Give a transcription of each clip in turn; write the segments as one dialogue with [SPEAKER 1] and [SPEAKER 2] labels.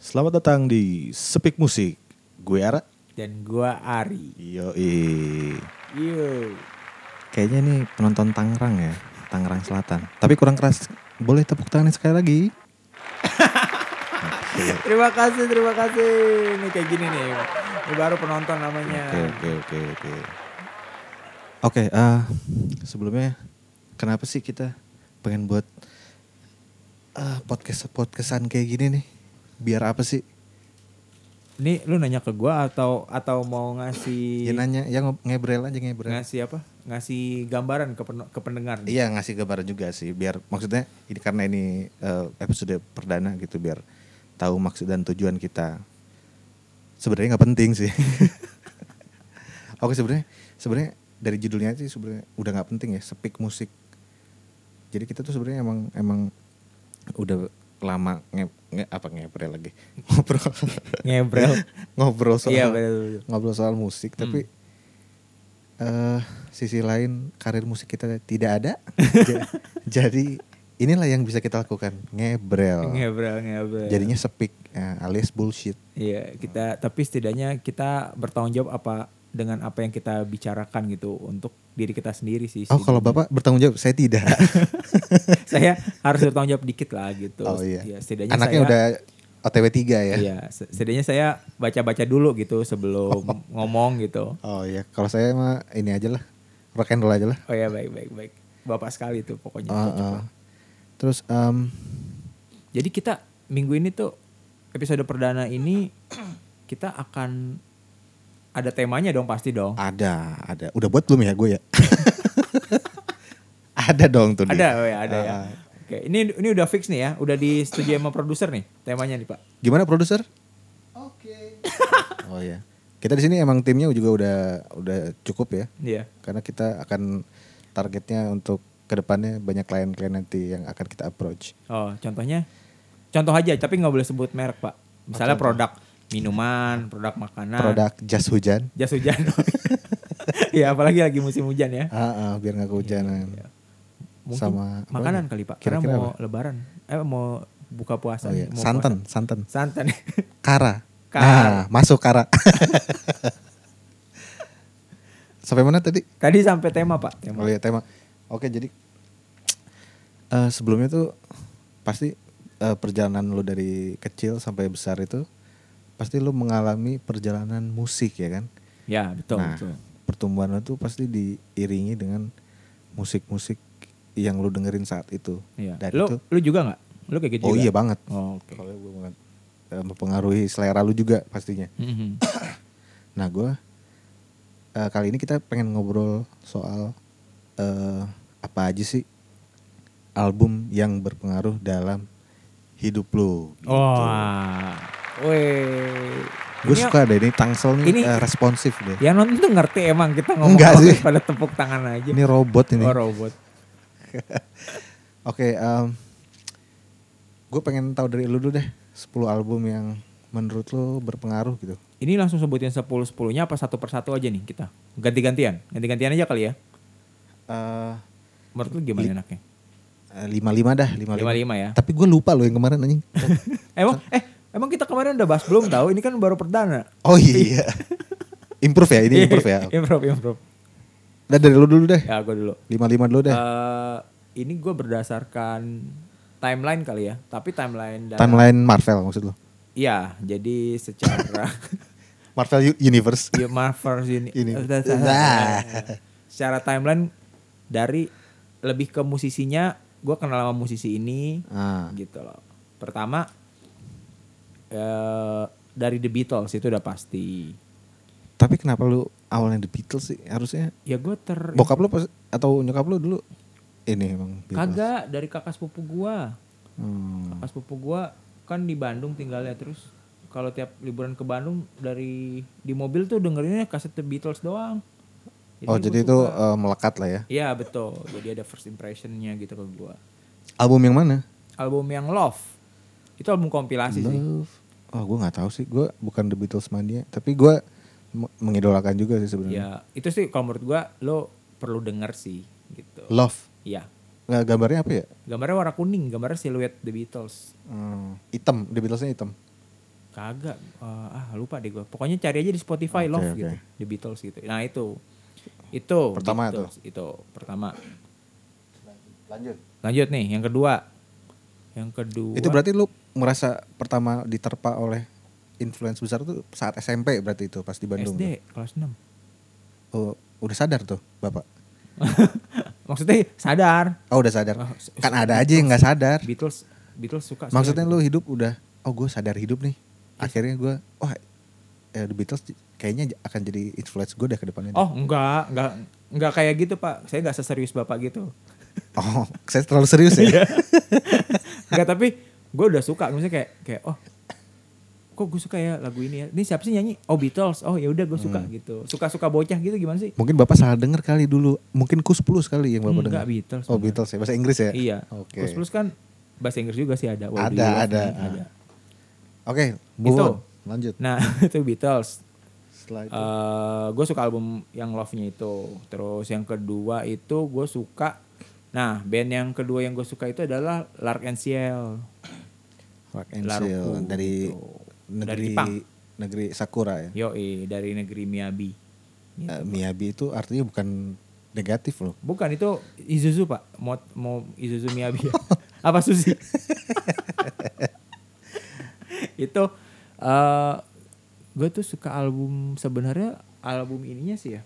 [SPEAKER 1] Selamat datang di Sepik Musik. Gue Ara.
[SPEAKER 2] dan gua Ari.
[SPEAKER 1] Yoi.
[SPEAKER 2] Yo.
[SPEAKER 1] Kayaknya nih penonton Tangerang ya, Tangerang Selatan. Tapi kurang keras. Boleh tepuk tangan sekali lagi. Oke,
[SPEAKER 2] Terima kasih, terima kasih. Ini kayak gini nih. Ini baru penonton namanya.
[SPEAKER 1] Oke, oke, oke, oke. Oke, eh, sebelumnya kenapa sih kita pengen buat podcast podcastan kayak gini nih? Biar apa sih?
[SPEAKER 2] Ini lu nanya ke gua atau atau mau
[SPEAKER 1] Ya
[SPEAKER 2] ngasih
[SPEAKER 1] nanya, ya ngob- ngebrel aja ngebrel.
[SPEAKER 2] ngasih apa? Ngasih gambaran ke pen- ke pendengar. nih?
[SPEAKER 1] Iya ngasih gambaran juga sih biar maksudnya ini karena ini eh, episode perdana gitu biar tahu maksud dan tujuan kita. Sebenarnya nggak penting sih. Oke sebenarnya sebenarnya dari judulnya sih sebenarnya udah nggak penting ya sepik musik. Jadi kita tuh sebenarnya emang emang udah lama nge, nge apa ngeprel lagi ngobrol
[SPEAKER 2] Ngebrel.
[SPEAKER 1] ngobrol soal
[SPEAKER 2] Iya, betul.
[SPEAKER 1] ngobrol soal musik
[SPEAKER 2] Hmm.
[SPEAKER 1] tapi eh sisi lain karir musik kita tidak ada Ja- jadi inilah yang bisa kita lakukan ngebrel
[SPEAKER 2] Ngebrel, ngebrel.
[SPEAKER 1] jadinya sepik eh, alias bullshit
[SPEAKER 2] Iya, kita tapi setidaknya kita bertanggung jawab apa dengan apa yang kita bicarakan gitu untuk diri kita sendiri sih.
[SPEAKER 1] oh kalau bapak bertanggung jawab saya tidak
[SPEAKER 2] saya harus bertanggung jawab dikit lah gitu.
[SPEAKER 1] oh iya
[SPEAKER 2] Ya, setidaknya
[SPEAKER 1] anaknya
[SPEAKER 2] saya,
[SPEAKER 1] udah otw 3 ya
[SPEAKER 2] Iya, se- setidaknya saya baca-baca dulu gitu sebelum ngomong gitu.
[SPEAKER 1] oh iya kalau saya mah ini aja lah rock and roll aja lah
[SPEAKER 2] Oh ya baik baik baik. Bapak sekali tuh pokoknya.
[SPEAKER 1] Ah,
[SPEAKER 2] Cocok
[SPEAKER 1] ah.
[SPEAKER 2] lah.
[SPEAKER 1] terus em,
[SPEAKER 2] Jadi kita minggu ini tuh episode perdana ini kita akan ada temanya dong pasti dong.
[SPEAKER 1] ada ada udah buat belum ya gue ya ada dong tuh Di.
[SPEAKER 2] Ada oh ya ada ya.
[SPEAKER 1] Ah, ah.
[SPEAKER 2] Oke, ini ini udah fix nih ya, udah disetujui sama produser nih temanya nih Pak.
[SPEAKER 1] Gimana produser? Oke. oh ya. Kita di sini emang timnya juga udah udah cukup ya.
[SPEAKER 2] Iya.
[SPEAKER 1] Karena kita akan targetnya untuk kedepannya banyak klien-klien nanti yang akan kita approach.
[SPEAKER 2] Oh, contohnya contoh aja tapi nggak boleh sebut merek Pak. Misalnya produk minuman, produk makanan,
[SPEAKER 1] Produk jas hujan.
[SPEAKER 2] jas hujan. ya apalagi lagi musim hujan ya.
[SPEAKER 1] Ah, ah, biar nggak kehujanan.
[SPEAKER 2] Iya, Mungkin
[SPEAKER 1] Sama apa
[SPEAKER 2] makanan
[SPEAKER 1] lagi?
[SPEAKER 2] kali Pak.
[SPEAKER 1] Kira-kira
[SPEAKER 2] Karena mau lebaran. Eh mau buka puasa.
[SPEAKER 1] Oh ya,
[SPEAKER 2] nih, mau
[SPEAKER 1] santan, santan.
[SPEAKER 2] puasa. Santan.
[SPEAKER 1] Kara.
[SPEAKER 2] Kara.
[SPEAKER 1] Nah, masuk Kara. Sampai mana tadi?
[SPEAKER 2] Tadi sampai tema Pak, tema.
[SPEAKER 1] Oh iya tema. Oke jadi eh, sebelumnya tuh pasti eh, perjalanan lo dari kecil sampai besar itu pasti lo mengalami perjalanan musik ya kan.
[SPEAKER 2] Ya, betul,
[SPEAKER 1] nah
[SPEAKER 2] betul.
[SPEAKER 1] pertumbuhan lo tuh pasti diiringi dengan musik-musik yang lo dengerin saat itu.
[SPEAKER 2] Iya.
[SPEAKER 1] Dan
[SPEAKER 2] Lu
[SPEAKER 1] itu
[SPEAKER 2] lu juga nggak? Lu kayak gitu
[SPEAKER 1] oh
[SPEAKER 2] juga?
[SPEAKER 1] iya banget.
[SPEAKER 2] Oh, oke.
[SPEAKER 1] Kalau gue banget eh, mempengaruhi selera lo juga pastinya.
[SPEAKER 2] Mhm.
[SPEAKER 1] Nah gue eh, kali ini kita pengen ngobrol soal eh, apa aja sih album yang berpengaruh dalam hidup lo. gitu.
[SPEAKER 2] Oh, Wah. Weh.
[SPEAKER 1] Gue
[SPEAKER 2] Ini
[SPEAKER 1] suka deh ini Tangsel nih
[SPEAKER 2] ini- Iya.
[SPEAKER 1] eh, responsif deh.
[SPEAKER 2] Yang nonton tuh ngerti emang kita ngomong
[SPEAKER 1] Enggak
[SPEAKER 2] apa
[SPEAKER 1] sih.
[SPEAKER 2] pada tepuk tangan aja.
[SPEAKER 1] Ini robot ini.
[SPEAKER 2] Oh, robot.
[SPEAKER 1] Oke, gue pengen tahu dari lu dulu deh 10 album yang menurut lo berpengaruh gitu.
[SPEAKER 2] Ini langsung sebutin 10 10-nya apa satu persatu aja nih kita. Ganti-gantian. Ganti-gantian aja kali ya.
[SPEAKER 1] Eh,
[SPEAKER 2] Menurut lu gimana enaknya?
[SPEAKER 1] eh, lima-lima dah, lima-lima.
[SPEAKER 2] 55 ya.
[SPEAKER 1] Tapi gue lupa lo yang kemarin anjing.
[SPEAKER 2] Emang eh emang kita kemarin udah bahas belum tahu? Ini kan baru perdana. Iya,
[SPEAKER 1] Oh iya. improve ya, ini improve ya.
[SPEAKER 2] improve, improve.
[SPEAKER 1] Udah dari lu dulu deh.
[SPEAKER 2] Ya gue dulu.
[SPEAKER 1] Lima-lima dulu deh.
[SPEAKER 2] Eh, ini gue berdasarkan timeline kali ya. Tapi timeline dan
[SPEAKER 1] Timeline Marvel maksud lo?
[SPEAKER 2] Iya, jadi secara
[SPEAKER 1] Marvel U- Universe.
[SPEAKER 2] ya Marvel ini.
[SPEAKER 1] Ini.
[SPEAKER 2] secara timeline dari lebih ke musisinya, gue kenal sama musisi ini
[SPEAKER 1] Ah,
[SPEAKER 2] gitu loh. Pertama eh dari The Beatles itu udah pasti.
[SPEAKER 1] Tapi kenapa lu awalnya The Beatles sih? Harusnya
[SPEAKER 2] Ya gue ter
[SPEAKER 1] bokap lu pas- atau nyokap lu dulu ini emang Beatles.
[SPEAKER 2] Kagak dari kakak sepupu gua.
[SPEAKER 1] Hmm.
[SPEAKER 2] Kakak sepupu gua kan di Bandung tinggalnya terus kalau tiap liburan ke Bandung dari di mobil tuh dengerinnya kaset The Beatles doang.
[SPEAKER 1] Oh
[SPEAKER 2] gua
[SPEAKER 1] jadi itu
[SPEAKER 2] suka.
[SPEAKER 1] eh, melekat lah ya.
[SPEAKER 2] Iya betul. Jadi ada first impressionnya gitu ke gua.
[SPEAKER 1] Album yang mana?
[SPEAKER 2] Album yang Love itu album kompilasi sih.
[SPEAKER 1] Love. Oh gue nggak tahu sih. Gue bukan The Beatles mania. Tapi gue m- mengidolakan juga sih sebenarnya.
[SPEAKER 2] Ya itu sih kalau menurut gua lo perlu denger sih gitu.
[SPEAKER 1] Love.
[SPEAKER 2] Iya.
[SPEAKER 1] Nggak gambarnya apa ya?
[SPEAKER 2] Gambarnya warna kuning, gambarnya siluet The Beatles.
[SPEAKER 1] Hmm. Hitam. The Beatlesnya hitam.
[SPEAKER 2] Kagak. Eh, ah lupa deh gue. Pokoknya cari aja di Spotify
[SPEAKER 1] Oke,
[SPEAKER 2] Love
[SPEAKER 1] oke.
[SPEAKER 2] gitu. The Beatles gitu. Nah itu. Itu.
[SPEAKER 1] Pertama
[SPEAKER 2] Beatles, Itu pertama.
[SPEAKER 1] Lanjut.
[SPEAKER 2] Lanjut nih yang kedua. Yang kedua.
[SPEAKER 1] Itu berarti lu merasa pertama diterpa oleh influence besar tuh saat SMP berarti itu pas di Bandung.
[SPEAKER 2] SD kelas 6.
[SPEAKER 1] Oh, udah sadar tuh, Bapak.
[SPEAKER 2] Maksudnya sadar.
[SPEAKER 1] Oh, udah sadar.
[SPEAKER 2] Ah, s-
[SPEAKER 1] Kan ada aja yang nggak sadar.
[SPEAKER 2] Beatles Beatles suka. sih.
[SPEAKER 1] Maksudnya lu hidup udah oh gue sadar hidup nih. Akhirnya gue wah eh, The Beatles kayaknya j- akan jadi influence gue deh ke depannya.
[SPEAKER 2] Oh enggak, enggak enggak kayak gitu pak. Saya enggak seserius bapak gitu.
[SPEAKER 1] Oh, saya terlalu serius ya.
[SPEAKER 2] Enggak tapi gue udah suka. Maksudnya kayak kayak oh kok gue suka ya lagu ini ya. Ini siapa sih nyanyi? Oh Beatles. Oh ya udah gue suka
[SPEAKER 1] Hmm.
[SPEAKER 2] gitu. Suka suka bocah gitu gimana sih?
[SPEAKER 1] Mungkin Bapak salah dengar kali dulu. Mungkin kus plus kali yang Bapak dengar.
[SPEAKER 2] Enggak Beatles.
[SPEAKER 1] Oh,
[SPEAKER 2] bener.
[SPEAKER 1] Beatles ya. Bahasa Inggris ya?
[SPEAKER 2] Iya.
[SPEAKER 1] Oke.
[SPEAKER 2] Plus plus kan bahasa Inggris juga sih ada.
[SPEAKER 1] Ada,
[SPEAKER 2] What Do You Love
[SPEAKER 1] ada,
[SPEAKER 2] Me,
[SPEAKER 1] ah.
[SPEAKER 2] ada. Gitu.
[SPEAKER 1] Oke, move
[SPEAKER 2] Itu.
[SPEAKER 1] on. Lanjut.
[SPEAKER 2] Nah itu Beatles.
[SPEAKER 1] Setelah itu.
[SPEAKER 2] gue suka album yang Love-nya itu. Terus yang kedua itu gue suka. Nah band yang kedua yang gue suka itu adalah Lark and Ciel.
[SPEAKER 1] Rock and
[SPEAKER 2] Laruku,
[SPEAKER 1] Seal dari
[SPEAKER 2] gitu. Dari
[SPEAKER 1] negeri
[SPEAKER 2] Jepang.
[SPEAKER 1] negeri Sakura ya.
[SPEAKER 2] Yoi dari negeri Miyabi. Gitu.
[SPEAKER 1] Eh, Miyabi itu artinya bukan negatif loh.
[SPEAKER 2] Bukan itu Izuzu pak. Mau, mau Izuzu Miyabi. ya? Apa Susi? itu eh, gue tuh suka album sebenarnya album ininya sih ya.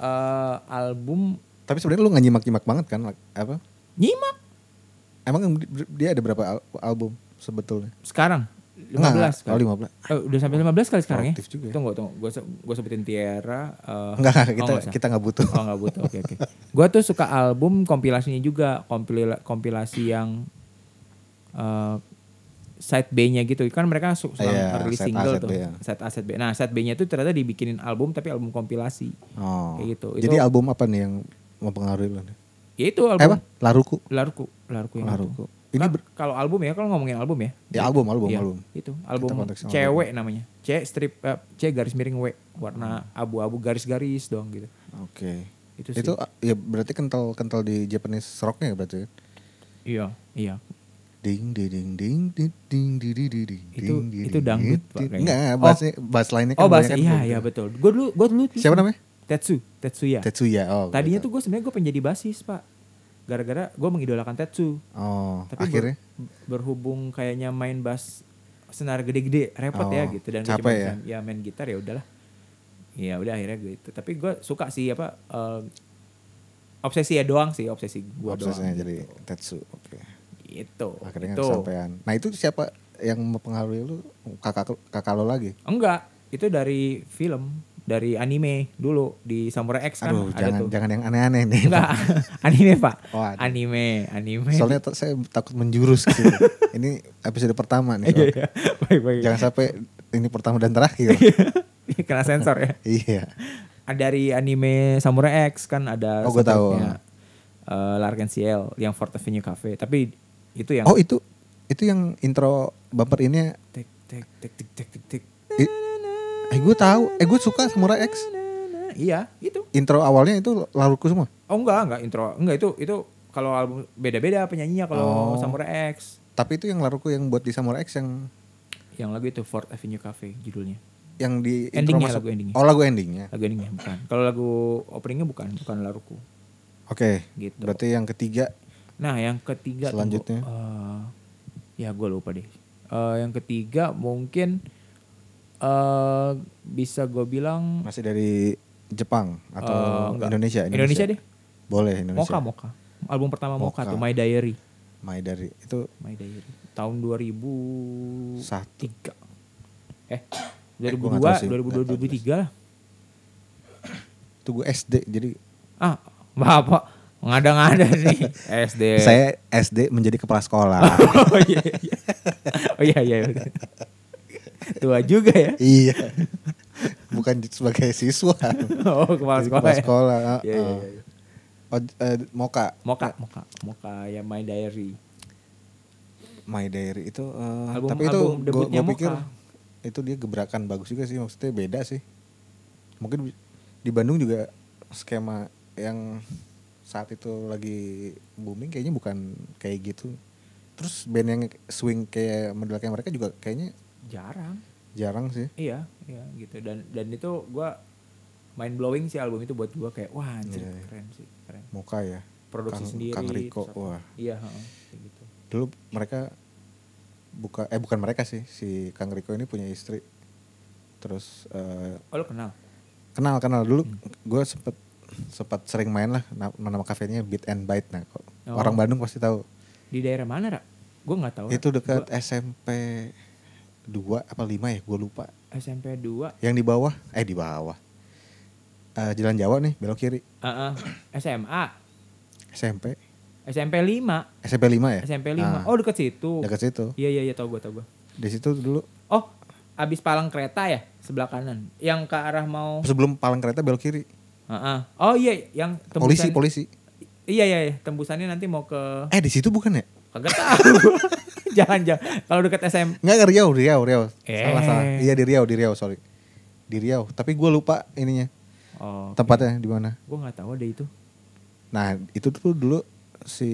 [SPEAKER 2] Eh, album
[SPEAKER 1] Tapi sebenarnya lu nggak nyimak-nyimak banget kan like, apa?
[SPEAKER 2] nyimak
[SPEAKER 1] Emang dia ada berapa al- album sebetulnya?
[SPEAKER 2] sekarang 15
[SPEAKER 1] Enggak,
[SPEAKER 2] kali.
[SPEAKER 1] Oh, 15.
[SPEAKER 2] Eh, udah sampai 15 kali sekarang ya?
[SPEAKER 1] Aktif juga ya.
[SPEAKER 2] Tunggu, tunggu. Gue gue sebutin Tiara. eh,
[SPEAKER 1] Enggak,
[SPEAKER 2] oh,
[SPEAKER 1] kita
[SPEAKER 2] nggak usah.
[SPEAKER 1] kita nggak butuh.
[SPEAKER 2] Oh nggak butuh, oke oke. Gue tuh suka album kompilasinya juga, kompila- kompilasi yang eh, side B-nya gitu. Kan mereka su- suka
[SPEAKER 1] Iya,
[SPEAKER 2] rilis
[SPEAKER 1] side A,
[SPEAKER 2] single
[SPEAKER 1] side
[SPEAKER 2] tuh,
[SPEAKER 1] B, ya.
[SPEAKER 2] side A, side B. Nah side B-nya tuh ternyata dibikinin album tapi album kompilasi.
[SPEAKER 1] Oh.
[SPEAKER 2] Kayak gitu.
[SPEAKER 1] Jadi
[SPEAKER 2] Itu-
[SPEAKER 1] album apa nih yang mempengaruhi lu?
[SPEAKER 2] Ya itu
[SPEAKER 1] Eh, apa?
[SPEAKER 2] album
[SPEAKER 1] Laruku.
[SPEAKER 2] Larku, Larku yang
[SPEAKER 1] Laruku.
[SPEAKER 2] itu.
[SPEAKER 1] Ini
[SPEAKER 2] Kan kalau album ya, kalau ngomongin album ya.
[SPEAKER 1] ya album, album,
[SPEAKER 2] Iya,
[SPEAKER 1] album.
[SPEAKER 2] Itu album
[SPEAKER 1] Kita konteksnya
[SPEAKER 2] cewek namanya. C strip eh, C garis miring W warna abu-abu garis-garis dong gitu.
[SPEAKER 1] Oke.
[SPEAKER 2] Itu sih.
[SPEAKER 1] Itu ah, ya berarti kental-kental di Japanese rocknya ya berarti kan?
[SPEAKER 2] Iya, iya.
[SPEAKER 1] Ding ding ding ding ding ding ding ding ding ding
[SPEAKER 2] Itu-
[SPEAKER 1] ding, ding,
[SPEAKER 2] itu
[SPEAKER 1] ding,
[SPEAKER 2] dangdut, Pak,
[SPEAKER 1] ding.
[SPEAKER 2] kayaknya.
[SPEAKER 1] Enggak, enggak,
[SPEAKER 2] Oh.
[SPEAKER 1] bahasnya bahas lainnya kan
[SPEAKER 2] Oh bahasa
[SPEAKER 1] banyak kan
[SPEAKER 2] iya
[SPEAKER 1] gitu.
[SPEAKER 2] iya betul. Gue dulu gue dulu tuh
[SPEAKER 1] Siapa namanya?
[SPEAKER 2] Tetsu, Tetsuya.
[SPEAKER 1] Tetsuya. Oh. gua
[SPEAKER 2] Ya. Tadinya
[SPEAKER 1] tahu.
[SPEAKER 2] tuh gue sebenarnya gue pengen jadi basis pak. Gara-gara gue mengidolakan Tetsu.
[SPEAKER 1] Oh,
[SPEAKER 2] Tapi ber-
[SPEAKER 1] akhirnya
[SPEAKER 2] berhubung kayaknya main bass senar gede-gede repot
[SPEAKER 1] Oh,
[SPEAKER 2] ya gitu dan gua
[SPEAKER 1] capek
[SPEAKER 2] cuma
[SPEAKER 1] ya?
[SPEAKER 2] bisa- ya main gitar ya udahlah. Ya udah akhirnya gue itu. Tapi gue suka sih apa eh, obsesi ya doang sih obsesi gue doang. gitu.
[SPEAKER 1] obsesnya jadi Tetsu. Oke.
[SPEAKER 2] Itu.
[SPEAKER 1] Akhirnya
[SPEAKER 2] itu.
[SPEAKER 1] kesampaian. Nah, itu siapa yang mempengaruhi lu? Kakak kakak lo lagi?
[SPEAKER 2] Enggak, itu dari film, dari anime dulu di Samurai X kan
[SPEAKER 1] Aduh,
[SPEAKER 2] ada
[SPEAKER 1] jangan
[SPEAKER 2] tuh.
[SPEAKER 1] jangan yang aneh-aneh nih.
[SPEAKER 2] Enggak, anime pak.
[SPEAKER 1] Oh, ada.
[SPEAKER 2] Anime, anime.
[SPEAKER 1] Soalnya t- saya takut menjurus gitu. ini episode pertama nih.
[SPEAKER 2] Iya, iya. baik baik.
[SPEAKER 1] Jangan sampai ini pertama dan terakhir.
[SPEAKER 2] Kena sensor ya.
[SPEAKER 1] iya.
[SPEAKER 2] Dari anime Samurai X kan ada.
[SPEAKER 1] Oh, gua tahu.
[SPEAKER 2] soundtracknya, eh, Lark and Ciel yang Fort Avenue Cafe. Tapi itu yang
[SPEAKER 1] Oh, itu itu yang intro bumper ini
[SPEAKER 2] tek tek tek tek tek tek tek.
[SPEAKER 1] I- eh gue tahu, eh gue suka Samurai X.
[SPEAKER 2] Na-na-na. Iya, itu.
[SPEAKER 1] Intro awalnya itu laruku semua.
[SPEAKER 2] Oh enggak, enggak intro. Enggak itu itu kalau album beda-beda penyanyinya
[SPEAKER 1] Oh.
[SPEAKER 2] kalau Samurai X.
[SPEAKER 1] Tapi itu yang laruku yang buat di Samurai X yang
[SPEAKER 2] Yang lagu itu Fort Avenue Cafe judulnya.
[SPEAKER 1] yang di intro
[SPEAKER 2] Endingnya
[SPEAKER 1] masuk.
[SPEAKER 2] lagu endingnya.
[SPEAKER 1] Oh, lagu endingnya.
[SPEAKER 2] Lagu endingnya bukan. Kalau lagu openingnya bukan, bukan Laruku.
[SPEAKER 1] Oke.
[SPEAKER 2] Gitu.
[SPEAKER 1] Berarti yang ketiga
[SPEAKER 2] Nah, yang ketiga tunggu.
[SPEAKER 1] Selanjutnya.
[SPEAKER 2] Eh, ya gue lupa deh. Eh, yang ketiga mungkin eh bisa gue bilang
[SPEAKER 1] masih dari Jepang
[SPEAKER 2] eh,
[SPEAKER 1] atau
[SPEAKER 2] enggak.
[SPEAKER 1] Ya, Indonesia,
[SPEAKER 2] Indonesia deh.
[SPEAKER 1] Boleh Indonesia.
[SPEAKER 2] Moka Moka. Album pertama Moka,
[SPEAKER 1] Mocha.
[SPEAKER 2] tuh My Diary.
[SPEAKER 1] Mai dari itu
[SPEAKER 2] My Diary. Tahun 2003.
[SPEAKER 1] satu.
[SPEAKER 2] Eh,
[SPEAKER 1] gua nggak tahu
[SPEAKER 2] 2002,
[SPEAKER 1] sih,
[SPEAKER 2] 2002, 2003 lah.
[SPEAKER 1] Itu gue SD jadi
[SPEAKER 2] Ah, Bapak ngada-ngada nih SD.
[SPEAKER 1] saya SD menjadi kepala sekolah.
[SPEAKER 2] oh iya, iya. oh iya, iya. iya. Tua juga ya.
[SPEAKER 1] iya. Bukan sebagai siswa.
[SPEAKER 2] Oh kepala
[SPEAKER 1] Jadi
[SPEAKER 2] sekolah.
[SPEAKER 1] Kepala
[SPEAKER 2] ya.
[SPEAKER 1] sekolah.
[SPEAKER 2] Iya,
[SPEAKER 1] heeh.
[SPEAKER 2] iya, iya.
[SPEAKER 1] Oh, eh, Moka,
[SPEAKER 2] Moka, moka, moka ya My Diary.
[SPEAKER 1] My Diary itu eh,
[SPEAKER 2] Album-
[SPEAKER 1] tapi itu
[SPEAKER 2] album
[SPEAKER 1] gue
[SPEAKER 2] debutnya Moka.
[SPEAKER 1] pikir itu dia gebrakan bagus juga sih maksudnya beda sih. Mungkin di Bandung juga skema yang saat itu lagi booming kayaknya bukan kayak gitu. Terus band yang swing kayak model kayak mereka juga kayaknya
[SPEAKER 2] jarang
[SPEAKER 1] jarang sih.
[SPEAKER 2] iya iya gitu dan dan itu gua mind blowing sih album itu buat gua kayak wah
[SPEAKER 1] Iya,
[SPEAKER 2] anjir
[SPEAKER 1] iya.
[SPEAKER 2] keren sih keren
[SPEAKER 1] Moka ya.
[SPEAKER 2] produksi
[SPEAKER 1] Kang-
[SPEAKER 2] sendiri
[SPEAKER 1] Kang Riko,
[SPEAKER 2] terus apa.
[SPEAKER 1] wah.
[SPEAKER 2] iya heeh, kayak gitu
[SPEAKER 1] Dulu mereka buka eh bukan mereka sih si Kang Riko ini punya istri. Terus eh,
[SPEAKER 2] oh lo kenal
[SPEAKER 1] kenal kenal dulu gue sempet sempat sering main lah na- nama kafenya Beat and Bite nah kok
[SPEAKER 2] Oh.
[SPEAKER 1] orang Bandung pasti tahu
[SPEAKER 2] di daerah mana rak gua nggak tahu Ra.
[SPEAKER 1] itu dekat SMP 2 apa 5 ya gue lupa
[SPEAKER 2] Gua SMP 2
[SPEAKER 1] yang di bawah eh di bawah Eh, jalan Jawa nih belok kiri
[SPEAKER 2] Heeh. SMA
[SPEAKER 1] SMP
[SPEAKER 2] SMP 5
[SPEAKER 1] SMP 5 ya
[SPEAKER 2] SMP 5
[SPEAKER 1] Nah,
[SPEAKER 2] oh dekat situ
[SPEAKER 1] dekat situ
[SPEAKER 2] iya iya iya tau gua tau gua
[SPEAKER 1] di situ dulu
[SPEAKER 2] oh abis palang kereta ya sebelah kanan yang ke arah mau
[SPEAKER 1] sebelum palang kereta belok kiri
[SPEAKER 2] Heeh. oh iya yang
[SPEAKER 1] polisi
[SPEAKER 2] tembusan
[SPEAKER 1] polisi
[SPEAKER 2] iya iya iya tembusannya nanti mau ke
[SPEAKER 1] eh di situ bukan ya
[SPEAKER 2] Kagak tahu gua. Jalan-jalan. Kalau deket SM.
[SPEAKER 1] nggak nggak, Riau Riau Riau salah
[SPEAKER 2] Eh.
[SPEAKER 1] salah iya di Riau di Riau sorry di Riau tapi gue lupa ininya
[SPEAKER 2] Oh.
[SPEAKER 1] tempatnya di mana
[SPEAKER 2] Gue nggak tahu deh itu.
[SPEAKER 1] Nah itu tuh dulu si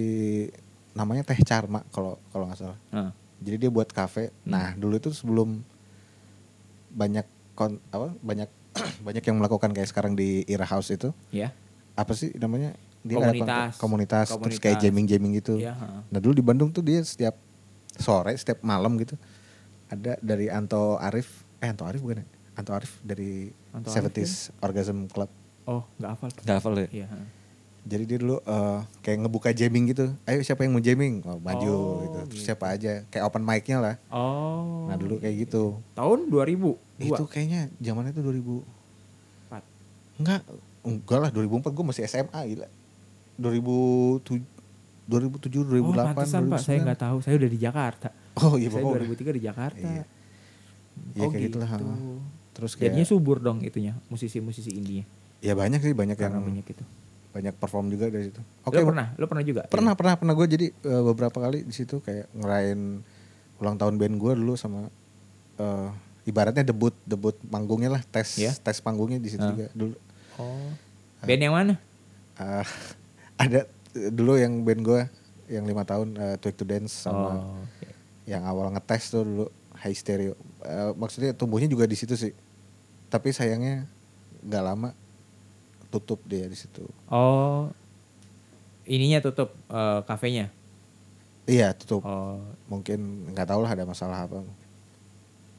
[SPEAKER 1] namanya Teh Charma kalau kalau nggak salah.
[SPEAKER 2] Heeh.
[SPEAKER 1] Jadi dia buat kafe.
[SPEAKER 2] Hmm.
[SPEAKER 1] Nah dulu itu sebelum banyak kon apa banyak banyak yang melakukan kayak sekarang di Ira House itu
[SPEAKER 2] Ya.
[SPEAKER 1] apa sih namanya dia ada kon-
[SPEAKER 2] Komunitas.
[SPEAKER 1] komunitas, terus kayak
[SPEAKER 2] Komunitas.
[SPEAKER 1] jamming jamming gitu.
[SPEAKER 2] Iya. heeh.
[SPEAKER 1] Nah dulu di Bandung tuh dia setiap sore setiap malam gitu ada dari Anto Arif eh Anto Arif bukan ya? Anto Arif dari
[SPEAKER 2] Anto Arif iya.
[SPEAKER 1] 70s Orgasm Club.
[SPEAKER 2] Oh nggak hafal.
[SPEAKER 1] Gak hafal ya?
[SPEAKER 2] Iya. heeh.
[SPEAKER 1] Jadi dia dulu eh, kayak ngebuka jamming gitu. Ayo siapa yang mau jamming? Oh, maju
[SPEAKER 2] Oh,
[SPEAKER 1] gitu. Terus
[SPEAKER 2] gitu.
[SPEAKER 1] siapa aja? Kayak open mic-nya lah.
[SPEAKER 2] Oh.
[SPEAKER 1] Nah, dulu kayak gitu.
[SPEAKER 2] Tahun 2000.
[SPEAKER 1] Itu kayaknya zamannya itu 2000.
[SPEAKER 2] Empat.
[SPEAKER 1] Enggak, enggak lah 2004 gue masih SMA gila. 2007 2007
[SPEAKER 2] Oh,
[SPEAKER 1] 2008
[SPEAKER 2] pantesan Pak, saya
[SPEAKER 1] 2009.
[SPEAKER 2] nggak tahu. Saya udah di Jakarta.
[SPEAKER 1] Oh, iya
[SPEAKER 2] saya
[SPEAKER 1] pokoknya.
[SPEAKER 2] 2003 di Jakarta.
[SPEAKER 1] Iya. Iya,
[SPEAKER 2] oh
[SPEAKER 1] kayak
[SPEAKER 2] gitu.
[SPEAKER 1] gitu lah, heeh. Terus kayak
[SPEAKER 2] Jadinya subur dong itunya, musisi-musisi indinya.
[SPEAKER 1] ya banyak sih banyak yang
[SPEAKER 2] Karena banyak itu.
[SPEAKER 1] banyak perform juga dari situ. Oke,
[SPEAKER 2] Oke, lo pernah? Lo pernah juga? Iya.
[SPEAKER 1] pernah pernah pernah gue jadi eh, beberapa kali di situ kayak ngerayain ulang tahun band gue dulu sama eh, ibaratnya debut debut panggungnya lah tes
[SPEAKER 2] Iya.
[SPEAKER 1] tes panggungnya di situ
[SPEAKER 2] Ah.
[SPEAKER 1] juga dulu
[SPEAKER 2] Oh. Band yang mana?
[SPEAKER 1] Ah, ada eh, dulu yang band gue yang lima tahun eh, Twig to Dance sama
[SPEAKER 2] Oh. oke.
[SPEAKER 1] yang awal ngetes tuh dulu High Stereo Eh, maksudnya tumbuhnya juga di situ sih tapi sayangnya nggak lama tutup dia di situ
[SPEAKER 2] Oh. Ininya tutup eh, kafenya.
[SPEAKER 1] iya tutup
[SPEAKER 2] Oh,
[SPEAKER 1] mungkin nggak tahu lah ada masalah apa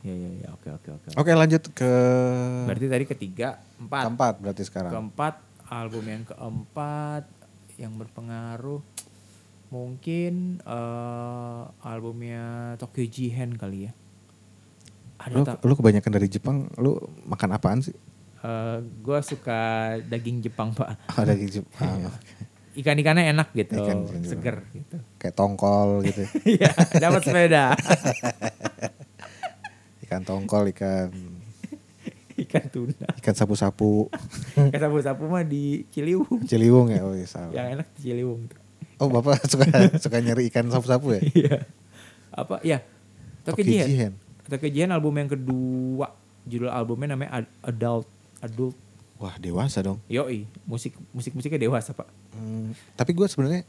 [SPEAKER 2] ya ya ya, oke oke oke.
[SPEAKER 1] oke lanjut ke Hmm.
[SPEAKER 2] Berarti tadi ketiga, empat,
[SPEAKER 1] keempat berarti sekarang
[SPEAKER 2] keempat album yang keempat yang berpengaruh mungkin eh, albumnya Tokyo Jihen kali ya.
[SPEAKER 1] lu,
[SPEAKER 2] Ada tak?
[SPEAKER 1] lu kebanyakan dari Jepang lu makan apaan sih
[SPEAKER 2] gue Eh, suka daging Jepang pak.
[SPEAKER 1] oh, dari Jepang oke.
[SPEAKER 2] Ikan-ikannya enak gitu,
[SPEAKER 1] Ikan-ikan Jepang.
[SPEAKER 2] seger gitu.
[SPEAKER 1] kayak tongkol gitu
[SPEAKER 2] Iya, dapat sepeda.
[SPEAKER 1] ikan tongkol ikan
[SPEAKER 2] ikan tuna.
[SPEAKER 1] ikan sapu-sapu
[SPEAKER 2] Ikan sapu-sapu mah di Ciliwung.
[SPEAKER 1] ciliwung ya Hmm. oh, iya, salah.
[SPEAKER 2] Yang enak di Ciliwung tuh.
[SPEAKER 1] oh bapak suka suka nyari ikan sapu-sapu ya
[SPEAKER 2] Iya. Apa? Ya. Tokyo Jihen.
[SPEAKER 1] Jihen.
[SPEAKER 2] Tokyo Jihen album yang kedua. Judul albumnya namanya Ad- Adult. Adult.
[SPEAKER 1] wah dewasa dong
[SPEAKER 2] Yoi. Musik musik musiknya dewasa pak.
[SPEAKER 1] Hmm, tapi gue sebenarnya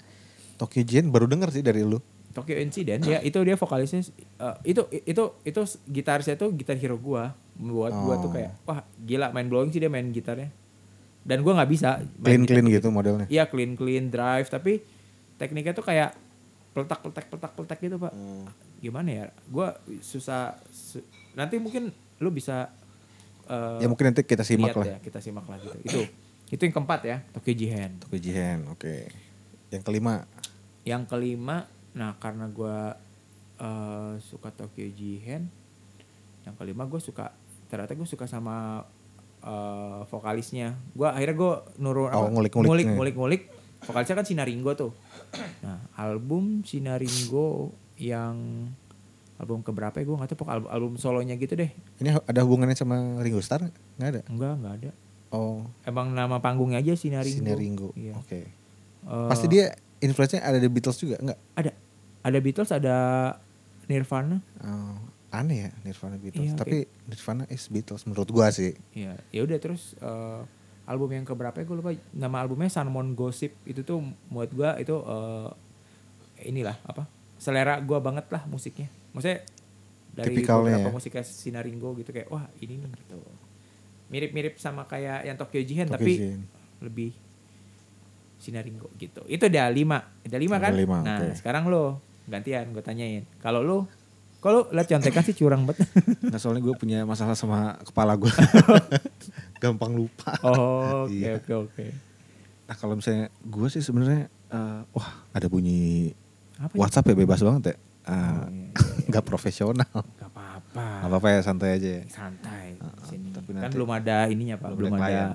[SPEAKER 1] Tokyo Jihen baru denger sih dari lu
[SPEAKER 2] Tokyo Incident ya itu dia vokalisnya eh, itu itu itu s- gitarisnya tuh gitar hero gua membuat gua tuh
[SPEAKER 1] Oh.
[SPEAKER 2] kayak wah gila main blowing sih dia main gitarnya dan gua nggak bisa
[SPEAKER 1] clean
[SPEAKER 2] main
[SPEAKER 1] clean gitu modelnya
[SPEAKER 2] Iya clean clean drive tapi tekniknya tuh kayak peletak peletak peletak peletak gitu pak. Gimana ya? Gua susah. su- nanti mungkin lu bisa. eh,
[SPEAKER 1] ya mungkin nanti kita simak
[SPEAKER 2] lihat
[SPEAKER 1] lah
[SPEAKER 2] Ya, kita simak lah gitu. Itu itu yang keempat ya Tokyo Jihen.
[SPEAKER 1] Tokyo Jihen oke yang kelima
[SPEAKER 2] Yang kelima, nah karena gua eh, suka Tokyo Jihen, yang kelima gue suka ternyata gue suka sama eh, vokalisnya. Gua akhirnya gue nurun
[SPEAKER 1] Oh, ngulik-ngulik
[SPEAKER 2] ngulik
[SPEAKER 1] nih.
[SPEAKER 2] ngulik ngulik. Vokalisnya kan Sinaringgo tuh. Nah album Sinaringgo yang album keberapa ya gue nggak tahu pokok album, album solonya gitu deh.
[SPEAKER 1] ini ada hubungannya sama Ringo Starr nggak ada
[SPEAKER 2] Enggak nggak ada.
[SPEAKER 1] oh
[SPEAKER 2] Emang nama panggungnya aja Sinaringgo.
[SPEAKER 1] Sinaringo
[SPEAKER 2] Iya.
[SPEAKER 1] oke
[SPEAKER 2] Eh,
[SPEAKER 1] Pasti dia influence-nya ada di Beatles juga enggak?
[SPEAKER 2] ada ada Beatles ada Nirvana.
[SPEAKER 1] Oh, aneh ya Nirvana Beatles.
[SPEAKER 2] Iya, oke.
[SPEAKER 1] Tapi Nirvana is Beatles menurut gua sih.
[SPEAKER 2] Iya, ya udah terus eh, album yang keberapa ya gue lupa nama albumnya Sanmon Gossip itu tuh buat gua itu eh, inilah apa selera gua banget lah musiknya maksudnya dari
[SPEAKER 1] Tipikalnya
[SPEAKER 2] beberapa
[SPEAKER 1] ya?
[SPEAKER 2] musiknya Sinaringo gitu kayak wah ini nih gitu mirip-mirip sama kayak yang Tokyo Jihen
[SPEAKER 1] Tokyo
[SPEAKER 2] tapi
[SPEAKER 1] Jihen.
[SPEAKER 2] lebih Sinaringo gitu itu ada lima ada lima
[SPEAKER 1] Ada
[SPEAKER 2] kan
[SPEAKER 1] lima,
[SPEAKER 2] nah
[SPEAKER 1] oke.
[SPEAKER 2] sekarang lo gantian gue tanyain kalau lo kalau lo liat contekan sih curang banget
[SPEAKER 1] Nggak soalnya gue punya masalah sama kepala gue. Gampang lupa.
[SPEAKER 2] oh oke
[SPEAKER 1] Iya.
[SPEAKER 2] oke oke
[SPEAKER 1] Nah kalau misalnya gue sih sebenarnya eh, wah ada bunyi
[SPEAKER 2] apa ya?
[SPEAKER 1] WhatsApp ya bebas banget ya. Eh,
[SPEAKER 2] Oh, iya, iya, iya.
[SPEAKER 1] nggak profesional.
[SPEAKER 2] Gak apa-apa.
[SPEAKER 1] Gak apa-apa ya santai aja. ya.
[SPEAKER 2] Santai di
[SPEAKER 1] Heeh,
[SPEAKER 2] sini.
[SPEAKER 1] tapi
[SPEAKER 2] kan
[SPEAKER 1] nanti
[SPEAKER 2] belum ada ininya Pak,
[SPEAKER 1] belum
[SPEAKER 2] belum,
[SPEAKER 1] ada klien.
[SPEAKER 2] ada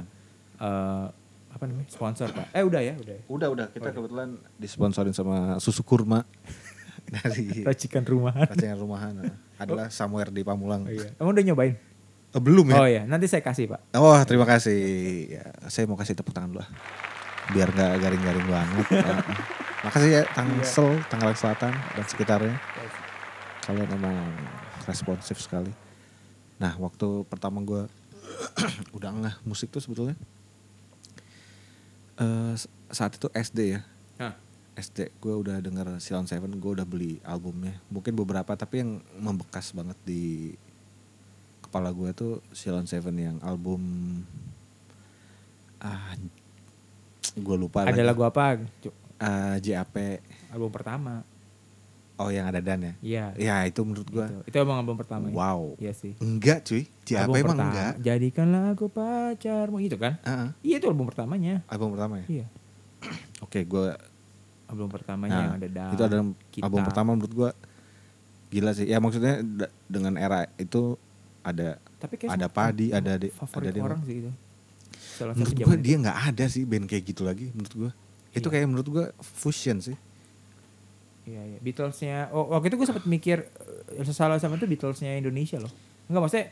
[SPEAKER 2] eh, apa namanya? sponsor Pak. Eh udah ya, udah. ya.
[SPEAKER 1] Udah udah kita kebetulan Oh, iya. disponsorin sama susu kurma dari
[SPEAKER 2] Racikan rumahan.
[SPEAKER 1] racikan rumahan eh, adalah somewhere di Pamulang.
[SPEAKER 2] Oh, iya. Emang udah nyobain?
[SPEAKER 1] Eh, belum ya?
[SPEAKER 2] Oh iya, nanti saya kasih Pak.
[SPEAKER 1] Oh terima kasih. Ya, saya mau kasih tepuk tangan dulu ah. Biar nggak garing-garing banget. Ah, ah. Makasih ya Tangsel, Tangerang Selatan dan sekitarnya. Kalian emang responsif sekali. Nah waktu pertama gue udah ngeh musik tuh sebetulnya. eh, s- saat itu SD ya.
[SPEAKER 2] Hah.
[SPEAKER 1] SD gue udah denger Silent Seven, gue udah beli albumnya. Mungkin beberapa tapi yang membekas banget di kepala gue tuh Silent Seven yang album ah gue lupa
[SPEAKER 2] Ada
[SPEAKER 1] lagi.
[SPEAKER 2] lagu apa? Cuk,
[SPEAKER 1] Ah, JAP
[SPEAKER 2] Album pertama.
[SPEAKER 1] oh yang ada Dan ya
[SPEAKER 2] Iya.
[SPEAKER 1] ya itu menurut gue
[SPEAKER 2] Itu. itu emang album pertama. ya?
[SPEAKER 1] wow
[SPEAKER 2] Iya sih.
[SPEAKER 1] enggak cuy JAP
[SPEAKER 2] Album
[SPEAKER 1] emang
[SPEAKER 2] pertama.
[SPEAKER 1] enggak
[SPEAKER 2] Jadikanlah aku pacarmu itu kan?
[SPEAKER 1] Ah, ah,
[SPEAKER 2] Iya itu album pertamanya.
[SPEAKER 1] album pertama ya
[SPEAKER 2] Iya.
[SPEAKER 1] oke gue
[SPEAKER 2] Album pertamanya
[SPEAKER 1] Nah,
[SPEAKER 2] yang ada dan
[SPEAKER 1] itu adalah
[SPEAKER 2] Ah, kita.
[SPEAKER 1] album pertama menurut gue gila sih ya maksudnya da- dengan era itu ada
[SPEAKER 2] Tapi kayak
[SPEAKER 1] ada
[SPEAKER 2] semua-
[SPEAKER 1] padi ada di ada
[SPEAKER 2] favorit
[SPEAKER 1] di
[SPEAKER 2] orang sih itu. Salah satu
[SPEAKER 1] menurut gue
[SPEAKER 2] zaman itu.
[SPEAKER 1] dia nggak ada sih band kayak gitu lagi menurut gue itu
[SPEAKER 2] Iya.
[SPEAKER 1] kayak menurut gue fusion sih
[SPEAKER 2] Iya, iya. Beatlesnya. Oh, waktu itu gue sempat mikir eh, salah sama itu Beatlesnya Indonesia loh. Enggak maksudnya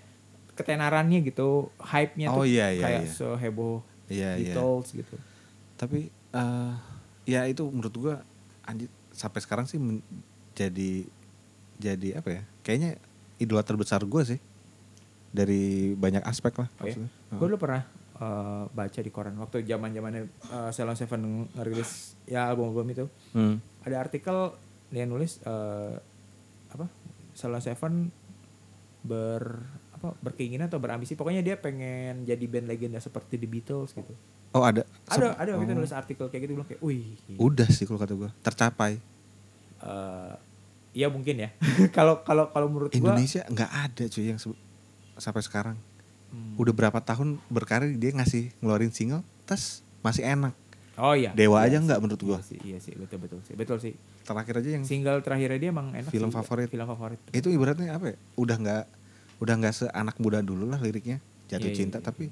[SPEAKER 2] ketenarannya gitu, hype-nya
[SPEAKER 1] Oh,
[SPEAKER 2] tuh
[SPEAKER 1] iya, iya,
[SPEAKER 2] kayak
[SPEAKER 1] iya.
[SPEAKER 2] seheboh
[SPEAKER 1] Iya iya.
[SPEAKER 2] Beatles gitu.
[SPEAKER 1] Tapi eh, ya itu menurut gua anjir sampai sekarang sih men- jadi jadi apa ya? Kayaknya idola terbesar gua sih dari banyak aspek lah
[SPEAKER 2] Oh, iya?
[SPEAKER 1] maksudnya.
[SPEAKER 2] Gue dulu pernah eh, baca di koran waktu zaman-zamannya eh, Ceylon Seven ngerilis ya album-album itu.
[SPEAKER 1] Hmm.
[SPEAKER 2] Ada artikel dia nulis eh, apa? Ceylon Seven ber apa berkeinginan atau berambisi pokoknya dia pengen jadi band legenda seperti The Beatles gitu.
[SPEAKER 1] Oh ada.
[SPEAKER 2] Ada ada waktu itu
[SPEAKER 1] Oh.
[SPEAKER 2] nulis artikel kayak gitu bilang kayak, "Wih, gila."
[SPEAKER 1] Udah sih kalau kata gua tercapai.
[SPEAKER 2] eh ya mungkin ya. Kalau kalau kalau menurut gua
[SPEAKER 1] Indonesia nggak ada cuy yang sebe- sampai sekarang.
[SPEAKER 2] Hmm.
[SPEAKER 1] Udah berapa tahun berkarir dia ngasih ngeluarin single, tes masih enak.
[SPEAKER 2] Oh iya.
[SPEAKER 1] Dewa
[SPEAKER 2] Iya
[SPEAKER 1] aja
[SPEAKER 2] sih,
[SPEAKER 1] nggak menurut gua.
[SPEAKER 2] Iya sih, iya sih, betul betul sih. Betul sih.
[SPEAKER 1] Terakhir aja yang
[SPEAKER 2] Single terakhirnya dia emang enak.
[SPEAKER 1] Film
[SPEAKER 2] sih.
[SPEAKER 1] favorit.
[SPEAKER 2] Film favorit.
[SPEAKER 1] itu ibaratnya apa ya? Udah nggak udah nggak seanak muda dulu lah liriknya jatuh
[SPEAKER 2] Iya, iya,
[SPEAKER 1] cinta
[SPEAKER 2] iya.
[SPEAKER 1] tapi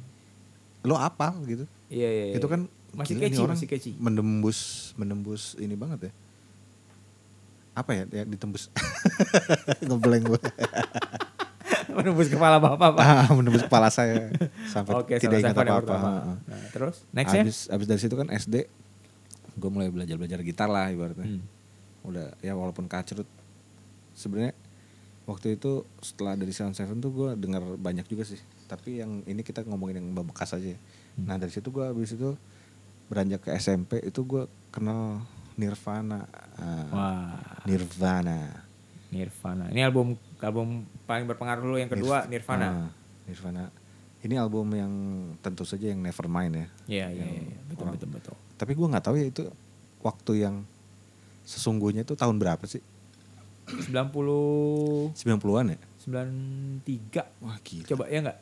[SPEAKER 1] lo apa gitu?
[SPEAKER 2] Iya iya. iya.
[SPEAKER 1] Itu kan
[SPEAKER 2] masih
[SPEAKER 1] gila nih
[SPEAKER 2] kecil,
[SPEAKER 1] orang
[SPEAKER 2] masih kecil.
[SPEAKER 1] menembus menembus ini banget ya. Apa ya? Ya ditembus. Ngeblank gue.
[SPEAKER 2] Menembus kepala bapak pak.
[SPEAKER 1] ah, menembus kepala saya sampai
[SPEAKER 2] Oke,
[SPEAKER 1] Ah, tidak
[SPEAKER 2] Ceylon
[SPEAKER 1] ingat
[SPEAKER 2] Seven yang
[SPEAKER 1] apa-apa. Ah,
[SPEAKER 2] pertama.
[SPEAKER 1] Heeh.
[SPEAKER 2] Nah, terus next ya.
[SPEAKER 1] Abis abis dari situ kan SD gue mulai belajar-belajar gitar lah ibaratnya.
[SPEAKER 2] Hmm.
[SPEAKER 1] udah ya walaupun kacrut sebenarnya waktu itu setelah dari Silent Seven tuh gue dengar banyak juga sih tapi yang ini kita ngomongin yang bekas aja ya. nah dari situ gue habis itu beranjak ke SMP itu gue kenal Nirvana Ah,
[SPEAKER 2] Wah,
[SPEAKER 1] Nirvana
[SPEAKER 2] Nirvana. Ini album album paling berpengaruh lu yang kedua
[SPEAKER 1] Nirv-
[SPEAKER 2] Nirvana.
[SPEAKER 1] Ah, Nirvana ini album yang tentu saja yang Nevermind ya
[SPEAKER 2] Iya iya iya, iya. betul betul betul.
[SPEAKER 1] tapi gue nggak tahu ya itu waktu yang sesungguhnya itu tahun berapa sih
[SPEAKER 2] 90
[SPEAKER 1] 90-an ya
[SPEAKER 2] 93.
[SPEAKER 1] wah gila
[SPEAKER 2] Coba ya enggak?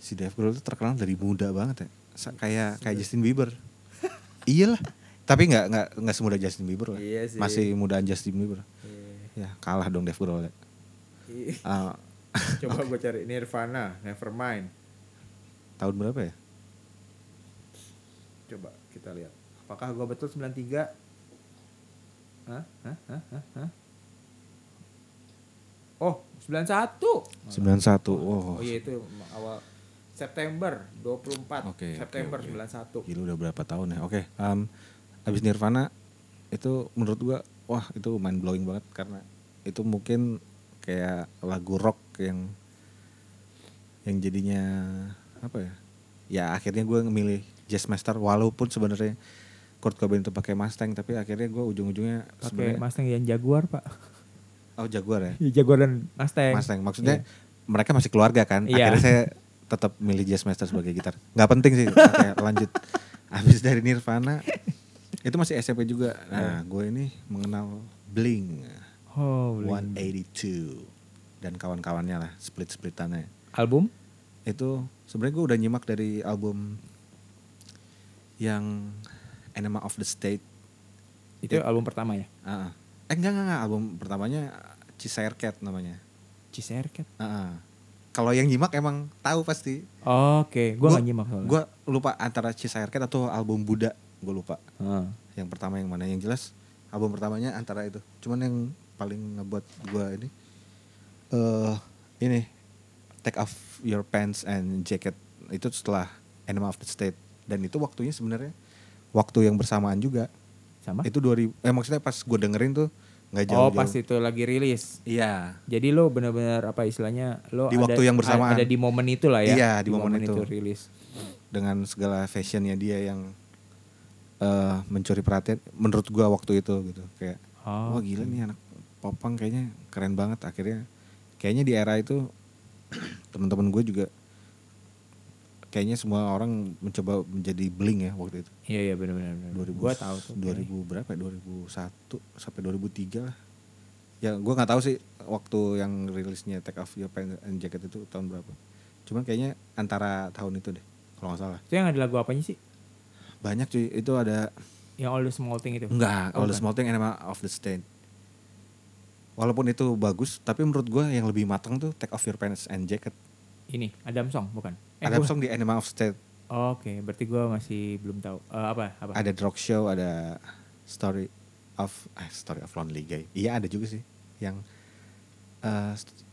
[SPEAKER 1] si Dave Grohl itu terkenal dari muda banget ya Sa-
[SPEAKER 2] Iya,
[SPEAKER 1] kayak kayak Justin Bieber iyalah tapi nggak nggak nggak semudah Justin Bieber lah
[SPEAKER 2] Iya sih.
[SPEAKER 1] masih mudaan Justin Bieber ya kalah dong Dave Grohl ya.
[SPEAKER 2] Iya.
[SPEAKER 1] Ah,
[SPEAKER 2] Coba gue cari Nirvana, Nevermind.
[SPEAKER 1] tahun berapa ya
[SPEAKER 2] Coba kita lihat. Apakah gue betul 93? Hah? Hah? Hah? Hah? Hah? Oh, 91.
[SPEAKER 1] 91 oh
[SPEAKER 2] Oh iya itu awal September
[SPEAKER 1] Oke,
[SPEAKER 2] 24
[SPEAKER 1] oke,
[SPEAKER 2] September
[SPEAKER 1] oke.
[SPEAKER 2] 91.
[SPEAKER 1] gila udah berapa tahun ya oke em, abis Nirvana itu menurut gua wah itu mind blowing banget karena itu mungkin kayak lagu rock yang yang jadinya apa ya ya akhirnya gue ngemilih Jazzmaster walaupun sebenarnya Kurt Cobain itu pakai Mustang tapi akhirnya gue ujung-ujungnya
[SPEAKER 2] Pakai
[SPEAKER 1] sebenarnya
[SPEAKER 2] Mustang yang Jaguar, Pak.
[SPEAKER 1] Oh Jaguar ya.
[SPEAKER 2] Ya, Jaguar dan Mustang.
[SPEAKER 1] Mustang. Maksudnya mereka masih keluarga kan.
[SPEAKER 2] Iya.
[SPEAKER 1] Akhirnya saya tetap milih Jazz Master sebagai gitar. Nggak penting sih. Oke, lanjut. Habis dari Nirvana itu masih SMP juga. Nah, gue ini mengenal Bling
[SPEAKER 2] Oh, beli.
[SPEAKER 1] 182 dan kawan-kawannya lah, split-splitannya.
[SPEAKER 2] album?
[SPEAKER 1] Itu sebenarnya gue udah nyimak dari album yang Enema of the State.
[SPEAKER 2] Itu album pertama ya.
[SPEAKER 1] Ah, ah. Eh enggak, enggak, enggak. album pertamanya Cheshire Cat namanya.
[SPEAKER 2] Cheshire Cat.
[SPEAKER 1] Ah, ah. Kalau yang nyimak emang tahu pasti.
[SPEAKER 2] Oke, gua
[SPEAKER 1] Gua-
[SPEAKER 2] enggak nyimak soalnya.
[SPEAKER 1] Gue lupa antara Cheshire Cat atau album Buddha, gue lupa.
[SPEAKER 2] Heeh.
[SPEAKER 1] Yang pertama yang mana? Yang jelas album pertamanya antara itu. Cuman yang paling ngebuat gue ini eh ini Take Off Your Pants and Jacket itu setelah Enema of the State dan itu waktunya sebenarnya waktu yang bersamaan juga.
[SPEAKER 2] Sama?
[SPEAKER 1] Itu 2000 eh maksudnya pas gue dengerin tuh nggak
[SPEAKER 2] oh,
[SPEAKER 1] jauh-jauh.
[SPEAKER 2] pas itu lagi rilis.
[SPEAKER 1] Iya.
[SPEAKER 2] Jadi lo benar-benar apa istilahnya lo
[SPEAKER 1] Di
[SPEAKER 2] ada,
[SPEAKER 1] waktu yang bersamaan.
[SPEAKER 2] ada di momen itu lah ya.
[SPEAKER 1] Iya, di momen itu.
[SPEAKER 2] rilis.
[SPEAKER 1] dengan segala fashionnya dia yang eh mencuri perhatian menurut gua waktu itu gitu kayak
[SPEAKER 2] Oh,
[SPEAKER 1] wah gila nih anak popang kayaknya keren banget akhirnya kayaknya di era itu teman-teman gue juga kayaknya semua orang mencoba menjadi bling ya waktu itu
[SPEAKER 2] Iya iya benar-benar. benar.
[SPEAKER 1] 2000
[SPEAKER 2] Gua tahu tuh.
[SPEAKER 1] 2000 berapa ya 2001 sampai 2003 lah ya gua nggak tahu sih waktu yang rilisnya Take Off Your Pants and Jacket itu tahun berapa cuman kayaknya antara tahun itu deh kalau nggak salah
[SPEAKER 2] Itu yang ada lagu apanya sih?
[SPEAKER 1] banyak cuy itu ada
[SPEAKER 2] Yang All the Small Thing itu.
[SPEAKER 1] enggak
[SPEAKER 2] Oh,
[SPEAKER 1] All the
[SPEAKER 2] bukan.
[SPEAKER 1] Small Thing and Emma of the Stain walaupun itu bagus tapi menurut gua yang lebih matang tuh Take Off Your Pants and Jacket
[SPEAKER 2] Ini Adam Song bukan? Eh,
[SPEAKER 1] ada
[SPEAKER 2] gua-
[SPEAKER 1] song di Enema of State
[SPEAKER 2] Oke, berarti gua masih belum tahu. Eh, apa? Apa?
[SPEAKER 1] ada Drog Show ada Story of eh, Story of Lonely Guy iya ada juga sih yang eh, st-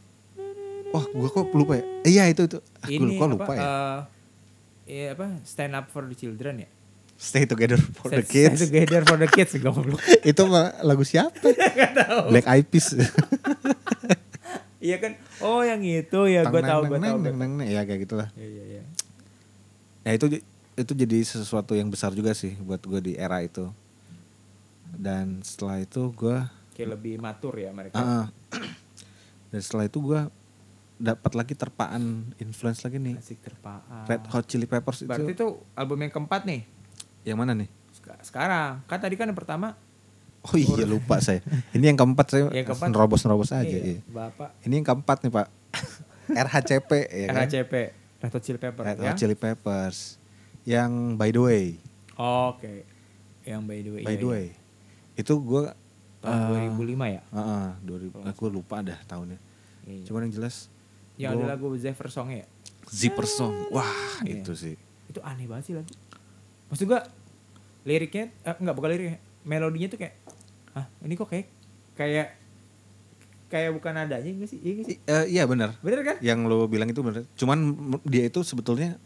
[SPEAKER 1] wah gua kok lupa ya Eh, iya itu itu ah, gua
[SPEAKER 2] Ini
[SPEAKER 1] kok lupa
[SPEAKER 2] apa,
[SPEAKER 1] ya
[SPEAKER 2] eh, iya apa? Stand up for the children ya.
[SPEAKER 1] Stay Together for the
[SPEAKER 2] Stand-
[SPEAKER 1] Kids
[SPEAKER 2] Stand together for the kids goblok.
[SPEAKER 1] itu mah lagu siapa Black Eyed Peas
[SPEAKER 2] Iya kan? Oh, yang itu ya gua
[SPEAKER 1] Tang
[SPEAKER 2] tahu,
[SPEAKER 1] neng
[SPEAKER 2] gua
[SPEAKER 1] neng
[SPEAKER 2] tahu.
[SPEAKER 1] neng
[SPEAKER 2] gua tahu.
[SPEAKER 1] neng neng. ya kayak gitulah
[SPEAKER 2] Iya iya iya.
[SPEAKER 1] Nah itu itu jadi sesuatu yang besar juga sih buat gue di era itu. Dan setelah itu gue,
[SPEAKER 2] Kayak lebih matur ya mereka.
[SPEAKER 1] ah, dan setelah itu gue dapat lagi terpaan influence lagi nih
[SPEAKER 2] Asik terpaan.
[SPEAKER 1] Red Hot Chili Peppers itu.
[SPEAKER 2] Berarti itu album yang keempat nih.
[SPEAKER 1] Yang mana nih?
[SPEAKER 2] Sek- Sekarang. Kan tadi kan yang pertama
[SPEAKER 1] Oh iya lupa saya. Ini yang keempat saya
[SPEAKER 2] Yang keempat.
[SPEAKER 1] nerobos nerobos aja.
[SPEAKER 2] iya,
[SPEAKER 1] iya.
[SPEAKER 2] Bapak
[SPEAKER 1] Ini yang keempat nih pak. RHCP ya kan?
[SPEAKER 2] RHCP Red Hot Chili Peppers
[SPEAKER 1] Red
[SPEAKER 2] ya.
[SPEAKER 1] Hot Chili Peppers. Yang by the way,
[SPEAKER 2] Oke. Yang by the way.
[SPEAKER 1] by
[SPEAKER 2] iya,
[SPEAKER 1] the
[SPEAKER 2] iya.
[SPEAKER 1] way, Ah. itu gue
[SPEAKER 2] Tahun 2005 ya.
[SPEAKER 1] Heeh, 2000. Aku lupa dah tahunnya.
[SPEAKER 2] Iya, iya.
[SPEAKER 1] Cuman yang jelas
[SPEAKER 2] Yang ada lagu Zephyr Song ya.
[SPEAKER 1] zipper song. Wah,
[SPEAKER 2] Iya.
[SPEAKER 1] itu sih.
[SPEAKER 2] Itu aneh banget sih lagu. Maksud gua liriknya eh, enggak bukan liriknya. Melodinya tuh kayak ah ini kok kayak kayak kayak bukan nadanya enggak sih? Iya nggak sih?
[SPEAKER 1] I- eh, iya benar.
[SPEAKER 2] Bener kan?
[SPEAKER 1] Yang lo bilang itu benar. Cuman m- dia itu sebetulnya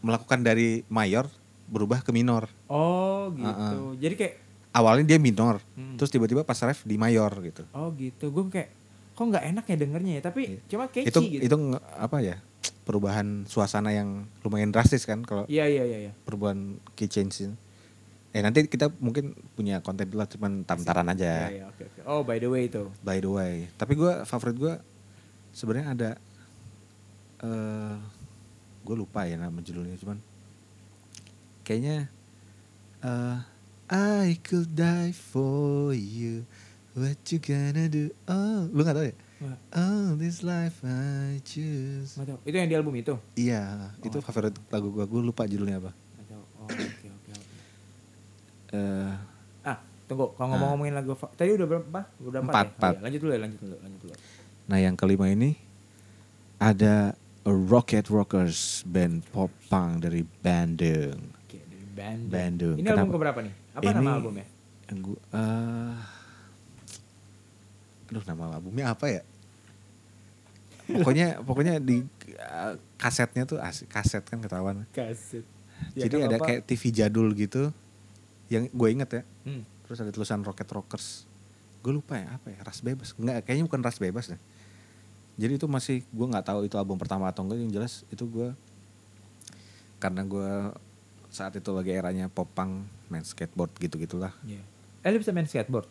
[SPEAKER 1] melakukan dari mayor berubah ke minor.
[SPEAKER 2] Oh
[SPEAKER 1] Ah,
[SPEAKER 2] gitu.
[SPEAKER 1] Heeh.
[SPEAKER 2] Jadi kayak
[SPEAKER 1] Awalnya dia minor,
[SPEAKER 2] Hmm.
[SPEAKER 1] terus tiba-tiba pas ref di mayor gitu.
[SPEAKER 2] oh gitu. Gue kayak kok nggak enak ya dengernya ya. Tapi
[SPEAKER 1] Iya.
[SPEAKER 2] cuma catchy
[SPEAKER 1] itu
[SPEAKER 2] gitu.
[SPEAKER 1] itu nge- apa ya? Perubahan suasana yang lumayan drastis kan kalau
[SPEAKER 2] Iya iya iya. iya.
[SPEAKER 1] perubahan key change ini. Eh nanti kita mungkin punya konten lah cuman tamtaran
[SPEAKER 2] Iya
[SPEAKER 1] aja.
[SPEAKER 2] iya oke oke. Oh by the way itu.
[SPEAKER 1] By the way, tapi gua favorit gua sebenarnya ada eh gue lupa ya nama judulnya cuman kayaknya eh I could die for you, what you gonna do? Oh, lu nggak tahu ya?
[SPEAKER 2] Nggak.
[SPEAKER 1] Oh, this life I choose.
[SPEAKER 2] Nggak tahu. Itu yang di album itu.
[SPEAKER 1] Iya, itu favorit lagu gua. Gue lupa judulnya apa.
[SPEAKER 2] Nggak tahu. Oh oke oke oke.
[SPEAKER 1] Eh
[SPEAKER 2] Ah tunggu. Kalau ngomong-ngomongin lagu fa- tadi udah berapa? Udah empat.
[SPEAKER 1] Nah. Empat,
[SPEAKER 2] ya? Oh,
[SPEAKER 1] empat.
[SPEAKER 2] iya. lanjut dulu ya lanjut dulu lanjut dulu.
[SPEAKER 1] Nah yang kelima ini ada Rocket Rockers band pop punk dari Bandung.
[SPEAKER 2] Oke dari Bandung.
[SPEAKER 1] Bandung.
[SPEAKER 2] Ini album
[SPEAKER 1] Kenapa?
[SPEAKER 2] keberapa nih? Apa
[SPEAKER 1] Ini-
[SPEAKER 2] nama albumnya?
[SPEAKER 1] Yang gua, eh, aduh nama albumnya apa ya? Pokoknya pokoknya di eh, kasetnya tuh asik, kaset kan ketahuan.
[SPEAKER 2] Kaset. Ya,
[SPEAKER 1] Jadi ada kayak TV jadul gitu yang gue inget ya.
[SPEAKER 2] Hmm.
[SPEAKER 1] Terus ada tulisan Rocket Rockers. Gue lupa ya apa ya? Ras Bebas. Enggak, kayaknya bukan Ras Bebas deh. Jadi itu masih gue nggak tahu itu album pertama atau enggak yang jelas itu gue karena gue saat itu lagi eranya pop punk, main skateboard gitu-gitulah.
[SPEAKER 2] Iya. Eh lu bisa main skateboard?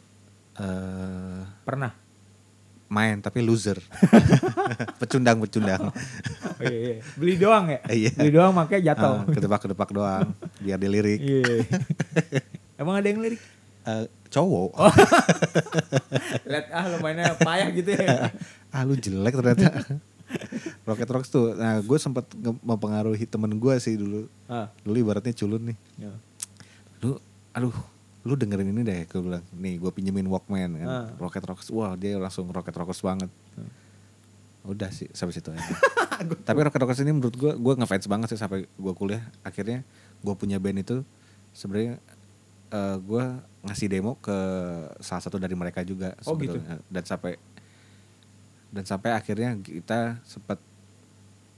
[SPEAKER 1] eh
[SPEAKER 2] Pernah?
[SPEAKER 1] main tapi loser. Pecundang-pecundang.
[SPEAKER 2] Oh, iya, iya. Beli doang ya?
[SPEAKER 1] Iya.
[SPEAKER 2] Beli doang makanya
[SPEAKER 1] Ah,
[SPEAKER 2] jatuh.
[SPEAKER 1] Kedepak-kedepak doang biar dilirik.
[SPEAKER 2] Iya. Emang ada yang lirik?
[SPEAKER 1] Eh, cowok.
[SPEAKER 2] Lihat ah lu mainnya payah gitu ya.
[SPEAKER 1] ah lu jelek ternyata. Rocket Rocks tuh. Nah, gue sempet nge- mempengaruhi temen gue sih dulu.
[SPEAKER 2] Ah.
[SPEAKER 1] Dulu ibaratnya culun nih.
[SPEAKER 2] Ya.
[SPEAKER 1] Lu aduh, lu dengerin ini deh gue bilang. Nih, gue pinjemin Walkman kan.
[SPEAKER 2] Ah.
[SPEAKER 1] Rocket Rocks. Wah, dia langsung Rocket Rocks banget. Udah sih sampai situ aja. Tapi Rocket Rocks ini menurut gue gue ngefans banget sih sampai gue kuliah akhirnya gue punya band itu sebenarnya eh, gue ngasih demo ke salah satu dari mereka juga
[SPEAKER 2] Oh, gitu.
[SPEAKER 1] sebetulnya. dan sampai dan sampai akhirnya kita sempat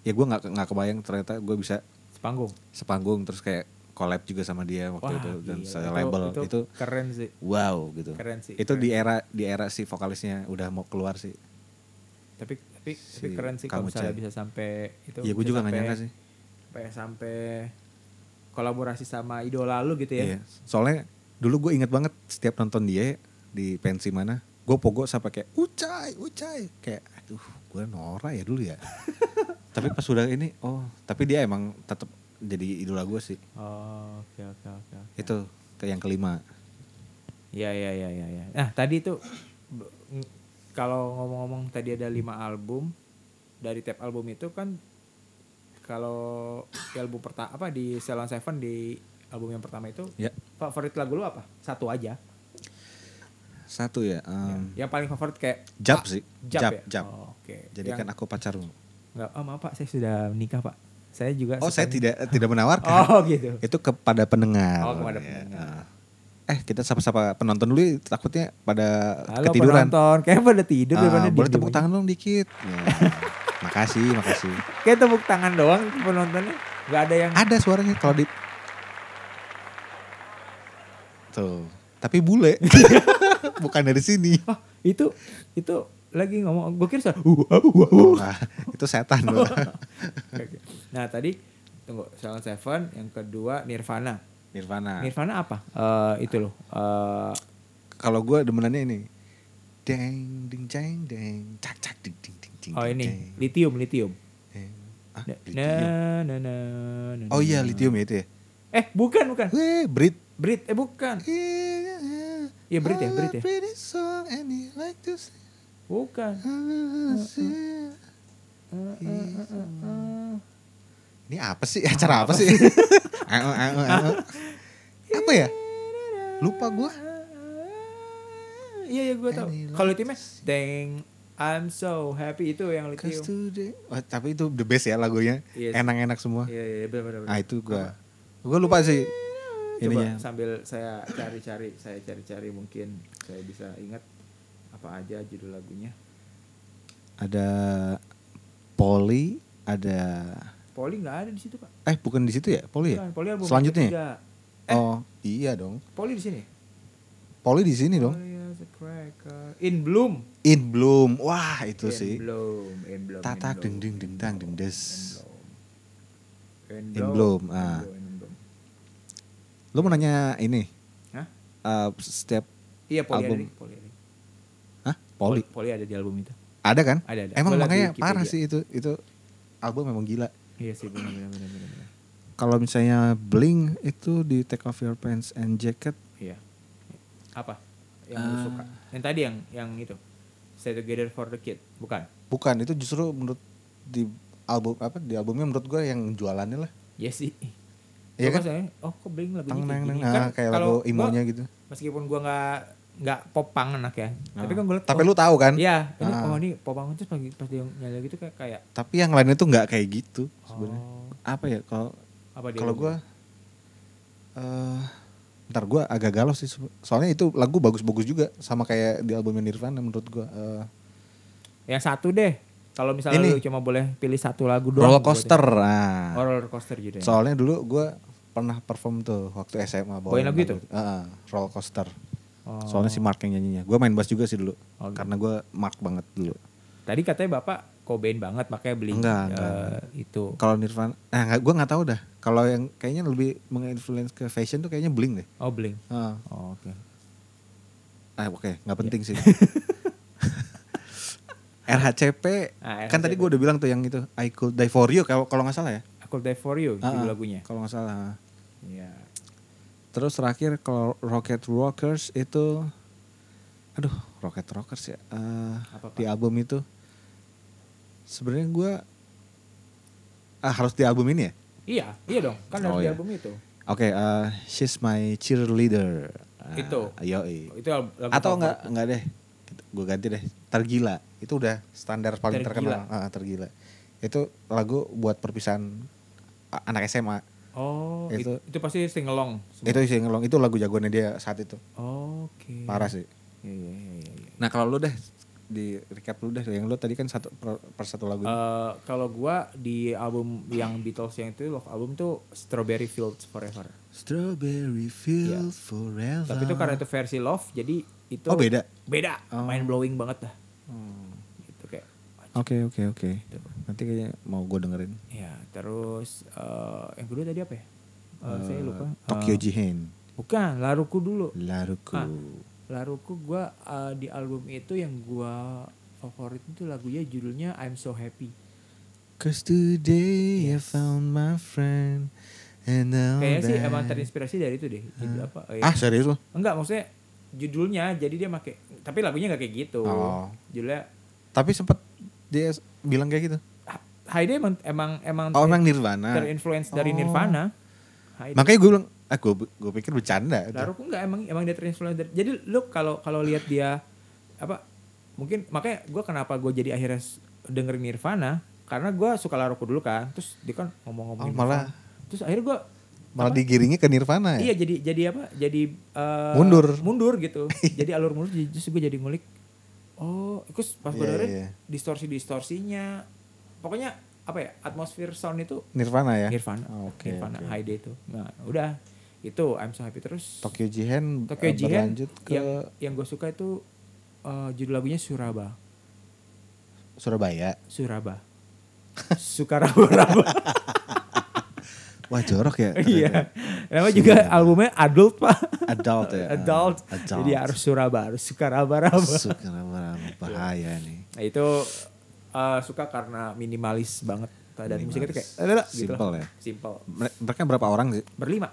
[SPEAKER 1] ya gue nggak nggak kebayang ternyata gue bisa
[SPEAKER 2] Sepanggung.
[SPEAKER 1] sepanggung terus kayak collab juga sama dia waktu itu dan
[SPEAKER 2] gila.
[SPEAKER 1] saya label itu,
[SPEAKER 2] keren sih.
[SPEAKER 1] wow gitu
[SPEAKER 2] Keren sih,
[SPEAKER 1] itu
[SPEAKER 2] keren.
[SPEAKER 1] di era di era si vokalisnya udah mau keluar sih
[SPEAKER 2] Tapi tapi, tapi
[SPEAKER 1] Si
[SPEAKER 2] keren sih kalau
[SPEAKER 1] Kang
[SPEAKER 2] misalnya
[SPEAKER 1] Ucai.
[SPEAKER 2] bisa sampai itu.
[SPEAKER 1] Iya, gue
[SPEAKER 2] bisa
[SPEAKER 1] juga nggak
[SPEAKER 2] sampai-
[SPEAKER 1] nyangka sih.
[SPEAKER 2] Sampai sampai kolaborasi sama idola lu gitu
[SPEAKER 1] Iya.
[SPEAKER 2] ya.
[SPEAKER 1] Soalnya dulu gue ingat banget setiap nonton dia di pensi mana, gue pogo sampai kayak ucai, ucai, kayak aduh gue Nora ya dulu ya. tapi pas udah ini, oh tapi dia emang tetap jadi idola gue sih.
[SPEAKER 2] Oh, oke oke oke. oke.
[SPEAKER 1] Itu ke yang kelima.
[SPEAKER 2] Ya ya ya ya ya. Nah tadi itu b- ng- kalau ngomong-ngomong tadi ada lima album dari tiap album itu kan kalau di album pertama apa di Salon Seven di album yang pertama itu
[SPEAKER 1] Ya
[SPEAKER 2] favorit lagu lu apa? Satu aja.
[SPEAKER 1] satu ya, em,
[SPEAKER 2] Yang paling favorit kayak
[SPEAKER 1] Jap
[SPEAKER 2] Iya. Ah,
[SPEAKER 1] sih,
[SPEAKER 2] Jap,
[SPEAKER 1] Jap,
[SPEAKER 2] ya?
[SPEAKER 1] Jap. kan-
[SPEAKER 2] Oh, Oke.
[SPEAKER 1] Jadikan
[SPEAKER 2] Yang-
[SPEAKER 1] aku pacarmu.
[SPEAKER 2] Nggak, oh maaf pak, saya sudah menikah pak. Saya juga.
[SPEAKER 1] Oh
[SPEAKER 2] suka
[SPEAKER 1] saya
[SPEAKER 2] nih.
[SPEAKER 1] tidak tidak menawarkan.
[SPEAKER 2] Oh gitu.
[SPEAKER 1] Itu kepada pendengar.
[SPEAKER 2] Oh, kepada
[SPEAKER 1] Ya,
[SPEAKER 2] pendengar.
[SPEAKER 1] ah. Eh kita sapa-sapa penonton dulu ya, takutnya pada
[SPEAKER 2] Halo
[SPEAKER 1] ketiduran.
[SPEAKER 2] penonton, kayaknya pada tidur
[SPEAKER 1] Ah,
[SPEAKER 2] daripada
[SPEAKER 1] boleh
[SPEAKER 2] diem
[SPEAKER 1] tepuk
[SPEAKER 2] aja.
[SPEAKER 1] tangan dong dikit. Ya. makasih, makasih.
[SPEAKER 2] Kayak tepuk tangan doang penontonnya, nggak ada yang.
[SPEAKER 1] Ada suaranya kalau di Tuh. Tapi bule. Bukan dari sini.
[SPEAKER 2] Wah, "Oh, itu itu lagi ngomong gue
[SPEAKER 1] Uh,
[SPEAKER 2] kira suara, Uh.
[SPEAKER 1] Nah, itu setan
[SPEAKER 2] Oh.
[SPEAKER 1] loh.
[SPEAKER 2] Oke. nah tadi tunggu Silent Seven yang kedua Nirvana
[SPEAKER 1] Nirvana.
[SPEAKER 2] Nirvana apa Eh, itu loh Eh,
[SPEAKER 1] Kalau gue demenannya ini. Deng ding deng deng cak cak ding ding ding ding.
[SPEAKER 2] oh
[SPEAKER 1] ding,
[SPEAKER 2] ini
[SPEAKER 1] deng,
[SPEAKER 2] lithium lithium
[SPEAKER 1] deng. Ah,
[SPEAKER 2] Na-
[SPEAKER 1] lithium.
[SPEAKER 2] na- na- na-
[SPEAKER 1] Oh iya
[SPEAKER 2] na-
[SPEAKER 1] lithium ya itu ya.
[SPEAKER 2] eh bukan bukan
[SPEAKER 1] Weh, Brit.
[SPEAKER 2] Brit eh bukan Iya, Brit ya, Brit ya.
[SPEAKER 1] Pretty song and you like to uh, sing.
[SPEAKER 2] bukan Uh, uh.
[SPEAKER 1] Ini apa sih? Acara apa sih? Ayo, ayo, ayo. Apa ya? Lupa gua.
[SPEAKER 2] iya iya gue tau kalau lithiumnya dang I'm so happy itu yang
[SPEAKER 1] Cause
[SPEAKER 2] lithium
[SPEAKER 1] today- Wah, tapi itu the best ya lagunya.
[SPEAKER 2] Yes.
[SPEAKER 1] Enak-enak semua.
[SPEAKER 2] iya iya benar benar
[SPEAKER 1] Ah itu gua. Gua lupa sih.
[SPEAKER 2] Coba
[SPEAKER 1] Ininya.
[SPEAKER 2] sambil saya cari-cari, saya cari-cari mungkin saya bisa ingat apa aja judul lagunya.
[SPEAKER 1] Ada Poli, ada
[SPEAKER 2] Poli nggak ada di situ pak.
[SPEAKER 1] eh bukan di situ ya? Poli ya?
[SPEAKER 2] Bukan, Poli album
[SPEAKER 1] Selanjutnya?
[SPEAKER 2] ketiga. Eh.
[SPEAKER 1] Oh, iya dong.
[SPEAKER 2] Poli di sini.
[SPEAKER 1] Poli di sini dong.
[SPEAKER 2] Polly as a cracker. In Bloom.
[SPEAKER 1] In Bloom. Wah, itu
[SPEAKER 2] In
[SPEAKER 1] sih.
[SPEAKER 2] Bloom. In Bloom.
[SPEAKER 1] Tatak
[SPEAKER 2] In Bloom.
[SPEAKER 1] ding ding ding dang ding des.
[SPEAKER 2] In Bloom.
[SPEAKER 1] In Bloom, ah.
[SPEAKER 2] In Bloom, In Bloom.
[SPEAKER 1] Lu mau nanya ini?
[SPEAKER 2] Hah?
[SPEAKER 1] Eh, setiap
[SPEAKER 2] Iya Poli ada
[SPEAKER 1] Album.
[SPEAKER 2] di Poli. ada.
[SPEAKER 1] Hah? Poli.
[SPEAKER 2] Poli ada di album itu.
[SPEAKER 1] Ada kan?
[SPEAKER 2] Ada, ada.
[SPEAKER 1] Emang
[SPEAKER 2] Gua liat di
[SPEAKER 1] makanya
[SPEAKER 2] Wikipedia.
[SPEAKER 1] parah sih itu itu album memang gila.
[SPEAKER 2] Iya sih benar benar benar benar, benar.
[SPEAKER 1] Kalau misalnya Blink itu di Take Off Your Pants and Jacket
[SPEAKER 2] Iya. Apa yang
[SPEAKER 1] Eh.
[SPEAKER 2] lu suka? Yang tadi yang yang itu. Stay Together for the Kid, bukan?
[SPEAKER 1] bukan itu justru menurut di album apa di albumnya menurut gue yang jualannya lah.
[SPEAKER 2] Iya sih.
[SPEAKER 1] Iya
[SPEAKER 2] Gua
[SPEAKER 1] kan?
[SPEAKER 2] soalnya, oh kok Blink lagunya
[SPEAKER 1] Tang
[SPEAKER 2] kayak
[SPEAKER 1] neng neng
[SPEAKER 2] gini.
[SPEAKER 1] ah, kayak
[SPEAKER 2] Kan kalau
[SPEAKER 1] lagu
[SPEAKER 2] gua- Oh.
[SPEAKER 1] imonya gitu.
[SPEAKER 2] Meskipun gua nggak nggak popang anak ya. Tapi kan gua liat,
[SPEAKER 1] Tapi
[SPEAKER 2] oh,
[SPEAKER 1] lu tahu kan?
[SPEAKER 2] Iya, ini
[SPEAKER 1] Ah.
[SPEAKER 2] oh ini popang terus pas, pas dia nyala gitu kayak kayak
[SPEAKER 1] Tapi yang lainnya tuh nggak kayak gitu sebenarnya.
[SPEAKER 2] oh,
[SPEAKER 1] Apa ya kalau
[SPEAKER 2] apa dia?
[SPEAKER 1] kalau
[SPEAKER 2] lagu?
[SPEAKER 1] gue eh ntar gue agak galau sih sebe- soalnya itu lagu bagus-bagus juga sama kayak di albumnya Nirvana menurut gue eh
[SPEAKER 2] yang satu deh. Kalau misalnya
[SPEAKER 1] Ini.
[SPEAKER 2] lu cuma boleh pilih satu lagu doang.
[SPEAKER 1] roller
[SPEAKER 2] gua
[SPEAKER 1] coaster
[SPEAKER 2] buatin.
[SPEAKER 1] nah.
[SPEAKER 2] Oh, roller coaster gitu ya.
[SPEAKER 1] soalnya dulu gue pernah perform tuh waktu SMA
[SPEAKER 2] Bawain lagu itu?
[SPEAKER 1] Heeh, roller coaster
[SPEAKER 2] Oh.
[SPEAKER 1] soalnya kan- si Mark yang nyanyinya gue main bass juga sih dulu
[SPEAKER 2] Oh, gitu.
[SPEAKER 1] karena gue Mark banget dulu
[SPEAKER 2] Tadi katanya Bapak Cobain banget makanya beli
[SPEAKER 1] Enggak,
[SPEAKER 2] eh,
[SPEAKER 1] enggak,
[SPEAKER 2] itu.
[SPEAKER 1] kalau Nirvana nah gue nggak tahu dah kalau yang kayaknya lebih menginfluence ke fashion tuh kayaknya Blink deh
[SPEAKER 2] Oh, Blink.
[SPEAKER 1] Heeh.
[SPEAKER 2] Oh, oke. Iya.
[SPEAKER 1] Ah, oke, nggak penting sih. RHCP
[SPEAKER 2] Ah,
[SPEAKER 1] kan tadi gue udah bilang tuh yang itu I Could Die For You kalau kalau nggak salah ya
[SPEAKER 2] Aku Die For You
[SPEAKER 1] Ah,
[SPEAKER 2] judul
[SPEAKER 1] ah,
[SPEAKER 2] lagunya.
[SPEAKER 1] kalau nggak salah
[SPEAKER 2] Iya.
[SPEAKER 1] terus terakhir kalau Rocket Rockers itu aduh Rocket Rockers ya eh,
[SPEAKER 2] Apa, Pak?
[SPEAKER 1] di album itu sebenarnya gue ah, harus di album ini ya
[SPEAKER 2] Iya, iya dong. Kan
[SPEAKER 1] Oh,
[SPEAKER 2] dari
[SPEAKER 1] iya.
[SPEAKER 2] album itu.
[SPEAKER 1] oke eh, She's My Cheerleader Ah,
[SPEAKER 2] Itu.
[SPEAKER 1] yoi.
[SPEAKER 2] Oh, Itu al- lagu
[SPEAKER 1] atau
[SPEAKER 2] favorit.
[SPEAKER 1] enggak enggak deh gue ganti deh tergila itu udah standar paling
[SPEAKER 2] Tergila.
[SPEAKER 1] terkenal Ah, tergila itu lagu buat perpisahan a- anak SMA
[SPEAKER 2] Oh, it- itu,
[SPEAKER 1] Itu-
[SPEAKER 2] pasti sing along. semua.
[SPEAKER 1] itu sih ngelong itu lagu jagoannya dia saat itu
[SPEAKER 2] Oke.
[SPEAKER 1] parah sih
[SPEAKER 2] Iya, iya, iya, iya, iya.
[SPEAKER 1] nah kalau lu deh di recap lu deh yang lu tadi kan satu per, per satu lagu
[SPEAKER 2] Eh, kalau gua di album yang Beatles yang itu love album tuh Strawberry Fields Forever.
[SPEAKER 1] strawberry fields forever
[SPEAKER 2] Tapi itu karena itu versi love jadi itu
[SPEAKER 1] Iya. oh beda
[SPEAKER 2] beda,
[SPEAKER 1] Oh. Hmm.
[SPEAKER 2] mind blowing banget dah. Gitu kayak
[SPEAKER 1] oke oke oke nanti kayaknya mau gue dengerin
[SPEAKER 2] ya terus eh, yang kedua tadi apa ya? Eh, saya
[SPEAKER 1] Eh,
[SPEAKER 2] lupa.
[SPEAKER 1] Tokyo
[SPEAKER 2] Eh,
[SPEAKER 1] Jihen
[SPEAKER 2] bukan, Laruku dulu.
[SPEAKER 1] Laruku
[SPEAKER 2] Ah. Laruku gua eh, di album itu yang gua favorit itu lagunya judulnya I'm So Happy.
[SPEAKER 1] Cause today
[SPEAKER 2] Yes.
[SPEAKER 1] I found my friend and now
[SPEAKER 2] Kayaknya sih
[SPEAKER 1] that-
[SPEAKER 2] emang terinspirasi dari itu deh. Judul apa? Eh,
[SPEAKER 1] Oh, Ah serius lo?
[SPEAKER 2] Enggak maksudnya judulnya jadi dia make tapi lagunya nggak kayak gitu.
[SPEAKER 1] Oh.
[SPEAKER 2] Judulnya
[SPEAKER 1] Tapi sempet dia s- bilang kayak gitu.
[SPEAKER 2] Ha- Hyde emang emang emang
[SPEAKER 1] Oh emang Nirvana.
[SPEAKER 2] terinfluence dari
[SPEAKER 1] Oh.
[SPEAKER 2] Nirvana. Hyde.
[SPEAKER 1] Makanya gue bilang, ah gue gue pikir bercanda.
[SPEAKER 2] Laruku enggak emang emang dia terinfluence dari, jadi lu kalau kalau lihat dia apa mungkin makanya gue kenapa gue jadi akhirnya s- dengerin Nirvana karena gue suka Laruku dulu kan terus dia kan ngomong-ngomong
[SPEAKER 1] Oh, malah-
[SPEAKER 2] terus akhirnya gue
[SPEAKER 1] Malah digiringnya ke Nirvana ya.
[SPEAKER 2] iya jadi jadi apa jadi eh,
[SPEAKER 1] Mundur. Iya.
[SPEAKER 2] mundur gitu jadi alur mundur jadi- terus gue jadi ngulik oh terus pas gue
[SPEAKER 1] Iya,
[SPEAKER 2] dengerin
[SPEAKER 1] iya.
[SPEAKER 2] distorsi distorsinya pokoknya apa ya atmosfer sound itu
[SPEAKER 1] Nirvana ya.
[SPEAKER 2] Nirvana
[SPEAKER 1] Oke,
[SPEAKER 2] Nirvana
[SPEAKER 1] oke.
[SPEAKER 2] Hyde itu nah udah itu I'm so happy terus
[SPEAKER 1] Tokyo Jihen
[SPEAKER 2] Tokyo
[SPEAKER 1] eh,
[SPEAKER 2] Jihen
[SPEAKER 1] berlanjut ke
[SPEAKER 2] yang yang gue suka itu eh, judul lagunya Suraba
[SPEAKER 1] Surabaya.
[SPEAKER 2] Suraba Sukaraba
[SPEAKER 1] Wah jorok ya.
[SPEAKER 2] iya namanya juga albumnya adult pak
[SPEAKER 1] Adult ya.
[SPEAKER 2] adult.
[SPEAKER 1] Adult.
[SPEAKER 2] jadi harus Suraba harus Sukaraba
[SPEAKER 1] Surabaya bahaya nih.
[SPEAKER 2] Nah, itu eh, suka karena minimalis banget Nah, dan
[SPEAKER 1] Minimalis.
[SPEAKER 2] musiknya tuh kayak "Lala," gitu
[SPEAKER 1] Simple
[SPEAKER 2] lah.
[SPEAKER 1] ya.
[SPEAKER 2] Simple.
[SPEAKER 1] Mere- Mereka berapa orang sih?
[SPEAKER 2] Berlima.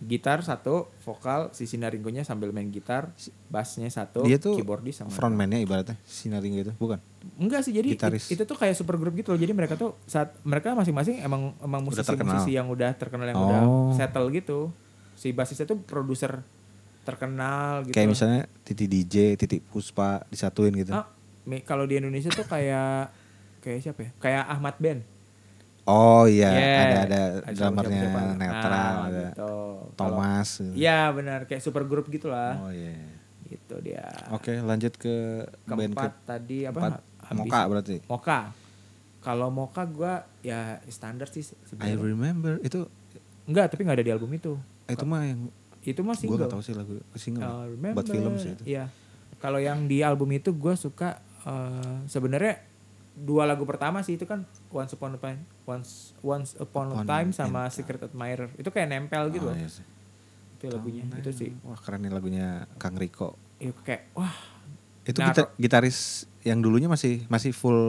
[SPEAKER 2] Gitar satu, vokal, si Sinaringgonya sambil main gitar, bassnya satu,
[SPEAKER 1] Dia tuh
[SPEAKER 2] keyboardis sama
[SPEAKER 1] frontman-nya ibaratnya Sinaring gitu, bukan?
[SPEAKER 2] enggak sih jadi it-
[SPEAKER 1] Gitaris.
[SPEAKER 2] itu tuh kayak super grup gitu loh. Jadi mereka tuh saat mereka masing-masing emang emang
[SPEAKER 1] Udah
[SPEAKER 2] musisi
[SPEAKER 1] terkenal.
[SPEAKER 2] musisi yang udah terkenal yang
[SPEAKER 1] Oh.
[SPEAKER 2] udah settle gitu. Si bassisnya tuh produser terkenal gitu.
[SPEAKER 1] Kayak misalnya titik DJ, titik Puspa disatuin gitu.
[SPEAKER 2] Ah, mi- kalau di Indonesia tuh kayak kayak siapa ya? Kayak Ahmad Ben.
[SPEAKER 1] Oh iya, ada
[SPEAKER 2] Yeah.
[SPEAKER 1] ada
[SPEAKER 2] siapa-
[SPEAKER 1] drummernya
[SPEAKER 2] siapa- siapa.
[SPEAKER 1] netral,
[SPEAKER 2] Nah,
[SPEAKER 1] ada
[SPEAKER 2] gitu.
[SPEAKER 1] Thomas.
[SPEAKER 2] Kalau-
[SPEAKER 1] gitu.
[SPEAKER 2] Iya benar kayak super grup gitulah.
[SPEAKER 1] Oh iya.
[SPEAKER 2] Gitu dia.
[SPEAKER 1] Oke, lanjut ke band ke
[SPEAKER 2] Keempat tadi apa?
[SPEAKER 1] empat,
[SPEAKER 2] Habis-
[SPEAKER 1] Moka berarti.
[SPEAKER 2] Moka. Kalau Moka gua ya standar sih
[SPEAKER 1] I
[SPEAKER 2] sebenarnya.
[SPEAKER 1] remember itu
[SPEAKER 2] Enggak, tapi enggak ada di album itu.
[SPEAKER 1] itu mah yang
[SPEAKER 2] Itu mah
[SPEAKER 1] gue
[SPEAKER 2] single.
[SPEAKER 1] gak tahu sih lagu single.
[SPEAKER 2] Uh,
[SPEAKER 1] ya?
[SPEAKER 2] remember.
[SPEAKER 1] Buat film sih itu.
[SPEAKER 2] Iya. Kalau yang di album itu gue suka eh, sebenarnya dua lagu pertama sih itu kan Once Upon a Time, Once Once Upon a
[SPEAKER 1] Upon in
[SPEAKER 2] Time sama Secret Admirer. Itu kayak nempel gitu
[SPEAKER 1] Oh,
[SPEAKER 2] loh.
[SPEAKER 1] iya sih.
[SPEAKER 2] Itu lagunya. Itu sih.
[SPEAKER 1] Wah, keren nih lagunya Kang Riko.
[SPEAKER 2] Itu kayak wah,
[SPEAKER 1] Itu
[SPEAKER 2] Nah,
[SPEAKER 1] gita- gitaris yang dulunya masih masih full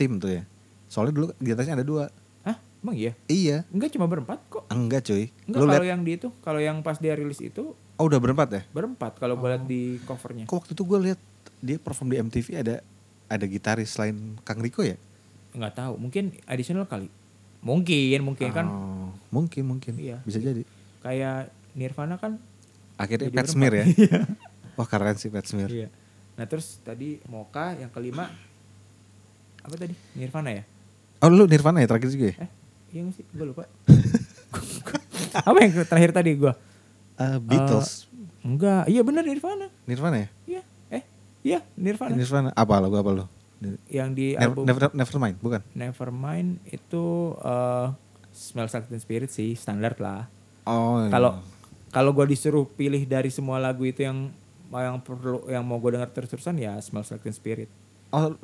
[SPEAKER 1] tim tuh ya. Soalnya dulu gitarisnya ada dua.
[SPEAKER 2] hah? Emang iya?
[SPEAKER 1] Iya.
[SPEAKER 2] Enggak cuma berempat kok.
[SPEAKER 1] Enggak cuy.
[SPEAKER 2] Enggak
[SPEAKER 1] Lu
[SPEAKER 2] kalau
[SPEAKER 1] lihat
[SPEAKER 2] yang di itu, kalau yang pas dia rilis itu
[SPEAKER 1] oh udah berempat ya?
[SPEAKER 2] berempat kalau gue liat di covernya.
[SPEAKER 1] Kok waktu itu gue lihat dia perform di MTV ada ada gitaris selain Kang Riko ya?
[SPEAKER 2] Enggak tahu, mungkin additional kali. Mungkin, mungkin kan
[SPEAKER 1] Oh, mungkin mungkin
[SPEAKER 2] Iya.
[SPEAKER 1] bisa jadi.
[SPEAKER 2] kayak Nirvana kan
[SPEAKER 1] Akhirnya
[SPEAKER 2] Jadi
[SPEAKER 1] Pat
[SPEAKER 2] berempat.
[SPEAKER 1] Smear ya. Wah keren sih Pat Smear.
[SPEAKER 2] Iya. Nah terus tadi Moka yang kelima apa tadi Nirvana ya?
[SPEAKER 1] Oh lu Nirvana ya terakhir juga ya?
[SPEAKER 2] Eh iya nggak sih gue lupa. apa yang terakhir tadi gue?
[SPEAKER 1] Eh, Beatles.
[SPEAKER 2] Enggak, iya bener Nirvana.
[SPEAKER 1] Nirvana ya?
[SPEAKER 2] Iya, eh iya Nirvana.
[SPEAKER 1] Nirvana apa lagu apa lu? Ni-
[SPEAKER 2] yang di
[SPEAKER 1] Never,
[SPEAKER 2] album
[SPEAKER 1] never, Nevermind bukan?
[SPEAKER 2] Nevermind itu eh Smells Like Teen Spirit sih standar lah.
[SPEAKER 1] Oh. iya.
[SPEAKER 2] Kalau kalau gue disuruh pilih dari semua lagu itu yang yang perlu yang mau gue denger terus-terusan ya Smells Like Teen Spirit.
[SPEAKER 1] Oh,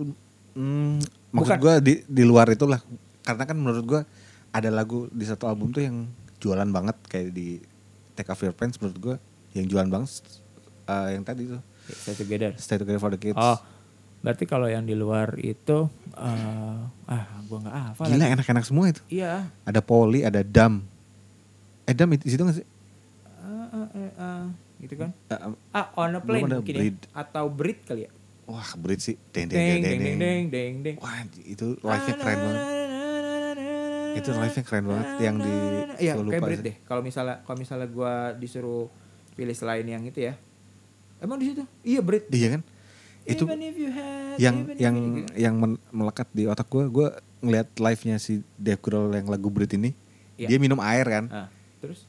[SPEAKER 1] mm, maksud
[SPEAKER 2] Bukan.
[SPEAKER 1] gue di di luar itulah karena kan menurut gue ada lagu di satu album tuh yang jualan banget kayak di Take Off Your Pants menurut gue yang jualan banget eh, yang tadi tuh
[SPEAKER 2] Stay Together.
[SPEAKER 1] Stay Together for the Kids.
[SPEAKER 2] Oh, Berarti kalau yang di luar itu eh, ah gua nggak hafal.
[SPEAKER 1] Gila
[SPEAKER 2] lagi.
[SPEAKER 1] enak-enak semua itu.
[SPEAKER 2] Iya.
[SPEAKER 1] Ada Poli, ada Dam. Eh Dam di situ nggak sih?
[SPEAKER 2] Ah, ah, ah, ah, gitu kan.
[SPEAKER 1] Eh, eh,
[SPEAKER 2] Ah, on a plane
[SPEAKER 1] Belum ada
[SPEAKER 2] mungkin ya.
[SPEAKER 1] breed.
[SPEAKER 2] atau breed kali ya.
[SPEAKER 1] wah berit sih. Deng
[SPEAKER 2] Deng
[SPEAKER 1] deng deng
[SPEAKER 2] deng deng deng
[SPEAKER 1] deng.
[SPEAKER 2] deng deng.
[SPEAKER 1] Wah itu live-nya keren banget. Itu live-nya keren banget yang di
[SPEAKER 2] Iya,
[SPEAKER 1] gua
[SPEAKER 2] kayak
[SPEAKER 1] lupa
[SPEAKER 2] breed
[SPEAKER 1] sih.
[SPEAKER 2] deh. Kalau misalnya kalau misalnya gua disuruh pilih selain yang itu ya. Emang di situ? Iya, breed.
[SPEAKER 1] Iya kan? Itu
[SPEAKER 2] Even if you had,
[SPEAKER 1] yang
[SPEAKER 2] even if
[SPEAKER 1] yang
[SPEAKER 2] you-
[SPEAKER 1] yang men- melekat di otak gue gue ngelihat live nya si Dave Grohl yang lagu Brit ini
[SPEAKER 2] Iya.
[SPEAKER 1] dia minum air kan
[SPEAKER 2] Ah, terus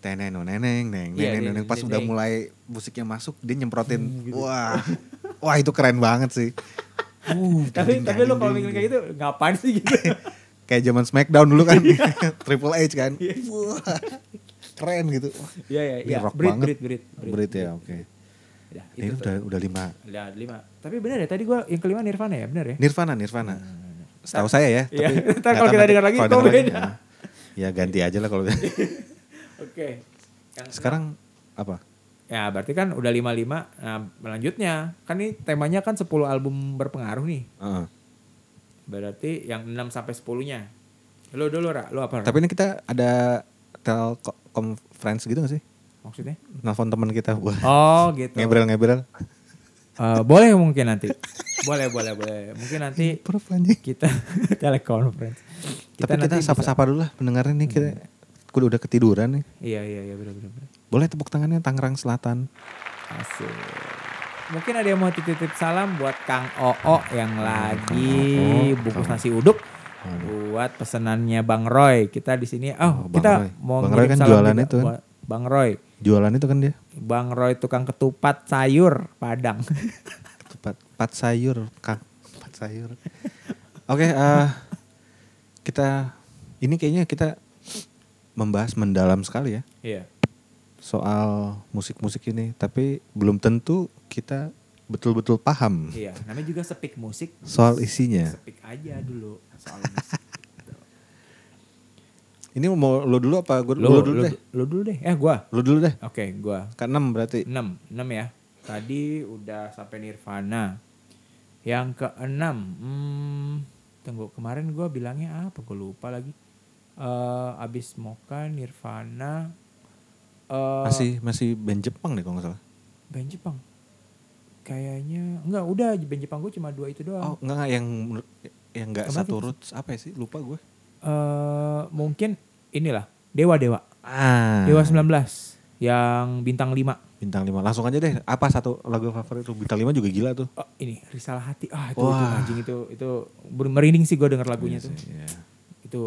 [SPEAKER 1] teneng neneng neng neneng
[SPEAKER 2] Iya, dia-
[SPEAKER 1] neneng pas
[SPEAKER 2] dia-
[SPEAKER 1] udah
[SPEAKER 2] dia- Uh, gitu.
[SPEAKER 1] mulai musiknya masuk dia nyemprotin wah wah itu keren banget sih Uh,
[SPEAKER 2] tapi
[SPEAKER 1] ding,
[SPEAKER 2] tapi
[SPEAKER 1] ding,
[SPEAKER 2] lo kalau
[SPEAKER 1] ding, ding.
[SPEAKER 2] mikir kayak gitu ngapain sih gitu
[SPEAKER 1] kayak zaman Smackdown dulu kan
[SPEAKER 2] Iya.
[SPEAKER 1] Triple H kan Wah, keren gitu Wah,
[SPEAKER 2] iya iya
[SPEAKER 1] ini
[SPEAKER 2] iya
[SPEAKER 1] rock
[SPEAKER 2] breed,
[SPEAKER 1] banget
[SPEAKER 2] breed breed breed
[SPEAKER 1] Brit ya oke
[SPEAKER 2] Udah,
[SPEAKER 1] ini
[SPEAKER 2] itu
[SPEAKER 1] udah udah lima
[SPEAKER 2] udah Iya. lima tapi benar ya tadi gua yang kelima Nirvana ya benar ya
[SPEAKER 1] Nirvana Nirvana setahu saya ya
[SPEAKER 2] Iya,
[SPEAKER 1] tapi
[SPEAKER 2] ntar
[SPEAKER 1] nggak tahu
[SPEAKER 2] kalau kita
[SPEAKER 1] nanti
[SPEAKER 2] dengar lagi,
[SPEAKER 1] kalau
[SPEAKER 2] kok
[SPEAKER 1] dengar lagi,
[SPEAKER 2] beda. Iya.
[SPEAKER 1] ya ganti aja lah kalau
[SPEAKER 2] oke Yang
[SPEAKER 1] Sekarang apa?
[SPEAKER 2] Ya berarti kan udah 55 Nah melanjutnya Kan ini temanya kan 10 album berpengaruh nih
[SPEAKER 1] Heeh.
[SPEAKER 2] Berarti yang 6 sampai 10 nya Lo dulu Ra Lo apa Ra?
[SPEAKER 1] Tapi ini kita ada tel ko- conference gitu gak sih?
[SPEAKER 2] Maksudnya
[SPEAKER 1] Nelfon teman kita buat
[SPEAKER 2] Oh gitu
[SPEAKER 1] ngebrel-ngebrel.
[SPEAKER 2] Eh, Boleh mungkin nanti Boleh boleh boleh Mungkin nanti
[SPEAKER 1] Perut anjing.
[SPEAKER 2] kita telekonferensi
[SPEAKER 1] Tapi kita
[SPEAKER 2] nanti bisa-
[SPEAKER 1] sapa-sapa dulu lah pendengarnya nih kita kudu udah ketiduran nih.
[SPEAKER 2] Iya iya iya benar benar benar.
[SPEAKER 1] Boleh tepuk tangannya Tangerang Selatan.
[SPEAKER 2] Asik. Mungkin ada yang mau titip-titip salam buat Kang Oo yang lagi
[SPEAKER 1] Oo,
[SPEAKER 2] bungkus
[SPEAKER 1] Kang.
[SPEAKER 2] nasi uduk buat pesenannya Bang Roy. Kita di sini
[SPEAKER 1] Oh,
[SPEAKER 2] oh,
[SPEAKER 1] Bang
[SPEAKER 2] kita
[SPEAKER 1] Roy.
[SPEAKER 2] mau
[SPEAKER 1] Bang Roy
[SPEAKER 2] ngirim
[SPEAKER 1] kan
[SPEAKER 2] salam
[SPEAKER 1] jualan
[SPEAKER 2] juga
[SPEAKER 1] itu kan?
[SPEAKER 2] buat Bang Roy.
[SPEAKER 1] Jualan itu kan dia
[SPEAKER 2] Bang Roy tukang ketupat sayur Padang.
[SPEAKER 1] tempat pat sayur, Kang. Pat sayur. Oke, eh, kita ini kayaknya kita membahas mendalam sekali ya.
[SPEAKER 2] Iya.
[SPEAKER 1] soal musik-musik ini, tapi belum tentu kita betul-betul paham
[SPEAKER 2] Iya, namanya juga sepik musik.
[SPEAKER 1] soal isinya.
[SPEAKER 2] Sepik aja dulu soal musik.
[SPEAKER 1] Ini mau lo dulu apa gue
[SPEAKER 2] Lu-
[SPEAKER 1] lo dulu
[SPEAKER 2] lu-
[SPEAKER 1] deh?
[SPEAKER 2] lu dulu deh. Eh gua.
[SPEAKER 1] Lo dulu deh.
[SPEAKER 2] Oke, gua.
[SPEAKER 1] Ke enam berarti.
[SPEAKER 2] 6, 6 ya. Tadi udah sampai Nirvana. Yang keenam, hmm, tunggu kemarin gue bilangnya apa? Gue lupa lagi. Eh abis Moka, Nirvana, eh
[SPEAKER 1] Masih masih band Jepang deh kalau nggak salah.
[SPEAKER 2] band Jepang. Kayaknya enggak udah band Jepang gue cuma dua itu
[SPEAKER 1] Oh
[SPEAKER 2] doang.
[SPEAKER 1] enggak enggak, yang menurut- yang enggak
[SPEAKER 2] Kemarin
[SPEAKER 1] satu
[SPEAKER 2] apa
[SPEAKER 1] roots apa ya sih? Lupa gue.
[SPEAKER 2] Eh mungkin inilah Dewa Dewa.
[SPEAKER 1] Ah.
[SPEAKER 2] Dewa 19 yang bintang 5.
[SPEAKER 1] Bintang 5. Langsung aja deh. Apa satu lagu favorit lu? Bintang 5 juga gila tuh.
[SPEAKER 2] Oh, ini Risalah Hati. Ah, itu, itu
[SPEAKER 1] Wah.
[SPEAKER 2] anjing itu itu merinding sih gue denger lagunya tuh.
[SPEAKER 1] Iya.
[SPEAKER 2] Itu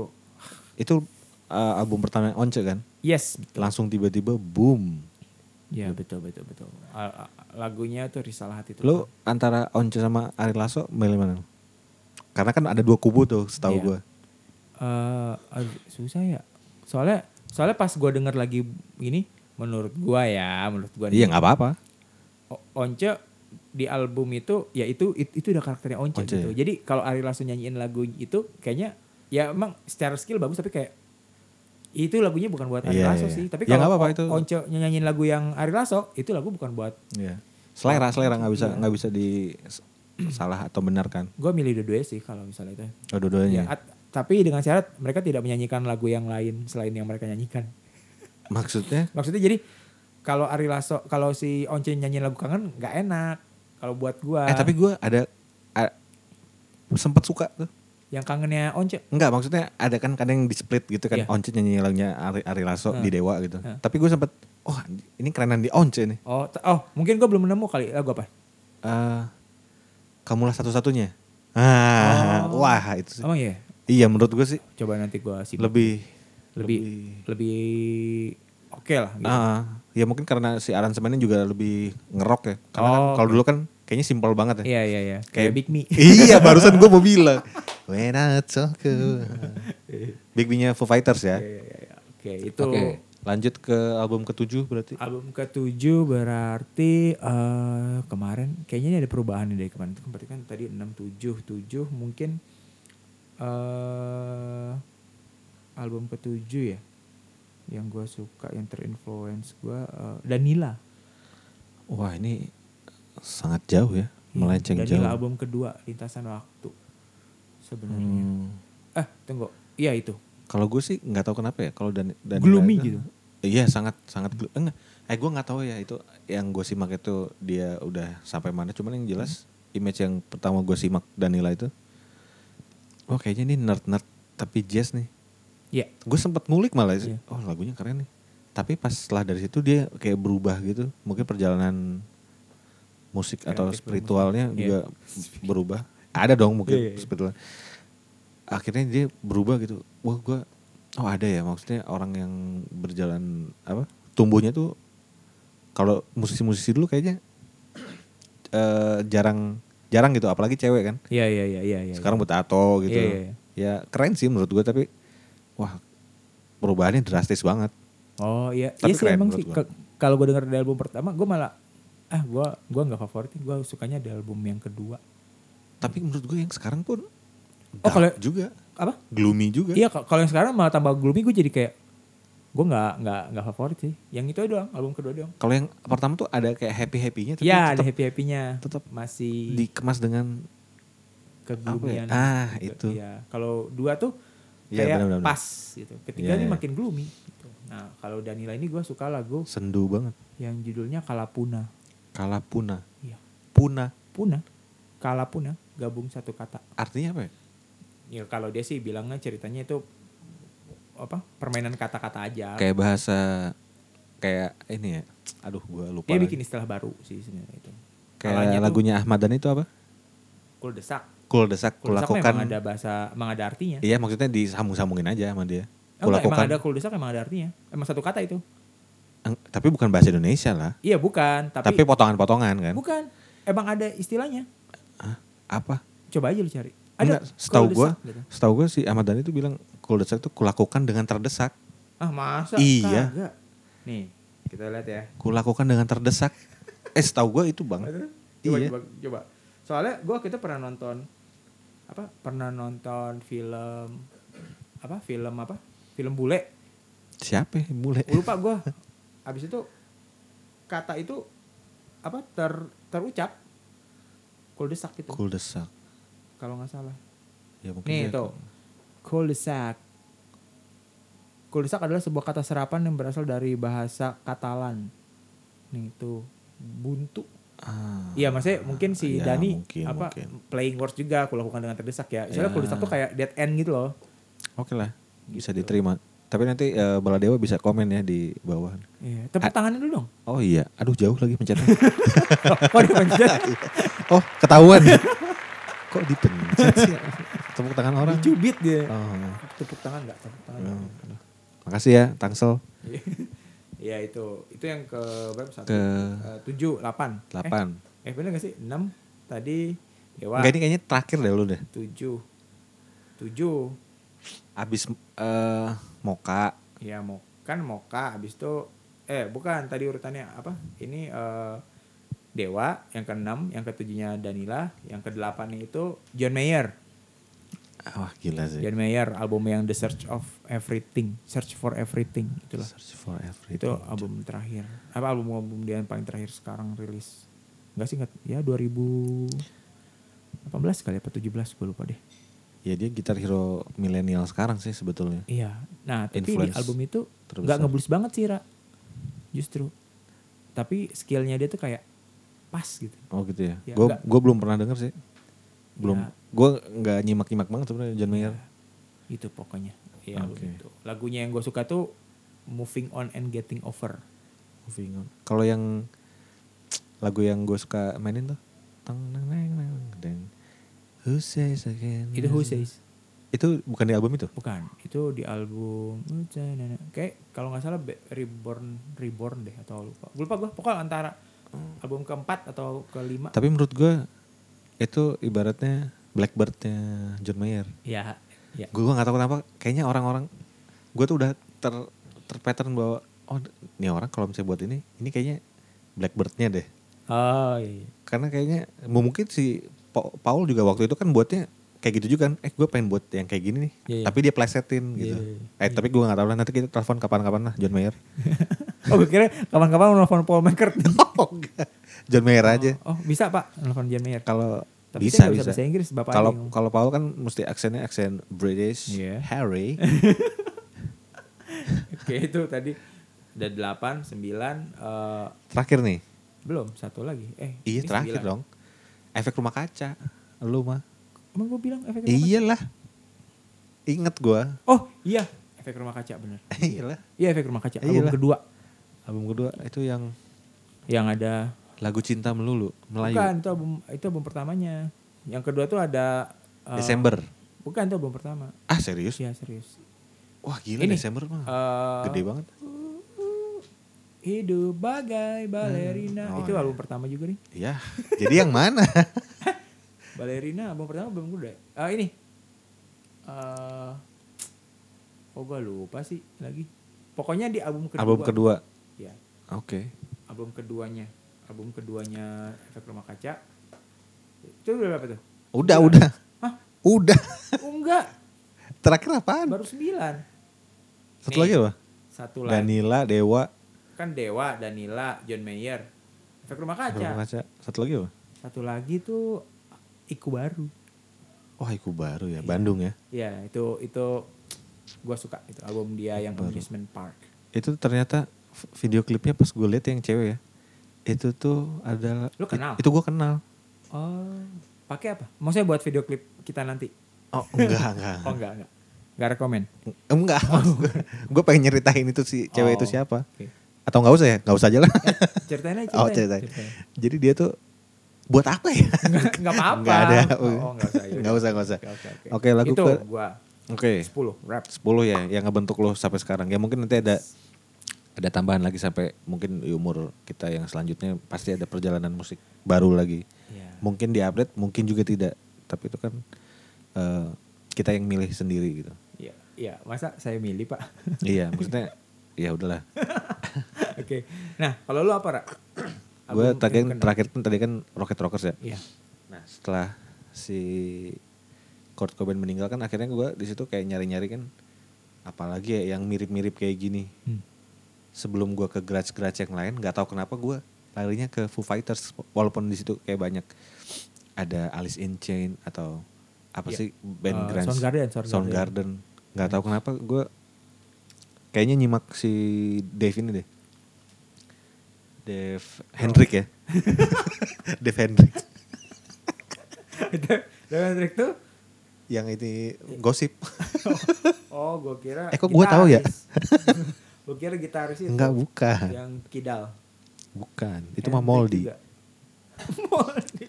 [SPEAKER 1] Itu uh, album pertama Once kan?
[SPEAKER 2] Yes, betul.
[SPEAKER 1] Langsung tiba-tiba boom.
[SPEAKER 2] Ya betul betul betul. A- a- Lagunya tuh Risalah Hati itu.
[SPEAKER 1] Gitu. Lu antara Once sama Ari Lasso milih mana? Karena kan ada dua kubu tuh setahu
[SPEAKER 2] Iya.
[SPEAKER 1] gua.
[SPEAKER 2] Eh, aduh, susah ya. Soalnya soalnya pas gua denger lagi ini menurut gua ya, menurut gua
[SPEAKER 1] Iya
[SPEAKER 2] nih,
[SPEAKER 1] nggak apa-apa.
[SPEAKER 2] O- Once di album itu ya itu it- itu udah karakternya Once,
[SPEAKER 1] Once, iya.
[SPEAKER 2] gitu. Jadi kalau Ari langsung nyanyiin lagu itu kayaknya ya emang secara skill bagus tapi kayak itu lagunya bukan buat Ari
[SPEAKER 1] Iya,
[SPEAKER 2] Lasso
[SPEAKER 1] iya.
[SPEAKER 2] sih, tapi
[SPEAKER 1] Ya, nggak
[SPEAKER 2] kalau
[SPEAKER 1] apa-apa,
[SPEAKER 2] O-
[SPEAKER 1] itu-
[SPEAKER 2] Once nyanyiin lagu yang Ari Lasso itu lagu bukan buat
[SPEAKER 1] Iya. Selera selera nggak bisa nggak bisa di salah atau benar kan?
[SPEAKER 2] gua milih dua-duanya sih kalau misalnya itu.
[SPEAKER 1] Oh,
[SPEAKER 2] Ya,
[SPEAKER 1] dua-duanya.
[SPEAKER 2] at- tapi dengan syarat mereka tidak menyanyikan lagu yang lain selain yang mereka nyanyikan.
[SPEAKER 1] Maksudnya?
[SPEAKER 2] Maksudnya jadi kalau Ari Lasso, kalau si Once nyanyiin lagu kangen nggak enak. Kalau buat gua,
[SPEAKER 1] Eh tapi gua ada a- sempet suka tuh.
[SPEAKER 2] yang kangennya Once,
[SPEAKER 1] Enggak maksudnya ada kan kadang di split gitu kan
[SPEAKER 2] Iya.
[SPEAKER 1] Once nyanyi lagunya Ari, Ari Lasso di Dewa gitu.
[SPEAKER 2] Hah.
[SPEAKER 1] Tapi gue sempet oh ini kerenan di Once ini.
[SPEAKER 2] oh, t- oh mungkin gua belum nemu kali lagu apa?
[SPEAKER 1] Eh kamulah satu-satunya. Ah,
[SPEAKER 2] Oh.
[SPEAKER 1] wah itu sih.
[SPEAKER 2] Emang ya,
[SPEAKER 1] Iya menurut gue sih
[SPEAKER 2] coba nanti gua sih lebih
[SPEAKER 1] lebih
[SPEAKER 2] lebih, oke lah. Gitu.
[SPEAKER 1] Ah, ya mungkin karena si aransemennya juga lebih ngerok ya. Karena kan
[SPEAKER 2] Oh,
[SPEAKER 1] kalau dulu kan kayaknya simpel banget ya.
[SPEAKER 2] Iya iya iya, kayak Big Me.
[SPEAKER 1] iya, barusan gue mau bilang. When I talk to- Big B-nya Foo Fighters ya.
[SPEAKER 2] Iya, iya, iya. Oke itu.
[SPEAKER 1] Oke. Lanjut ke album ketujuh berarti.
[SPEAKER 2] Album ketujuh berarti eh kemarin kayaknya ini ada perubahan nih dari kemarin. Itu kan Berarti kan tadi 6 7 7 mungkin eh album ketujuh ya yang gua suka yang terinfluence gua eh, Danila.
[SPEAKER 1] Wah, ini sangat jauh ya. Melenceng
[SPEAKER 2] Dan
[SPEAKER 1] jauh.
[SPEAKER 2] ini Iya, album kedua lintasan waktu sebenarnya.
[SPEAKER 1] Hmm.
[SPEAKER 2] Eh tunggu, iya itu.
[SPEAKER 1] Kalau gue sih nggak tahu kenapa ya. Kalau dan dan
[SPEAKER 2] Gloomy
[SPEAKER 1] itu-
[SPEAKER 2] gitu.
[SPEAKER 1] Iya sangat sangat glu- enggak. Eh gue nggak tahu ya itu yang gue simak itu dia udah sampai mana. Cuman yang jelas
[SPEAKER 2] Hmm.
[SPEAKER 1] image yang pertama gue simak Danila itu, oh kayaknya ini nerd nerd tapi jazz nih.
[SPEAKER 2] Iya.
[SPEAKER 1] Gue sempet ngulik malah,
[SPEAKER 2] Iya.
[SPEAKER 1] oh lagunya keren nih. Tapi pas setelah dari situ dia kayak berubah gitu. Mungkin perjalanan musik atau
[SPEAKER 2] Kreatif
[SPEAKER 1] spiritualnya
[SPEAKER 2] bermusik.
[SPEAKER 1] juga berubah. Ada dong mungkin
[SPEAKER 2] Iya, iya, iya.
[SPEAKER 1] spiritual. Akhirnya dia berubah gitu. Wah gue, oh ada ya maksudnya orang yang berjalan apa tumbuhnya tuh kalau musisi-musisi dulu kayaknya eh, jarang jarang gitu apalagi cewek kan
[SPEAKER 2] Iya iya iya iya. iya.
[SPEAKER 1] sekarang betato gitu.
[SPEAKER 2] Iya, iya,
[SPEAKER 1] Ya keren sih menurut gue tapi wah perubahannya drastis banget.
[SPEAKER 2] Oh iya,
[SPEAKER 1] Tapi
[SPEAKER 2] iya sih
[SPEAKER 1] keren
[SPEAKER 2] emang
[SPEAKER 1] menurut
[SPEAKER 2] sih.
[SPEAKER 1] gua.
[SPEAKER 2] Ke- Kalau gue denger di album pertama, gue malah ah gue gua nggak favorit, gue sukanya di album yang kedua.
[SPEAKER 1] Tapi menurut gue yang sekarang pun
[SPEAKER 2] Oh,
[SPEAKER 1] dark
[SPEAKER 2] kalau-
[SPEAKER 1] juga
[SPEAKER 2] Apa?
[SPEAKER 1] gloomy juga.
[SPEAKER 2] Iya ka- kalau yang sekarang malah tambah gloomy gue jadi kayak gue nggak nggak nggak favorit sih. Yang itu aja doang album kedua doang.
[SPEAKER 1] Kalau yang pertama tuh ada kayak happy happynya tapi
[SPEAKER 2] Iya ada
[SPEAKER 1] tetap
[SPEAKER 2] happy happynya.
[SPEAKER 1] tetap
[SPEAKER 2] masih
[SPEAKER 1] dikemas dengan
[SPEAKER 2] keglumian.
[SPEAKER 1] apa ya? Ah, itu.
[SPEAKER 2] Iya kalau dua tuh
[SPEAKER 1] Iya,
[SPEAKER 2] kayak
[SPEAKER 1] benar-benar.
[SPEAKER 2] pas gitu. Ketiga
[SPEAKER 1] Iya,
[SPEAKER 2] ini
[SPEAKER 1] iya.
[SPEAKER 2] makin gloomy. Gitu. Nah kalau Danila ini gue suka lagu
[SPEAKER 1] sendu banget.
[SPEAKER 2] yang judulnya Kalapuna.
[SPEAKER 1] Kalah puna.
[SPEAKER 2] Iya.
[SPEAKER 1] Puna
[SPEAKER 2] Puna. Kalapuna gabung satu kata.
[SPEAKER 1] artinya apa ya?
[SPEAKER 2] ya kalau dia sih bilangnya ceritanya itu apa permainan kata-kata aja
[SPEAKER 1] Kayak bahasa kayak ini ya. Aduh gue lupa.
[SPEAKER 2] dia
[SPEAKER 1] lagi.
[SPEAKER 2] bikin istilah baru sih sebenarnya itu Kalanya
[SPEAKER 1] Kayak
[SPEAKER 2] tuh
[SPEAKER 1] lagunya Ahmad dan itu apa?
[SPEAKER 2] kul desak
[SPEAKER 1] Kul desak,
[SPEAKER 2] kul desak
[SPEAKER 1] kulakukan.
[SPEAKER 2] memang ada bahasa emang ada artinya
[SPEAKER 1] Iya maksudnya disambung-sambungin aja sama dia.
[SPEAKER 2] Oh, enggak, emang
[SPEAKER 1] Kulakukan.
[SPEAKER 2] ada kul desak emang ada artinya emang satu kata itu
[SPEAKER 1] Eng- tapi bukan bahasa Indonesia lah.
[SPEAKER 2] iya bukan tapi,
[SPEAKER 1] Tapi potongan-potongan kan.
[SPEAKER 2] bukan emang ada istilahnya
[SPEAKER 1] Hah? Apa?
[SPEAKER 2] coba aja lu cari
[SPEAKER 1] Enggak,
[SPEAKER 2] ada
[SPEAKER 1] setahu
[SPEAKER 2] kul
[SPEAKER 1] gua,
[SPEAKER 2] desak gitu.
[SPEAKER 1] setahu gua si Ahmad Dhani itu bilang kul desak itu kulakukan dengan terdesak.
[SPEAKER 2] ah masa
[SPEAKER 1] Iya.
[SPEAKER 2] Kagak. nih kita lihat ya
[SPEAKER 1] Kulakukan dengan terdesak. eh, setahu gua itu, Bang.
[SPEAKER 2] coba,
[SPEAKER 1] Iya.
[SPEAKER 2] coba coba soalnya gue kita pernah nonton apa pernah nonton film apa film apa film bule
[SPEAKER 1] Siapa ya? Bule.
[SPEAKER 2] lupa gue abis itu kata itu apa ter terucap kuldesak gitu
[SPEAKER 1] Kul desak.
[SPEAKER 2] kalau nggak salah
[SPEAKER 1] Ya mungkin dia-
[SPEAKER 2] nih itu kuldesak kuldesak adalah sebuah kata serapan yang berasal dari bahasa Katalan nih itu buntu
[SPEAKER 1] Ah,
[SPEAKER 2] Iya maksudnya mungkin si
[SPEAKER 1] Ya,
[SPEAKER 2] Dani
[SPEAKER 1] mungkin,
[SPEAKER 2] apa
[SPEAKER 1] mungkin.
[SPEAKER 2] playing words juga aku lakukan dengan terdesak ya.
[SPEAKER 1] Ya.
[SPEAKER 2] Soalnya kalau desak tuh kayak dead end gitu loh.
[SPEAKER 1] Oke lah, bisa
[SPEAKER 2] Gitu.
[SPEAKER 1] diterima. Tapi nanti eh, Baladewa bisa komen ya di bawah.
[SPEAKER 2] Iya, tepuk tangannya dulu dong.
[SPEAKER 1] Oh iya, aduh jauh lagi pencetnya.
[SPEAKER 2] Oh, dia pencet.
[SPEAKER 1] oh, ketahuan. Kok dipencet sih? Tepuk tangan orang.
[SPEAKER 2] Dicubit dia.
[SPEAKER 1] Oh.
[SPEAKER 2] Tepuk tangan enggak? Tepuk tangan.
[SPEAKER 1] Ya, aduh. Makasih ya Tangsel
[SPEAKER 2] Iya itu. Itu yang ke berapa? Satu,
[SPEAKER 1] Ke-
[SPEAKER 2] eh, tujuh, delapan.
[SPEAKER 1] 8.
[SPEAKER 2] Eh, eh bener gak sih? Enam tadi Dewa.
[SPEAKER 1] Enggak ini kayaknya terakhir deh lu deh.
[SPEAKER 2] Tujuh. Tujuh.
[SPEAKER 1] Abis eh Moka
[SPEAKER 2] Ya mau kan Moka habis itu eh bukan tadi urutannya apa? Ini eh, Dewa yang keenam, yang ketujuhnya Danila, yang kedelapannya itu John Mayer.
[SPEAKER 1] Wah gila sih.
[SPEAKER 2] John Mayer album yang The Search of Everything, Search for Everything itulah.
[SPEAKER 1] Search for
[SPEAKER 2] Itu
[SPEAKER 1] everything.
[SPEAKER 2] album terakhir. Apa album album dia yang paling terakhir sekarang rilis? Enggak sih enggak ya 2018 kali apa 17 gue lupa deh.
[SPEAKER 1] Ya dia gitar hero milenial sekarang sih sebetulnya.
[SPEAKER 2] Iya. Nah, tapi
[SPEAKER 1] Influence
[SPEAKER 2] di album itu
[SPEAKER 1] terbesar.
[SPEAKER 2] nggak ngeblues banget sih, Ra. Justru. Tapi skillnya dia tuh kayak pas gitu.
[SPEAKER 1] Oh gitu ya.
[SPEAKER 2] Ya,
[SPEAKER 1] Gue
[SPEAKER 2] enggak.
[SPEAKER 1] gue belum pernah denger sih. Belum.
[SPEAKER 2] Ya.
[SPEAKER 1] Gue nggak nyimak-nyimak banget sebenarnya John Mayer.
[SPEAKER 2] Iya. Itu pokoknya. Iya, album
[SPEAKER 1] Oke.
[SPEAKER 2] itu. Lagunya yang gue suka tuh Moving On and Getting Over.
[SPEAKER 1] Moving on. Kalau yang lagu yang gue suka mainin tuh tang nang nang nang dan Who says again?
[SPEAKER 2] Itu Who Says?
[SPEAKER 1] Itu bukan di album itu?
[SPEAKER 2] Bukan, itu di album eh, nah, kayak kalau nggak salah Be- Reborn Reborn deh atau lupa. Gua Lupa gue pokoknya antara album keempat atau kelima.
[SPEAKER 1] Tapi menurut gue itu ibaratnya Blackbird-nya John Mayer.
[SPEAKER 2] Ya, ya.
[SPEAKER 1] Gue gak tahu kenapa kayaknya orang-orang gue tuh udah ter terpattern bahwa oh ini orang kalau misalnya buat ini ini kayaknya Blackbird-nya deh.
[SPEAKER 2] Oh iya.
[SPEAKER 1] Karena kayaknya mu- mungkin si Pa- Paul juga waktu itu kan buatnya kayak gitu juga kan. Eh gue pengen buat yang kayak gini nih.
[SPEAKER 2] Iya, iya.
[SPEAKER 1] Tapi dia plesetin gitu.
[SPEAKER 2] Iya, iya,
[SPEAKER 1] Eh tapi gue gak tahu lah nanti kita telepon kapan-kapan lah John Mayer.
[SPEAKER 2] Oh gue kira kapan-kapan mau nelfon Paul McCartney.
[SPEAKER 1] Oh, enggak. John Mayer aja.
[SPEAKER 2] Oh bisa pak nelfon John Mayer.
[SPEAKER 1] Kalau
[SPEAKER 2] Tapi
[SPEAKER 1] bisa
[SPEAKER 2] saya nggak
[SPEAKER 1] bisa.
[SPEAKER 2] bahasa Inggris bapak
[SPEAKER 1] Kalau
[SPEAKER 2] yang ngomong.
[SPEAKER 1] kalau Paul kan mesti aksennya aksen British,
[SPEAKER 2] Iya.
[SPEAKER 1] Harry.
[SPEAKER 2] Oke itu tadi ada delapan sembilan eh,
[SPEAKER 1] Terakhir nih.
[SPEAKER 2] belum satu lagi eh
[SPEAKER 1] Iya
[SPEAKER 2] ini
[SPEAKER 1] terakhir
[SPEAKER 2] sembilan.
[SPEAKER 1] dong. Efek rumah kaca. Lu mah.
[SPEAKER 2] emang gue bilang efek rumah
[SPEAKER 1] Iyalah. Ingat gua.
[SPEAKER 2] kaca oh iya efek rumah kaca bener
[SPEAKER 1] Iyalah.
[SPEAKER 2] iya efek rumah kaca album
[SPEAKER 1] Iyalah.
[SPEAKER 2] kedua
[SPEAKER 1] Album kedua itu yang
[SPEAKER 2] yang ada
[SPEAKER 1] lagu cinta melulu Melayu.
[SPEAKER 2] bukan itu album itu album pertamanya yang kedua tuh ada eh,
[SPEAKER 1] Desember.
[SPEAKER 2] bukan itu album pertama
[SPEAKER 1] Ah serius?
[SPEAKER 2] iya serius
[SPEAKER 1] Wah gila
[SPEAKER 2] Ini.
[SPEAKER 1] Desember mah.
[SPEAKER 2] Eh,
[SPEAKER 1] Gede banget.
[SPEAKER 2] hidup bagai balerina
[SPEAKER 1] Hmm. Oh,
[SPEAKER 2] itu
[SPEAKER 1] iya.
[SPEAKER 2] album pertama juga nih
[SPEAKER 1] Iya. Jadi yang mana?
[SPEAKER 2] Balerina album pertama belum gue deh. Ah ini. Eh oh gue lupa sih lagi. Pokoknya di album kedua.
[SPEAKER 1] Album kedua.
[SPEAKER 2] Ya,
[SPEAKER 1] Oke.
[SPEAKER 2] album keduanya. Album keduanya Efek Rumah Kaca. Itu udah berapa tuh?
[SPEAKER 1] Udah, udah.
[SPEAKER 2] Hah?
[SPEAKER 1] Udah.
[SPEAKER 2] Oh, enggak,
[SPEAKER 1] Terakhir apaan?
[SPEAKER 2] baru sembilan.
[SPEAKER 1] Satu
[SPEAKER 2] Nih.
[SPEAKER 1] lagi apa?
[SPEAKER 2] Satu lagi.
[SPEAKER 1] Danila, Dewa,
[SPEAKER 2] Kan Dewa, Danila, John Mayer. Efek Rumah Kaca.
[SPEAKER 1] Rumah Kaca. Satu lagi apa?
[SPEAKER 2] Satu lagi tuh Iku Baru.
[SPEAKER 1] Oh, Haiku Baru ya, Bandung ya.
[SPEAKER 2] Ya, itu itu gue suka itu album dia yang
[SPEAKER 1] Baru.
[SPEAKER 2] Amusement Park.
[SPEAKER 1] Itu ternyata v- video klipnya pas gue lihat yang cewek ya. Itu tuh adalah
[SPEAKER 2] Lu kenal?
[SPEAKER 1] i- Itu gue kenal.
[SPEAKER 2] Oh, pakai apa? Maksudnya buat video klip kita nanti?
[SPEAKER 1] Oh, enggak, enggak.
[SPEAKER 2] Oh enggak enggak, enggak rekomen.
[SPEAKER 1] Enggak. gue pengen nyeritain itu si cewek itu
[SPEAKER 2] Oh,
[SPEAKER 1] siapa.
[SPEAKER 2] oke.
[SPEAKER 1] Atau enggak usah ya? Enggak usah aja lah.
[SPEAKER 2] Ceritain aja.
[SPEAKER 1] Oh,
[SPEAKER 2] ceritain,
[SPEAKER 1] ceritain. Jadi dia tuh buat apa ya?
[SPEAKER 2] Enggak enggak apa-apa.
[SPEAKER 1] Enggak ada.
[SPEAKER 2] Oh, enggak usah. yaudah.
[SPEAKER 1] Enggak usah, enggak usah.
[SPEAKER 2] Oke, oke, oke.
[SPEAKER 1] Oke, lagu
[SPEAKER 2] Itu
[SPEAKER 1] ke-
[SPEAKER 2] gua
[SPEAKER 1] Oke.
[SPEAKER 2] 10 rap.
[SPEAKER 1] 10 ya yang ngebentuk lo sampai sekarang. Ya mungkin nanti ada ada tambahan lagi sampai mungkin di umur kita yang selanjutnya pasti ada perjalanan musik baru lagi.
[SPEAKER 2] Iya.
[SPEAKER 1] Mungkin diupdate, mungkin juga tidak. Tapi itu kan eh, kita yang milih sendiri gitu.
[SPEAKER 2] Iya, iya. Masa saya milih, Pak?
[SPEAKER 1] iya, maksudnya ya udahlah.
[SPEAKER 2] Oke. Nah, kalau lu apa, Ra?
[SPEAKER 1] Gue
[SPEAKER 2] Album
[SPEAKER 1] tadi
[SPEAKER 2] yang
[SPEAKER 1] kan
[SPEAKER 2] kena.
[SPEAKER 1] terakhir kan tadi kan Rocket Rockers ya.
[SPEAKER 2] Iya.
[SPEAKER 1] Nah, setelah si Kurt Cobain meninggal kan akhirnya gue di situ kayak nyari-nyari kan apalagi ya yang mirip-mirip kayak gini.
[SPEAKER 2] Hmm.
[SPEAKER 1] sebelum gua ke garage-garage yang lain nggak tahu kenapa gua larinya ke Foo Fighters walaupun di situ kayak banyak ada Alice in Chain atau apa
[SPEAKER 2] Iya.
[SPEAKER 1] sih band
[SPEAKER 2] Eh,
[SPEAKER 1] grunge
[SPEAKER 2] Soundgarden, Soundgarden.
[SPEAKER 1] Soundgarden.
[SPEAKER 2] Iya.
[SPEAKER 1] nggak tahu kenapa gua kayaknya nyimak si Dave ini deh Dave
[SPEAKER 2] Oh.
[SPEAKER 1] Hendrik ya Dave Hendrik
[SPEAKER 2] Itu dengan trik tuh.
[SPEAKER 1] yang ini gosip
[SPEAKER 2] Oh, gua kira
[SPEAKER 1] Eh, kok gua tahu ya?
[SPEAKER 2] gitaris. Gua kira gitaris itu.
[SPEAKER 1] enggak bukan
[SPEAKER 2] Yang kidal.
[SPEAKER 1] bukan itu mah
[SPEAKER 2] Hendrik
[SPEAKER 1] Moldy
[SPEAKER 2] Iya. juga. Moldy.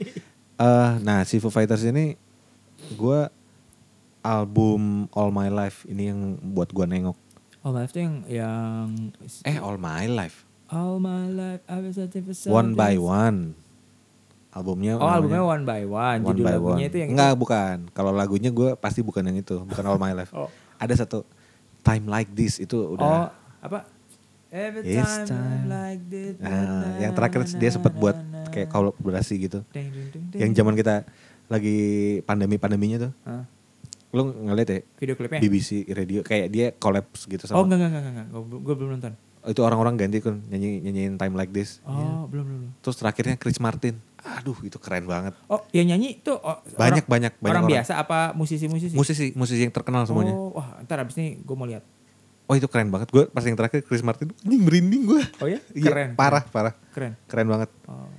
[SPEAKER 1] Eh, nah, si Foo Fighters ini gue album All My Life ini yang buat gue nengok.
[SPEAKER 2] Oh, maaf tuh yang yang
[SPEAKER 1] Eh, All My Life,
[SPEAKER 2] All my life I was searching for
[SPEAKER 1] One
[SPEAKER 2] something.
[SPEAKER 1] by One. Albumnya
[SPEAKER 2] Oh, albumnya
[SPEAKER 1] namanya
[SPEAKER 2] One by One. Judul lagunya itu yang
[SPEAKER 1] Enggak,
[SPEAKER 2] itu.
[SPEAKER 1] bukan. Kalau lagunya gue pasti bukan yang itu, bukan All My Life.
[SPEAKER 2] Oh.
[SPEAKER 1] Ada satu Time Like This itu
[SPEAKER 2] Oh,
[SPEAKER 1] udah
[SPEAKER 2] apa? Every
[SPEAKER 1] It's
[SPEAKER 2] time,
[SPEAKER 1] time.
[SPEAKER 2] I'm like this.
[SPEAKER 1] Nah, yang terakhir dia sempat buat kayak kolaborasi gitu.
[SPEAKER 2] Ding, ding, ding, ding.
[SPEAKER 1] Yang zaman kita lagi pandemi-pandeminya tuh.
[SPEAKER 2] Hah?
[SPEAKER 1] Lu ngeliat ya
[SPEAKER 2] Video klipnya?
[SPEAKER 1] BBC radio kayak dia collabs gitu
[SPEAKER 2] Oh,
[SPEAKER 1] sama
[SPEAKER 2] enggak, enggak, enggak, enggak. Gue, belum nonton.
[SPEAKER 1] itu orang-orang ganti kan nyanyi nyanyiin time like this
[SPEAKER 2] Oh, belum, belum, belum.
[SPEAKER 1] terus terakhirnya Chris Martin aduh itu keren banget
[SPEAKER 2] Oh, yang nyanyi tuh oh,
[SPEAKER 1] banyak
[SPEAKER 2] orang,
[SPEAKER 1] banyak banyak
[SPEAKER 2] orang biasa apa musisi-musisi?
[SPEAKER 1] musisi musisi yang terkenal semuanya
[SPEAKER 2] Oh, wah, ntar abis ini gue mau lihat.
[SPEAKER 1] oh itu keren banget gue pas yang terakhir Chris Martin anjing merinding gue
[SPEAKER 2] Oh ya?
[SPEAKER 1] Iya,
[SPEAKER 2] Keren.
[SPEAKER 1] parah parah
[SPEAKER 2] Keren.
[SPEAKER 1] keren banget
[SPEAKER 2] Oh.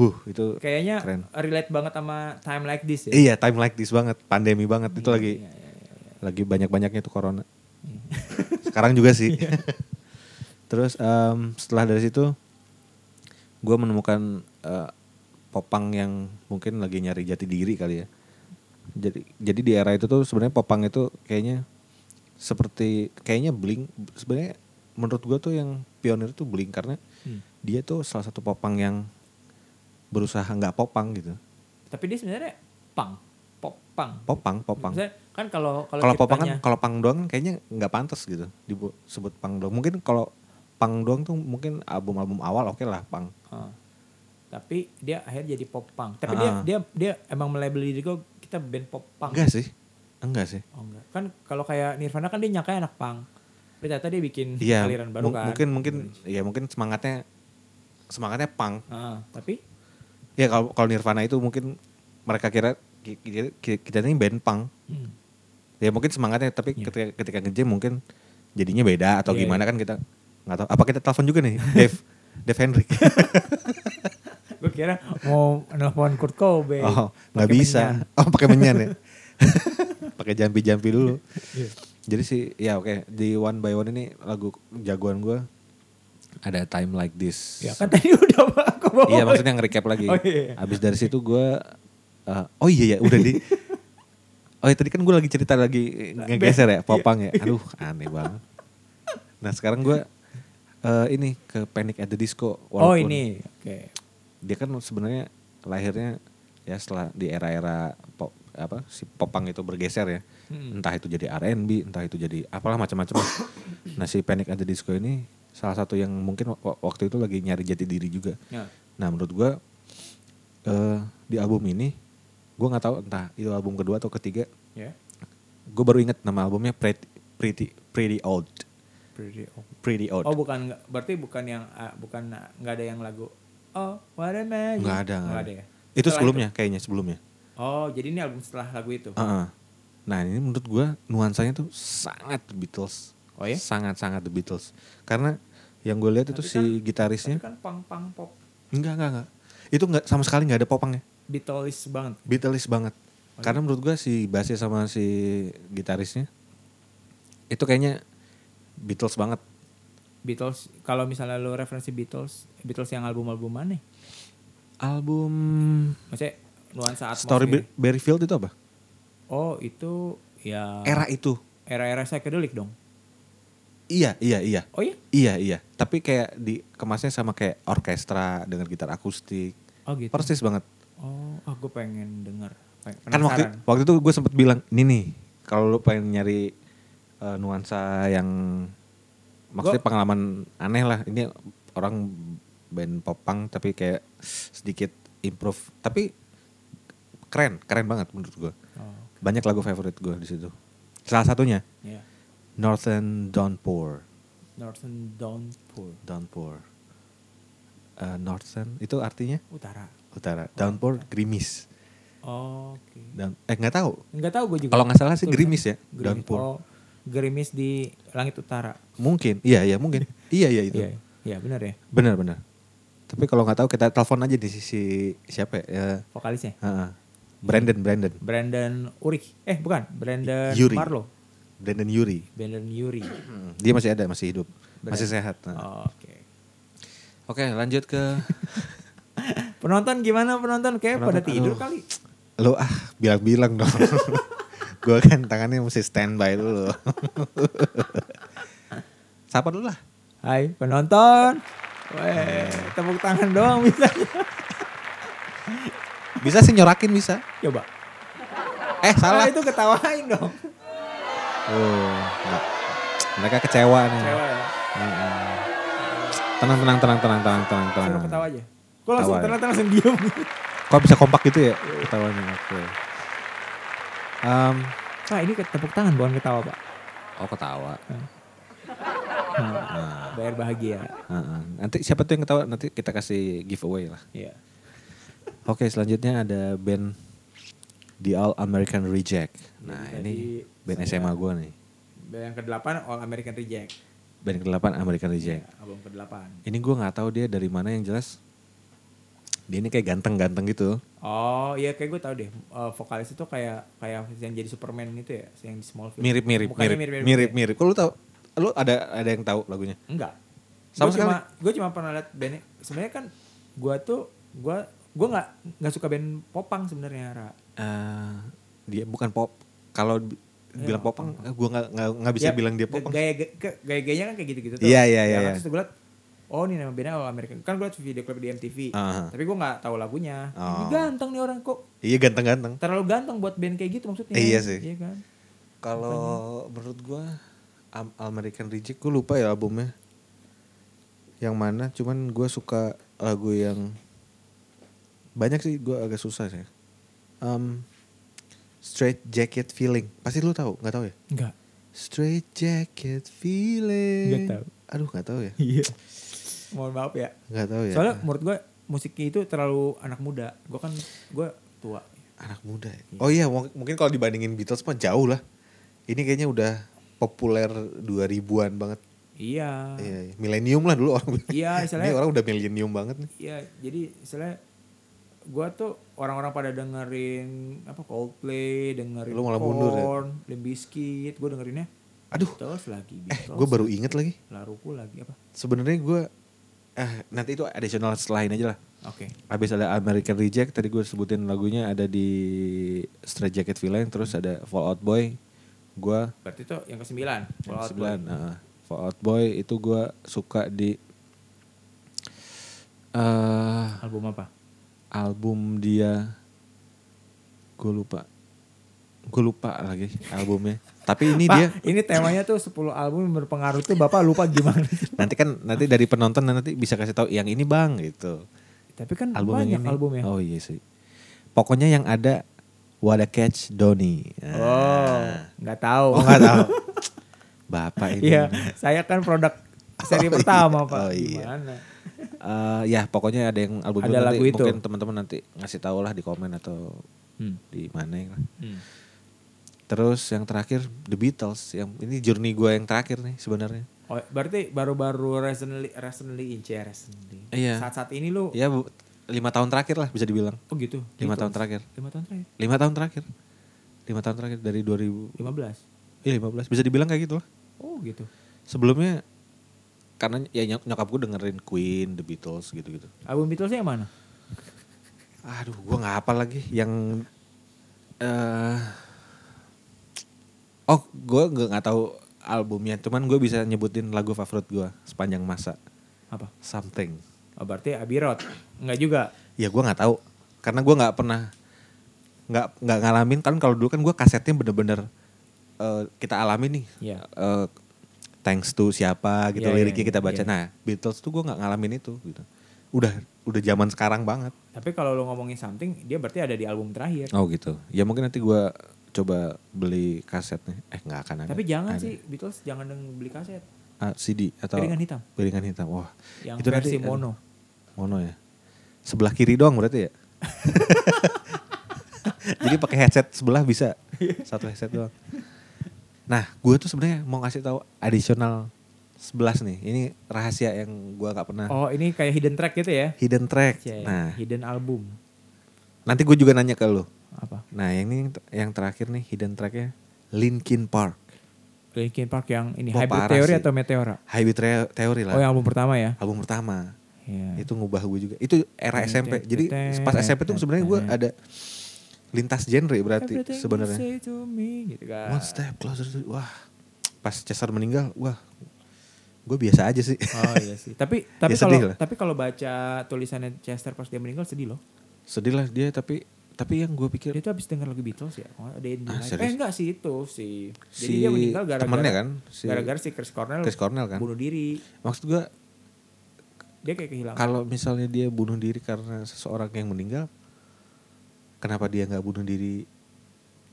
[SPEAKER 1] huh itu
[SPEAKER 2] Kayaknya
[SPEAKER 1] Keren.
[SPEAKER 2] relate banget sama Time Like This ya.
[SPEAKER 1] iya time like this banget pandemi banget itu
[SPEAKER 2] Iya,
[SPEAKER 1] lagi
[SPEAKER 2] iya, iya, iya.
[SPEAKER 1] lagi banyak banyaknya tuh corona sekarang juga sih terus em, setelah dari situ gue menemukan eh, popang yang mungkin lagi nyari jati diri kali ya jadi jadi di era itu tuh sebenarnya popang itu kayaknya seperti kayaknya bling sebenarnya menurut gue tuh yang pionir tuh bling karena
[SPEAKER 2] Hmm.
[SPEAKER 1] dia tuh salah satu popang yang berusaha nggak popang gitu
[SPEAKER 2] Tapi dia sebenarnya pang, pop pang.
[SPEAKER 1] popang popang
[SPEAKER 2] Maksudnya kan kalau kalau
[SPEAKER 1] kalau popang kan
[SPEAKER 2] ciptanya-
[SPEAKER 1] kalau pang doang kan kayaknya nggak pantas gitu disebut pang doang mungkin kalau pang doang tuh mungkin album-album awal oke lah pang
[SPEAKER 2] Ah. tapi dia akhirnya jadi pop punk.
[SPEAKER 1] kan?
[SPEAKER 2] Tapi
[SPEAKER 1] Ah.
[SPEAKER 2] dia dia dia emang melabel diri gue kita band pop punk.
[SPEAKER 1] enggak sih enggak sih
[SPEAKER 2] Oh enggak. Kan kalau kayak Nirvana kan dia nyangka anak punk. Tapi ternyata dia bikin
[SPEAKER 1] Iya.
[SPEAKER 2] aliran baru
[SPEAKER 1] mung-
[SPEAKER 2] kan.
[SPEAKER 1] Mungkin mungkin ya mungkin semangatnya semangatnya punk.
[SPEAKER 2] Ah, tapi
[SPEAKER 1] Ya kalau kalau Nirvana itu mungkin mereka kira ki- ki- ki- kita ini band punk.
[SPEAKER 2] hmm,
[SPEAKER 1] Ya mungkin semangatnya tapi
[SPEAKER 2] Iya.
[SPEAKER 1] ketika ketika nge-jam mungkin jadinya beda atau
[SPEAKER 2] Iya,
[SPEAKER 1] gimana kan kita nggak tahu. Apa kita telepon juga nih Dave Dave Hendrik.
[SPEAKER 2] gue kira mau nelfon Kurt Cobain.
[SPEAKER 1] oh, nggak
[SPEAKER 2] Pakai
[SPEAKER 1] bisa. Oh, pakai menyan ya. pakai jampi-jampi dulu.
[SPEAKER 2] Iya.
[SPEAKER 1] Jadi sih ya oke di One by One ini lagu jagoan gue ada Time Like This.
[SPEAKER 2] Ya kan tadi udah aku bawa.
[SPEAKER 1] Iya maksudnya nge-recap lagi.
[SPEAKER 2] Oh, iya.
[SPEAKER 1] Abis dari situ gue, eh, oh iya ya udah di. Oh iya, tadi kan gue lagi cerita lagi ngegeser
[SPEAKER 2] Iya.
[SPEAKER 1] ya popang ya. Aduh aneh banget. Nah sekarang gue eh, ini ke Panic at the Disco.
[SPEAKER 2] Oh
[SPEAKER 1] walaupun
[SPEAKER 2] ini, oke.
[SPEAKER 1] Dia kan sebenarnya lahirnya ya setelah di era-era pop apa si popang itu bergeser ya.
[SPEAKER 2] Hmm.
[SPEAKER 1] Entah itu jadi R&B, entah itu jadi apalah macam-macam. nah si Panic at the Disco ini salah satu yang mungkin wa- waktu itu lagi nyari jati diri juga.
[SPEAKER 2] Ya.
[SPEAKER 1] Nah menurut gue eh di album ini gue nggak tahu entah itu album kedua atau ketiga.
[SPEAKER 2] Ya.
[SPEAKER 1] Gue baru inget nama albumnya Pretty Pretty, Pretty Old.
[SPEAKER 2] Pretty old.
[SPEAKER 1] Pretty Old.
[SPEAKER 2] Oh bukan, nggak- berarti bukan yang ah, bukan ah, nggak ada yang lagu. Oh, what a magic.
[SPEAKER 1] Nggak ada.
[SPEAKER 2] Nggak ada ya.
[SPEAKER 1] Itu
[SPEAKER 2] Setelah
[SPEAKER 1] sebelumnya kayaknya sebelumnya.
[SPEAKER 2] Oh, jadi ini album setelah lagu itu.
[SPEAKER 1] Heeh. Nah ini menurut gue nuansanya tuh sangat The Beatles.
[SPEAKER 2] Oh ya?
[SPEAKER 1] Sangat-sangat The Beatles. Karena yang gue lihat itu si
[SPEAKER 2] Tapi
[SPEAKER 1] gitarisnya
[SPEAKER 2] kan pang pang pop
[SPEAKER 1] enggak enggak enggak. Itu enggak sama sekali nggak ada popangnya.
[SPEAKER 2] Beatles banget.
[SPEAKER 1] Beatles banget.
[SPEAKER 2] Oh, iya?
[SPEAKER 1] Karena menurut gua si bassnya sama si gitarisnya itu kayaknya Beatles banget.
[SPEAKER 2] Beatles kalau misalnya lo referensi Beatles, Beatles yang album-album mana?
[SPEAKER 1] Album
[SPEAKER 2] Maksudnya nuansa
[SPEAKER 1] Story
[SPEAKER 2] atmosfer.
[SPEAKER 1] Berry Field itu apa?
[SPEAKER 2] Oh, itu ya
[SPEAKER 1] Era itu.
[SPEAKER 2] era-era psychedelic dong.
[SPEAKER 1] Iya, iya, iya.
[SPEAKER 2] Oh iya?
[SPEAKER 1] Iya, iya. Tapi kayak dikemasnya sama kayak orkestra dengan gitar akustik.
[SPEAKER 2] Oh gitu.
[SPEAKER 1] Persis banget.
[SPEAKER 2] Oh, ah, gue pengen denger. Peng-
[SPEAKER 1] Kan waktu
[SPEAKER 2] penasaran.
[SPEAKER 1] waktu itu gue sempet bilang, "Nih nih, kalau lu pengen nyari eh, nuansa yang maksudnya pengalaman aneh lah. Ini orang band popang tapi kayak sedikit improve, tapi keren, keren banget menurut gue.
[SPEAKER 2] Oh,
[SPEAKER 1] Banyak lagu favorit gue di situ. Salah satunya
[SPEAKER 2] ya.
[SPEAKER 1] Northern Downpour.
[SPEAKER 2] Northern Downpour.
[SPEAKER 1] Downpour. Eh, Northern itu artinya
[SPEAKER 2] Utara.
[SPEAKER 1] utara. Downpour gerimis.
[SPEAKER 2] Oke.
[SPEAKER 1] Dan eh nggak tahu.
[SPEAKER 2] Enggak tahu gue juga.
[SPEAKER 1] Kalau nggak salah sih
[SPEAKER 2] Tulisan-
[SPEAKER 1] gerimis ya.
[SPEAKER 2] Gerimis.
[SPEAKER 1] Downpour.
[SPEAKER 2] Oh, gerimis di langit utara.
[SPEAKER 1] Mungkin. Iya, iya, mungkin. iya, iya itu.
[SPEAKER 2] Iya, iya benar ya.
[SPEAKER 1] Benar, benar. Tapi kalau nggak tahu kita telepon aja di sisi siapa ya? ya
[SPEAKER 2] Vokalisnya
[SPEAKER 1] heeh. Brandon, Brandon.
[SPEAKER 2] Brandon Urik. Eh, bukan. Brandon
[SPEAKER 1] Yuri.
[SPEAKER 2] Marlo.
[SPEAKER 1] Brandon Yuri.
[SPEAKER 2] Brandon Yuri.
[SPEAKER 1] Hmm, Dia masih ada, masih hidup. Masih sehat. Nah.
[SPEAKER 2] Oke.
[SPEAKER 1] Oke, lanjut ke
[SPEAKER 2] Penonton gimana penonton? Kayak pada
[SPEAKER 1] Penonton,
[SPEAKER 2] tidur
[SPEAKER 1] aduh.
[SPEAKER 2] kali.
[SPEAKER 1] lo ah bilang-bilang dong. Gue kan tangannya mesti standby dulu. Sapa dulu lah.
[SPEAKER 2] Hai penonton. Weh, tepuk tangan doang bisa.
[SPEAKER 1] Bisa sih nyorakin bisa.
[SPEAKER 2] Coba.
[SPEAKER 1] Eh, salah.
[SPEAKER 2] Salah itu ketawain dong.
[SPEAKER 1] Oh, nggak. Mereka kecewa nih.
[SPEAKER 2] Cewek ya.
[SPEAKER 1] Heeh. Tenang, tenang, tenang, tenang, tenang, tenang, tenang.
[SPEAKER 2] Suruh ketawa aja. Gue
[SPEAKER 1] Ketawa
[SPEAKER 2] langsung
[SPEAKER 1] ya.
[SPEAKER 2] ternyata langsung diem.
[SPEAKER 1] Kok bisa kompak gitu ya ketawanya? Oke. Em,
[SPEAKER 2] Pak Nah, ini ke- tepuk tangan bukan ketawa pak.
[SPEAKER 1] oh ketawa. Ah.
[SPEAKER 2] Bayar bahagia.
[SPEAKER 1] Heeh. Nanti siapa tuh yang ketawa? Nanti kita kasih giveaway lah.
[SPEAKER 2] Iya.
[SPEAKER 1] Oke, selanjutnya ada band The All American Reject. Nah,
[SPEAKER 2] Jadi
[SPEAKER 1] ini
[SPEAKER 2] tadi
[SPEAKER 1] band
[SPEAKER 2] saya-
[SPEAKER 1] SMA gua nih.
[SPEAKER 2] Yang ke-8 All American Reject.
[SPEAKER 1] Band ke-8 American Reject.
[SPEAKER 2] Album ke-8.
[SPEAKER 1] Ini gua nggak tahu dia dari mana yang jelas. Dia ini kayak ganteng-ganteng gitu.
[SPEAKER 2] Oh iya kayak gue tau deh. Eh, vokalis itu kayak kayak yang jadi Superman itu ya. Yang di Smallville.
[SPEAKER 1] Mirip-mirip,
[SPEAKER 2] Mukanya
[SPEAKER 1] mirip-mirip,
[SPEAKER 2] mirip-mirip. ya?
[SPEAKER 1] mirip-mirip. Kok lu tahu? Lu ada ada yang tahu lagunya?
[SPEAKER 2] Enggak.
[SPEAKER 1] Sama
[SPEAKER 2] Sama sekali. Gue cuma pernah liat bandnya. Sebenarnya kan gue tuh gue gue nggak nggak suka band popang sebenarnya Ra.
[SPEAKER 1] eh dia bukan pop. Kalau bi- bilang popang, eh, gua nggak nggak nggak bisa
[SPEAKER 2] Ya,
[SPEAKER 1] bilang dia popang.
[SPEAKER 2] Gaya gaya gayanya kan kayak gitu-gitu
[SPEAKER 1] Iya, iya, iya, iya.
[SPEAKER 2] Terus gue liat oh ini nama bandnya All American. Kan gue liat video klip di MTV.
[SPEAKER 1] Aha.
[SPEAKER 2] Tapi gue nggak tahu lagunya.
[SPEAKER 1] Oh.
[SPEAKER 2] Ini Ganteng nih orang kok
[SPEAKER 1] Iya ganteng-ganteng.
[SPEAKER 2] terlalu ganteng buat band kayak gitu maksudnya.
[SPEAKER 1] Eh, iya sih.
[SPEAKER 2] Iya kan.
[SPEAKER 1] Kalau menurut gua Am- American Reject gua lupa ya albumnya. Yang mana? Cuman gua suka lagu yang banyak sih gua agak susah sih. Em, Straight Jacket Feeling. Pasti lu tahu, nggak tahu ya?
[SPEAKER 2] Enggak.
[SPEAKER 1] Straight Jacket Feeling.
[SPEAKER 2] Nggak tahu.
[SPEAKER 1] Aduh nggak tahu ya.
[SPEAKER 2] Iya. Mohon maaf ya.
[SPEAKER 1] Nggak tahu ya.
[SPEAKER 2] Soalnya menurut gue musiknya itu terlalu anak muda. Gue kan gue tua.
[SPEAKER 1] anak muda. ya. Oh iya mung- mungkin kalau dibandingin Beatles mah jauh lah. Ini kayaknya udah populer 2000-an banget.
[SPEAKER 2] Iya.
[SPEAKER 1] Iya, iya. milenium lah dulu orang. bilang.
[SPEAKER 2] Iya, istilahnya-
[SPEAKER 1] Ini orang udah milenium banget nih.
[SPEAKER 2] Iya, jadi misalnya gue tuh orang-orang pada dengerin apa Coldplay, dengerin
[SPEAKER 1] Lu malah mundur ya?
[SPEAKER 2] ya? Limp Bizkit, gue dengerinnya
[SPEAKER 1] Aduh,
[SPEAKER 2] Beatles lagi,
[SPEAKER 1] eh
[SPEAKER 2] Beatles,
[SPEAKER 1] gue baru inget lagi.
[SPEAKER 2] Laruku lagi apa?
[SPEAKER 1] Sebenarnya gue eh nanti itu additional lain aja lah.
[SPEAKER 2] Oke,
[SPEAKER 1] Habis ada American Reject tadi gue sebutin lagunya ada di Straight Jacket Feeling terus ada Fall Out Boy. Gue
[SPEAKER 2] berarti itu yang kesembilan.
[SPEAKER 1] Yang
[SPEAKER 2] Fall Out
[SPEAKER 1] kesembilan,
[SPEAKER 2] Boy.
[SPEAKER 1] heeh. Fall Out Boy itu gue suka di eh
[SPEAKER 2] Album apa?
[SPEAKER 1] album dia gue lupa gue lupa lagi albumnya tapi ini
[SPEAKER 2] Pak,
[SPEAKER 1] dia
[SPEAKER 2] ini temanya tuh 10 album yang berpengaruh tuh bapak lupa gimana.
[SPEAKER 1] nanti kan nanti dari penonton nanti bisa kasih tahu yang ini bang gitu
[SPEAKER 2] Tapi kan
[SPEAKER 1] album
[SPEAKER 2] banyak
[SPEAKER 1] yang ini
[SPEAKER 2] albumnya.
[SPEAKER 1] oh iya sih pokoknya yang ada What a Catch Donny
[SPEAKER 2] Oh, nggak
[SPEAKER 1] oh
[SPEAKER 2] tahu.
[SPEAKER 1] nggak tahu bapak ini
[SPEAKER 2] Iya, saya kan produk seri
[SPEAKER 1] Oh,
[SPEAKER 2] pertama
[SPEAKER 1] iya.
[SPEAKER 2] pak.
[SPEAKER 1] Oh, iya.
[SPEAKER 2] Gimana?
[SPEAKER 1] Eh, ya pokoknya ada yang album
[SPEAKER 2] Ada
[SPEAKER 1] itu
[SPEAKER 2] lagu
[SPEAKER 1] nanti
[SPEAKER 2] itu.
[SPEAKER 1] mungkin teman-teman nanti ngasih tahu lah di komen atau
[SPEAKER 2] Hmm.
[SPEAKER 1] di mana lah.
[SPEAKER 2] Hmm.
[SPEAKER 1] Terus yang terakhir The Beatles yang ini journey gue yang terakhir nih sebenarnya.
[SPEAKER 2] Oh, berarti baru-baru recently recently in Cie, recently.
[SPEAKER 1] Iya.
[SPEAKER 2] Saat-saat ini lu
[SPEAKER 1] Ya bu- lima tahun terakhir lah bisa dibilang.
[SPEAKER 2] oh gitu.
[SPEAKER 1] Lima
[SPEAKER 2] Beatles.
[SPEAKER 1] tahun terakhir.
[SPEAKER 2] Lima tahun terakhir.
[SPEAKER 1] Lima tahun terakhir. Lima tahun terakhir dari 2000
[SPEAKER 2] Lima belas.
[SPEAKER 1] eh, 15 bisa dibilang kayak gitu lah.
[SPEAKER 2] Oh gitu.
[SPEAKER 1] Sebelumnya karena ya nyok- nyokap gue dengerin Queen, The Beatles gitu-gitu.
[SPEAKER 2] Album Beatlesnya yang mana?
[SPEAKER 1] Aduh, gua nggak apa lagi yang eh Oh, gua nggak nggak tahu albumnya, cuman gue bisa nyebutin lagu favorit gua sepanjang masa.
[SPEAKER 2] Apa?
[SPEAKER 1] Something.
[SPEAKER 2] Oh, berarti Abbey Road. Enggak juga.
[SPEAKER 1] Ya gua nggak tahu karena gua nggak pernah nggak nggak ngalamin kan kalau dulu kan gua kasetnya bener-bener eh, kita alami nih.
[SPEAKER 2] Iya.
[SPEAKER 1] Eh, thanks to siapa gitu
[SPEAKER 2] Iya, iya,
[SPEAKER 1] liriknya
[SPEAKER 2] iya,
[SPEAKER 1] kita baca. Nah, Beatles tuh gua nggak ngalamin itu gitu. Udah udah zaman sekarang banget.
[SPEAKER 2] Tapi kalau lu ngomongin something, dia berarti ada di album terakhir.
[SPEAKER 1] Oh gitu. Ya mungkin nanti gua coba beli kasetnya. Eh nggak akan ada.
[SPEAKER 2] Tapi jangan
[SPEAKER 1] Ada.
[SPEAKER 2] sih Beatles jangan deng- beli kaset.
[SPEAKER 1] Ah, CD atau
[SPEAKER 2] Piringan hitam.
[SPEAKER 1] piringan hitam. Wah.
[SPEAKER 2] Yang
[SPEAKER 1] itu
[SPEAKER 2] versi
[SPEAKER 1] nanti, aduh,
[SPEAKER 2] mono.
[SPEAKER 1] Mono ya. Sebelah kiri doang berarti ya. Jadi pakai headset sebelah bisa. Satu headset doang. Nah, gua tuh sebenarnya mau ngasih tahu additional 11 nih. Ini rahasia yang gua nggak pernah
[SPEAKER 2] Oh, ini kayak hidden track gitu ya.
[SPEAKER 1] hidden track.
[SPEAKER 2] Cie,
[SPEAKER 1] Nah,
[SPEAKER 2] hidden album.
[SPEAKER 1] nanti gue juga nanya ke lu.
[SPEAKER 2] Apa?
[SPEAKER 1] Nah, yang ini yang terakhir nih hidden tracknya Linkin Park.
[SPEAKER 2] Linkin Park yang ini
[SPEAKER 1] Wah,
[SPEAKER 2] Hybrid
[SPEAKER 1] parah
[SPEAKER 2] Theory
[SPEAKER 1] sih.
[SPEAKER 2] atau Meteora?
[SPEAKER 1] Hybrid Theo- Theory lah.
[SPEAKER 2] Oh, yang album pertama ya.
[SPEAKER 1] Album pertama.
[SPEAKER 2] Iya.
[SPEAKER 1] Itu ngubah gue juga. Itu era
[SPEAKER 2] Tet,
[SPEAKER 1] SMP.
[SPEAKER 2] tet,
[SPEAKER 1] Jadi
[SPEAKER 2] tet,
[SPEAKER 1] pas SMP tuh
[SPEAKER 2] tet,
[SPEAKER 1] sebenarnya gue
[SPEAKER 2] tet.
[SPEAKER 1] ada lintas genre berarti
[SPEAKER 2] Everything you
[SPEAKER 1] sebenarnya.
[SPEAKER 2] say to me, gitu kan.
[SPEAKER 1] One step closer to wah. Pas Cesar meninggal, wah. Gue biasa aja sih.
[SPEAKER 2] Oh iya sih. Tapi tapi
[SPEAKER 1] Ya,
[SPEAKER 2] kalau
[SPEAKER 1] sedih lah.
[SPEAKER 2] tapi kalau baca tulisannya Chester pas dia meninggal sedih loh.
[SPEAKER 1] Sedih lah dia tapi tapi yang gue pikir
[SPEAKER 2] Dia tuh habis denger lagu Beatles ya. Oh, ada yang
[SPEAKER 1] Iya. Ah, serius?
[SPEAKER 2] Eh enggak sih itu si. Jadi
[SPEAKER 1] Si
[SPEAKER 2] dia meninggal gara-gara
[SPEAKER 1] temennya kan, si
[SPEAKER 2] gara-gara si Chris Cornell,
[SPEAKER 1] Chris Cornell kan.
[SPEAKER 2] bunuh diri.
[SPEAKER 1] Maksud gue
[SPEAKER 2] Dia kayak kehilangan.
[SPEAKER 1] kalau misalnya dia bunuh diri karena seseorang yang meninggal, kenapa dia nggak bunuh diri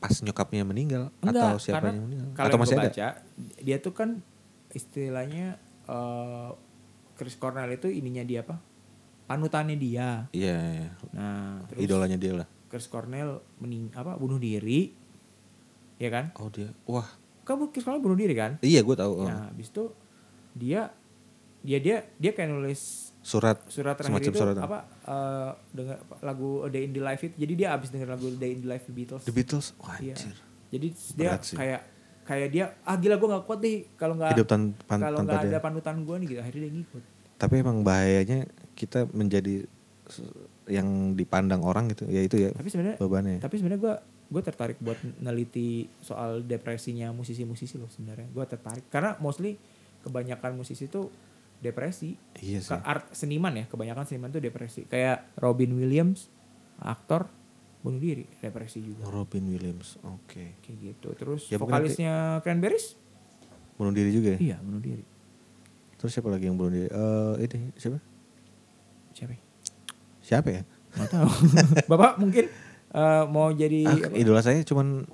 [SPEAKER 1] pas nyokapnya meninggal
[SPEAKER 2] Enggak,
[SPEAKER 1] atau siapa
[SPEAKER 2] karena
[SPEAKER 1] yang meninggal?
[SPEAKER 2] Kalau
[SPEAKER 1] atau
[SPEAKER 2] yang
[SPEAKER 1] masih
[SPEAKER 2] gua
[SPEAKER 1] ada?
[SPEAKER 2] baca, dia tuh kan istilahnya eh, Chris Cornell itu ininya dia apa? Panutannya dia.
[SPEAKER 1] Iya, iya.
[SPEAKER 2] Nah, terus
[SPEAKER 1] idolanya dia lah.
[SPEAKER 2] Chris Cornell mening apa bunuh diri. Ya kan?
[SPEAKER 1] Oh dia, wah
[SPEAKER 2] Kamu Chris Cornell bunuh diri kan?
[SPEAKER 1] iya gue tahu. oh.
[SPEAKER 2] Nah, habis itu dia dia dia dia kayak nulis
[SPEAKER 1] Surat,
[SPEAKER 2] surat terakhir
[SPEAKER 1] Semacam
[SPEAKER 2] itu
[SPEAKER 1] surat.
[SPEAKER 2] apa eh dengar apa, lagu A Day in the Life itu. Jadi dia abis denger lagu A Day in the Life Beatles.
[SPEAKER 1] The Beatles, wah
[SPEAKER 2] Iya.
[SPEAKER 1] anjir.
[SPEAKER 2] Jadi dia
[SPEAKER 1] Berat sih.
[SPEAKER 2] kayak kayak dia ah gila gue nggak kuat deh kalau nggak
[SPEAKER 1] Hidup tan- pan-
[SPEAKER 2] kalau
[SPEAKER 1] tanpa
[SPEAKER 2] nggak
[SPEAKER 1] dia.
[SPEAKER 2] ada panutan gue nih gitu akhirnya dia ngikut.
[SPEAKER 1] Tapi emang bahayanya kita menjadi se- yang dipandang orang gitu, ya itu ya
[SPEAKER 2] Tapi sebenarnya
[SPEAKER 1] bebannya.
[SPEAKER 2] tapi sebenarnya gue gue tertarik buat neliti soal depresinya musisi-musisi loh sebenarnya. Gue tertarik karena mostly kebanyakan musisi tuh depresi.
[SPEAKER 1] iya sih.
[SPEAKER 2] Ke art seniman ya kebanyakan seniman tuh depresi kayak Robin Williams aktor bunuh diri depresi juga
[SPEAKER 1] Robin Williams, oke.
[SPEAKER 2] kayak gitu terus
[SPEAKER 1] Ya, mungkin
[SPEAKER 2] vokalisnya Cranberries
[SPEAKER 1] Bunuh diri juga ya.
[SPEAKER 2] iya bunuh diri
[SPEAKER 1] Terus siapa lagi yang bunuh diri? Eh ini siapa?
[SPEAKER 2] siapa ya?
[SPEAKER 1] Siapa ya?
[SPEAKER 2] nggak tahu bapak mungkin eh, mau jadi
[SPEAKER 1] Ah,
[SPEAKER 2] apa?
[SPEAKER 1] idola saya cuman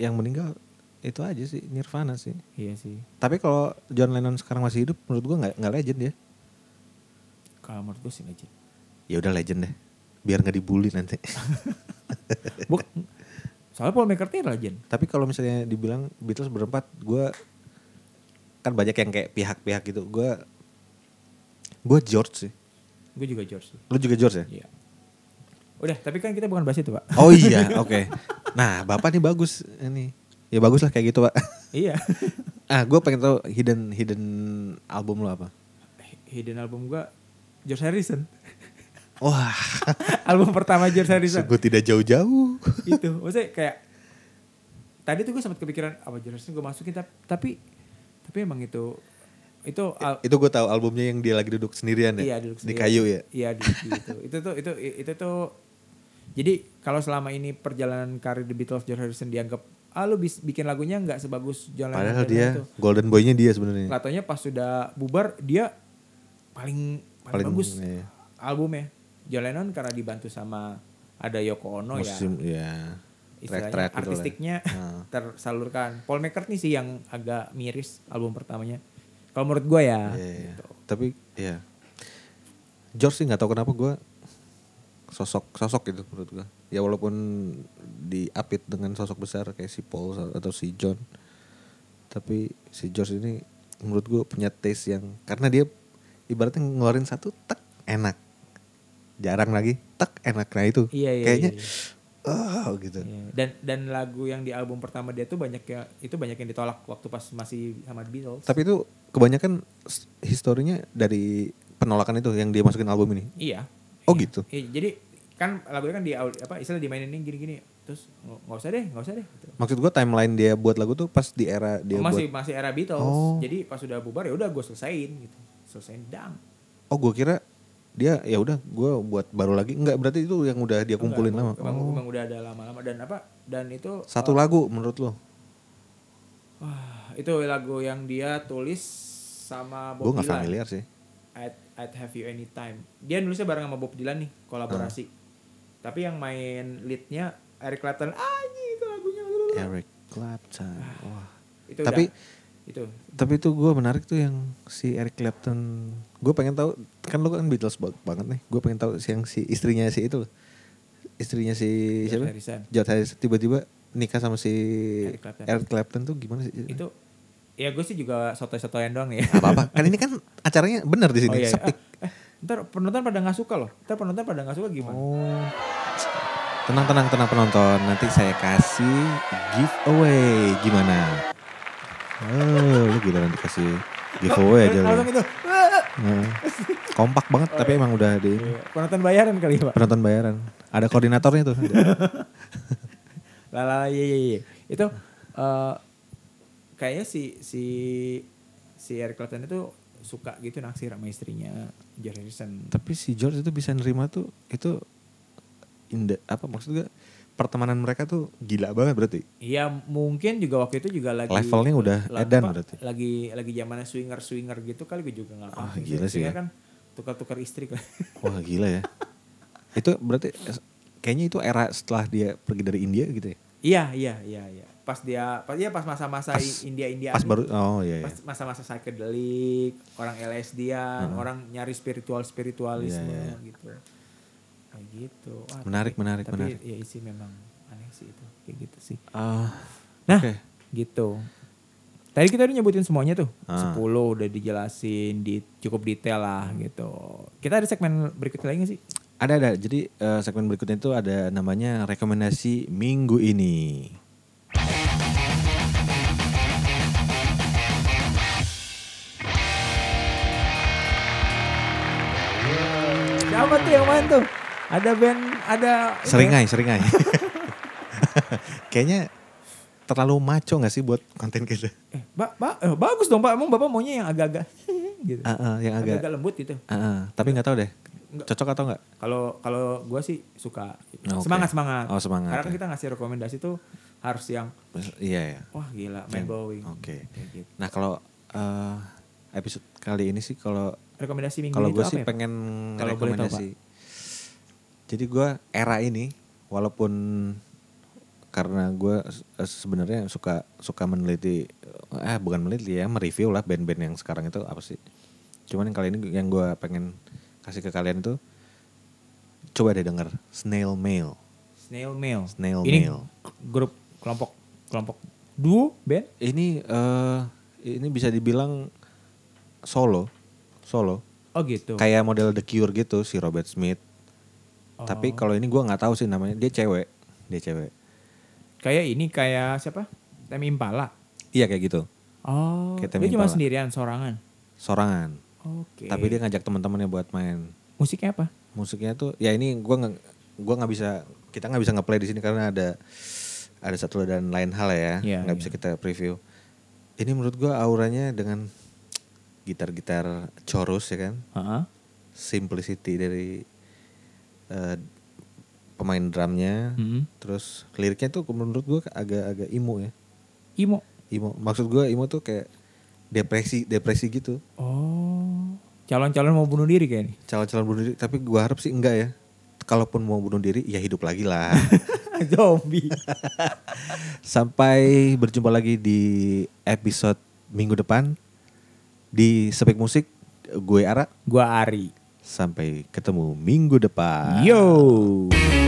[SPEAKER 1] yang meninggal itu aja sih Nirvana sih.
[SPEAKER 2] Iya sih.
[SPEAKER 1] Tapi kalau John Lennon sekarang masih hidup, menurut gua nggak nggak legend ya.
[SPEAKER 2] Kalau menurut gue sih legend.
[SPEAKER 1] Ya udah legend deh, biar nggak dibully nanti.
[SPEAKER 2] Buk, soalnya Paul McCartney legend.
[SPEAKER 1] Tapi kalau misalnya dibilang Beatles berempat, gua kan banyak yang kayak pihak-pihak gitu. Gua gua George sih.
[SPEAKER 2] Gue juga George. sih.
[SPEAKER 1] Lu juga George ya?
[SPEAKER 2] Iya. Udah, tapi kan kita bukan bahas itu, Pak.
[SPEAKER 1] Oh iya, oke. Nah, bapak nih bagus ini. Ya bagus lah kayak gitu pak.
[SPEAKER 2] iya.
[SPEAKER 1] ah, gue pengen tahu hidden hidden album lo apa?
[SPEAKER 2] Eh, Hidden album gue George Harrison.
[SPEAKER 1] Wah,
[SPEAKER 2] album pertama George Harrison.
[SPEAKER 1] sungguh tidak jauh-jauh.
[SPEAKER 2] itu Gitu. maksudnya kayak tadi tuh gue sempat kepikiran apa George Harrison gue masukin tap- tapi tapi emang itu itu al-
[SPEAKER 1] Itu gue tahu albumnya yang dia lagi duduk sendirian ya.
[SPEAKER 2] Iya, duduk
[SPEAKER 1] Di
[SPEAKER 2] sendirian.
[SPEAKER 1] kayu ya.
[SPEAKER 2] iya di- di itu itu tuh itu itu tuh jadi kalau selama ini perjalanan karir The Beatles George Harrison dianggap ah lu bis- bikin lagunya nggak sebagus John Lennon
[SPEAKER 1] Padahal
[SPEAKER 2] John
[SPEAKER 1] dia
[SPEAKER 2] Lennon tuh."
[SPEAKER 1] golden boy-nya dia sebenarnya.
[SPEAKER 2] Latonya pas sudah bubar dia paling paling,
[SPEAKER 1] Paling,
[SPEAKER 2] bagus
[SPEAKER 1] iya.
[SPEAKER 2] albumnya. John Lennon karena dibantu sama ada Yoko Ono
[SPEAKER 1] Musim ya. Track-track
[SPEAKER 2] ya. Istilahnya
[SPEAKER 1] gitu lah.
[SPEAKER 2] artistiknya
[SPEAKER 1] Nah.
[SPEAKER 2] tersalurkan. Paul McCartney sih yang agak miris album pertamanya. Kalau menurut gue ya.
[SPEAKER 1] Iya, iya.
[SPEAKER 2] gitu.
[SPEAKER 1] Tapi ya. George sih nggak tahu kenapa gue sosok sosok gitu menurut gue. Ya walaupun diapit dengan sosok besar kayak si Paul atau si John, tapi si George ini menurut gue punya taste yang karena dia ibaratnya ngeluarin satu tek enak, jarang lagi tek enak nah itu
[SPEAKER 2] Iya, iya,
[SPEAKER 1] kayaknya
[SPEAKER 2] iya,
[SPEAKER 1] oh gitu.
[SPEAKER 2] Iya. Dan dan lagu yang di album pertama dia tuh banyak ya itu banyak yang ditolak waktu pas masih sama The Beatles.
[SPEAKER 1] Tapi itu kebanyakan s- historinya dari penolakan itu yang dia masukin album ini.
[SPEAKER 2] Iya.
[SPEAKER 1] Oh,
[SPEAKER 2] Iya.
[SPEAKER 1] gitu.
[SPEAKER 2] Iya, jadi kan lagunya kan di au- apa istilah dimainin ini gini-gini terus nggak nggak usah deh nggak usah deh gitu.
[SPEAKER 1] Maksud gua timeline dia buat lagu tuh pas di era dia
[SPEAKER 2] Oh, masih
[SPEAKER 1] buat.
[SPEAKER 2] masih era Beatles
[SPEAKER 1] Oh.
[SPEAKER 2] jadi pas sudah bubar ya udah gue selesain gitu selesain dang
[SPEAKER 1] Oh gua kira dia ya udah gua buat baru lagi. Enggak berarti itu yang udah dia kumpulin lama.
[SPEAKER 2] emang,
[SPEAKER 1] Oh.
[SPEAKER 2] emang udah ada lama-lama dan apa dan itu
[SPEAKER 1] Satu lagu menurut lo?
[SPEAKER 2] wah, itu lagu yang dia tulis sama
[SPEAKER 1] Gue
[SPEAKER 2] Bob
[SPEAKER 1] nggak
[SPEAKER 2] Dylan
[SPEAKER 1] familiar sih.
[SPEAKER 2] I'd, I'd Have You Anytime dia nulisnya bareng sama Bob Dylan nih kolaborasi
[SPEAKER 1] Ah.
[SPEAKER 2] tapi yang main leadnya Eric Clapton ah itu lagunya
[SPEAKER 1] Eric Clapton. Wah.
[SPEAKER 2] itu
[SPEAKER 1] Tapi-
[SPEAKER 2] udah, itu
[SPEAKER 1] Tapi itu gua menarik tuh yang si Eric Clapton. Gue pengen tahu kan lo kan Beatles ba- banget nih. Gue pengen tahu si- yang si istrinya si itu. loh. Istrinya si
[SPEAKER 2] George
[SPEAKER 1] siapa?
[SPEAKER 2] Harrison.
[SPEAKER 1] George Harrison tiba-tiba nikah sama si
[SPEAKER 2] Eric Clapton.
[SPEAKER 1] Eric Clapton tuh gimana sih?
[SPEAKER 2] itu ya gue sih juga soto-sotoan doang nih
[SPEAKER 1] Gak apa-apa. kan ini kan acaranya bener di sini.
[SPEAKER 2] Oh, iya, iya.
[SPEAKER 1] sepi.
[SPEAKER 2] Ah, eh, ntar penonton pada nggak suka loh. Ntar penonton pada nggak suka gimana?
[SPEAKER 1] Oh. Tenang tenang tenang penonton. Nanti saya kasih giveaway gimana? Oh, lu gila nanti kasih giveaway aja lu.
[SPEAKER 2] Eh, Langsung itu. "Ah!"
[SPEAKER 1] Nah, kompak banget tapi emang udah di
[SPEAKER 2] Iya, Penonton bayaran kali ya, Pak.
[SPEAKER 1] penonton bayaran. Ada koordinatornya tuh.
[SPEAKER 2] Lah, lah, iya, iya, iya. Itu eh, kayaknya si si si Eric Clapton itu suka gitu naksir sama istrinya George Harrison.
[SPEAKER 1] tapi si George itu bisa nerima tuh itu indah apa maksudnya pertemanan mereka tuh gila banget berarti.
[SPEAKER 2] Iya, mungkin juga waktu itu juga lagi
[SPEAKER 1] Levelnya udah
[SPEAKER 2] la-
[SPEAKER 1] edan
[SPEAKER 2] apa,
[SPEAKER 1] berarti.
[SPEAKER 2] Lagi lagi zamannya swinger swinger gitu kali gue juga nggak
[SPEAKER 1] Ah,
[SPEAKER 2] paham.
[SPEAKER 1] gila sih
[SPEAKER 2] Swinger
[SPEAKER 1] ya.
[SPEAKER 2] kan tukar-tukar istri kan.
[SPEAKER 1] Wah gila ya. itu berarti eh, kayaknya itu era setelah dia pergi dari India gitu ya.
[SPEAKER 2] Iya, iya, iya, iya. Pas dia, pas dia pas masa-masa India-India.
[SPEAKER 1] Pas baru oh iya iya.
[SPEAKER 2] pas masa-masa psychedelic, orang LSD-an, orang nyari spiritual-spiritualisme
[SPEAKER 1] Iya, iya.
[SPEAKER 2] gitu. Kayak gitu. Wah,
[SPEAKER 1] Menarik,
[SPEAKER 2] tapi-
[SPEAKER 1] menarik,
[SPEAKER 2] tapi
[SPEAKER 1] menarik.
[SPEAKER 2] ya isi memang aneh sih itu. Kayak gitu sih.
[SPEAKER 1] Ah,
[SPEAKER 2] Nah,
[SPEAKER 1] oke.
[SPEAKER 2] gitu. Tadi kita udah nyebutin semuanya tuh.
[SPEAKER 1] Ah. Hmm.
[SPEAKER 2] 10 udah dijelasin di cukup detail lah gitu. Kita ada segmen berikutnya lagi gak sih?
[SPEAKER 1] Ada ada. Jadi eh, segmen berikutnya itu ada namanya rekomendasi minggu ini.
[SPEAKER 2] Siapa tuh yang main tuh? Ada band, ada ini ya?
[SPEAKER 1] Seringai, seringai. Kayaknya terlalu maco gak sih buat konten kita?
[SPEAKER 2] Eh, ba- ba- eh, bagus dong Pak. Emang Bapak maunya yang agak-agak gitu.
[SPEAKER 1] Ah, ah, yang agak,
[SPEAKER 2] agak lembut gitu.
[SPEAKER 1] ah, ah. tapi nggak tahu deh,
[SPEAKER 2] Nggak.
[SPEAKER 1] cocok atau nggak?
[SPEAKER 2] Kalau kalau gue sih suka gitu.
[SPEAKER 1] Oh, oke.
[SPEAKER 2] semangat semangat.
[SPEAKER 1] Oh, semangat,
[SPEAKER 2] Karena kan
[SPEAKER 1] ya.
[SPEAKER 2] kita ngasih rekomendasi tuh harus yang
[SPEAKER 1] Iya ya.
[SPEAKER 2] wah gila mind blowing.
[SPEAKER 1] Oke.
[SPEAKER 2] Kayak gitu.
[SPEAKER 1] Nah kalau eh, episode kali ini sih kalau
[SPEAKER 2] Rekomendasi minggu
[SPEAKER 1] Kalau
[SPEAKER 2] ini
[SPEAKER 1] gue
[SPEAKER 2] tuh
[SPEAKER 1] sih
[SPEAKER 2] apa ya, Pak?
[SPEAKER 1] pengen
[SPEAKER 2] Kalau boleh tahu,
[SPEAKER 1] rekomendasi. Jadi gue era ini walaupun karena gue sebenarnya suka suka meneliti eh bukan meneliti ya mereview lah band-band yang sekarang itu apa sih cuman yang kali ini yang gue pengen kasih ke kalian tuh coba deh denger snail mail
[SPEAKER 2] Snail Mail.
[SPEAKER 1] Snail
[SPEAKER 2] ini
[SPEAKER 1] Mail.
[SPEAKER 2] k- grup kelompok kelompok duo band
[SPEAKER 1] ini eh ini bisa dibilang solo solo
[SPEAKER 2] oh gitu
[SPEAKER 1] kayak model The Cure gitu si Robert Smith
[SPEAKER 2] Oh.
[SPEAKER 1] tapi kalau ini gue nggak tahu sih namanya dia cewek dia cewek
[SPEAKER 2] kayak ini kayak siapa Temi Impala
[SPEAKER 1] iya kayak gitu
[SPEAKER 2] oh
[SPEAKER 1] Kayak Temi
[SPEAKER 2] dia cuma
[SPEAKER 1] Impala.
[SPEAKER 2] sendirian sorangan
[SPEAKER 1] sorangan
[SPEAKER 2] oke
[SPEAKER 1] tapi dia ngajak teman-temannya buat main
[SPEAKER 2] musiknya apa
[SPEAKER 1] musiknya tuh ya ini gue nggak gua nggak bisa kita nggak bisa ngeplay di sini karena ada ada satu dan lain hal ya
[SPEAKER 2] Iya,
[SPEAKER 1] nggak bisa kita preview ini menurut gue auranya dengan gitar-gitar chorus ya kan
[SPEAKER 2] Heeh.
[SPEAKER 1] simplicity dari eh, pemain drumnya
[SPEAKER 2] Hmm.
[SPEAKER 1] terus liriknya tuh menurut gue agak-agak emo ya
[SPEAKER 2] Imo
[SPEAKER 1] emo maksud gue emo tuh kayak depresi depresi gitu
[SPEAKER 2] oh calon-calon mau bunuh diri kayak ini
[SPEAKER 1] calon-calon bunuh diri tapi gue harap sih enggak ya kalaupun mau bunuh diri ya hidup lagi lah
[SPEAKER 2] zombie
[SPEAKER 1] sampai berjumpa lagi di episode minggu depan di Sepik Musik gue Ara
[SPEAKER 2] gua
[SPEAKER 1] Ah.
[SPEAKER 2] Ari
[SPEAKER 1] sampai ketemu minggu depan
[SPEAKER 2] yo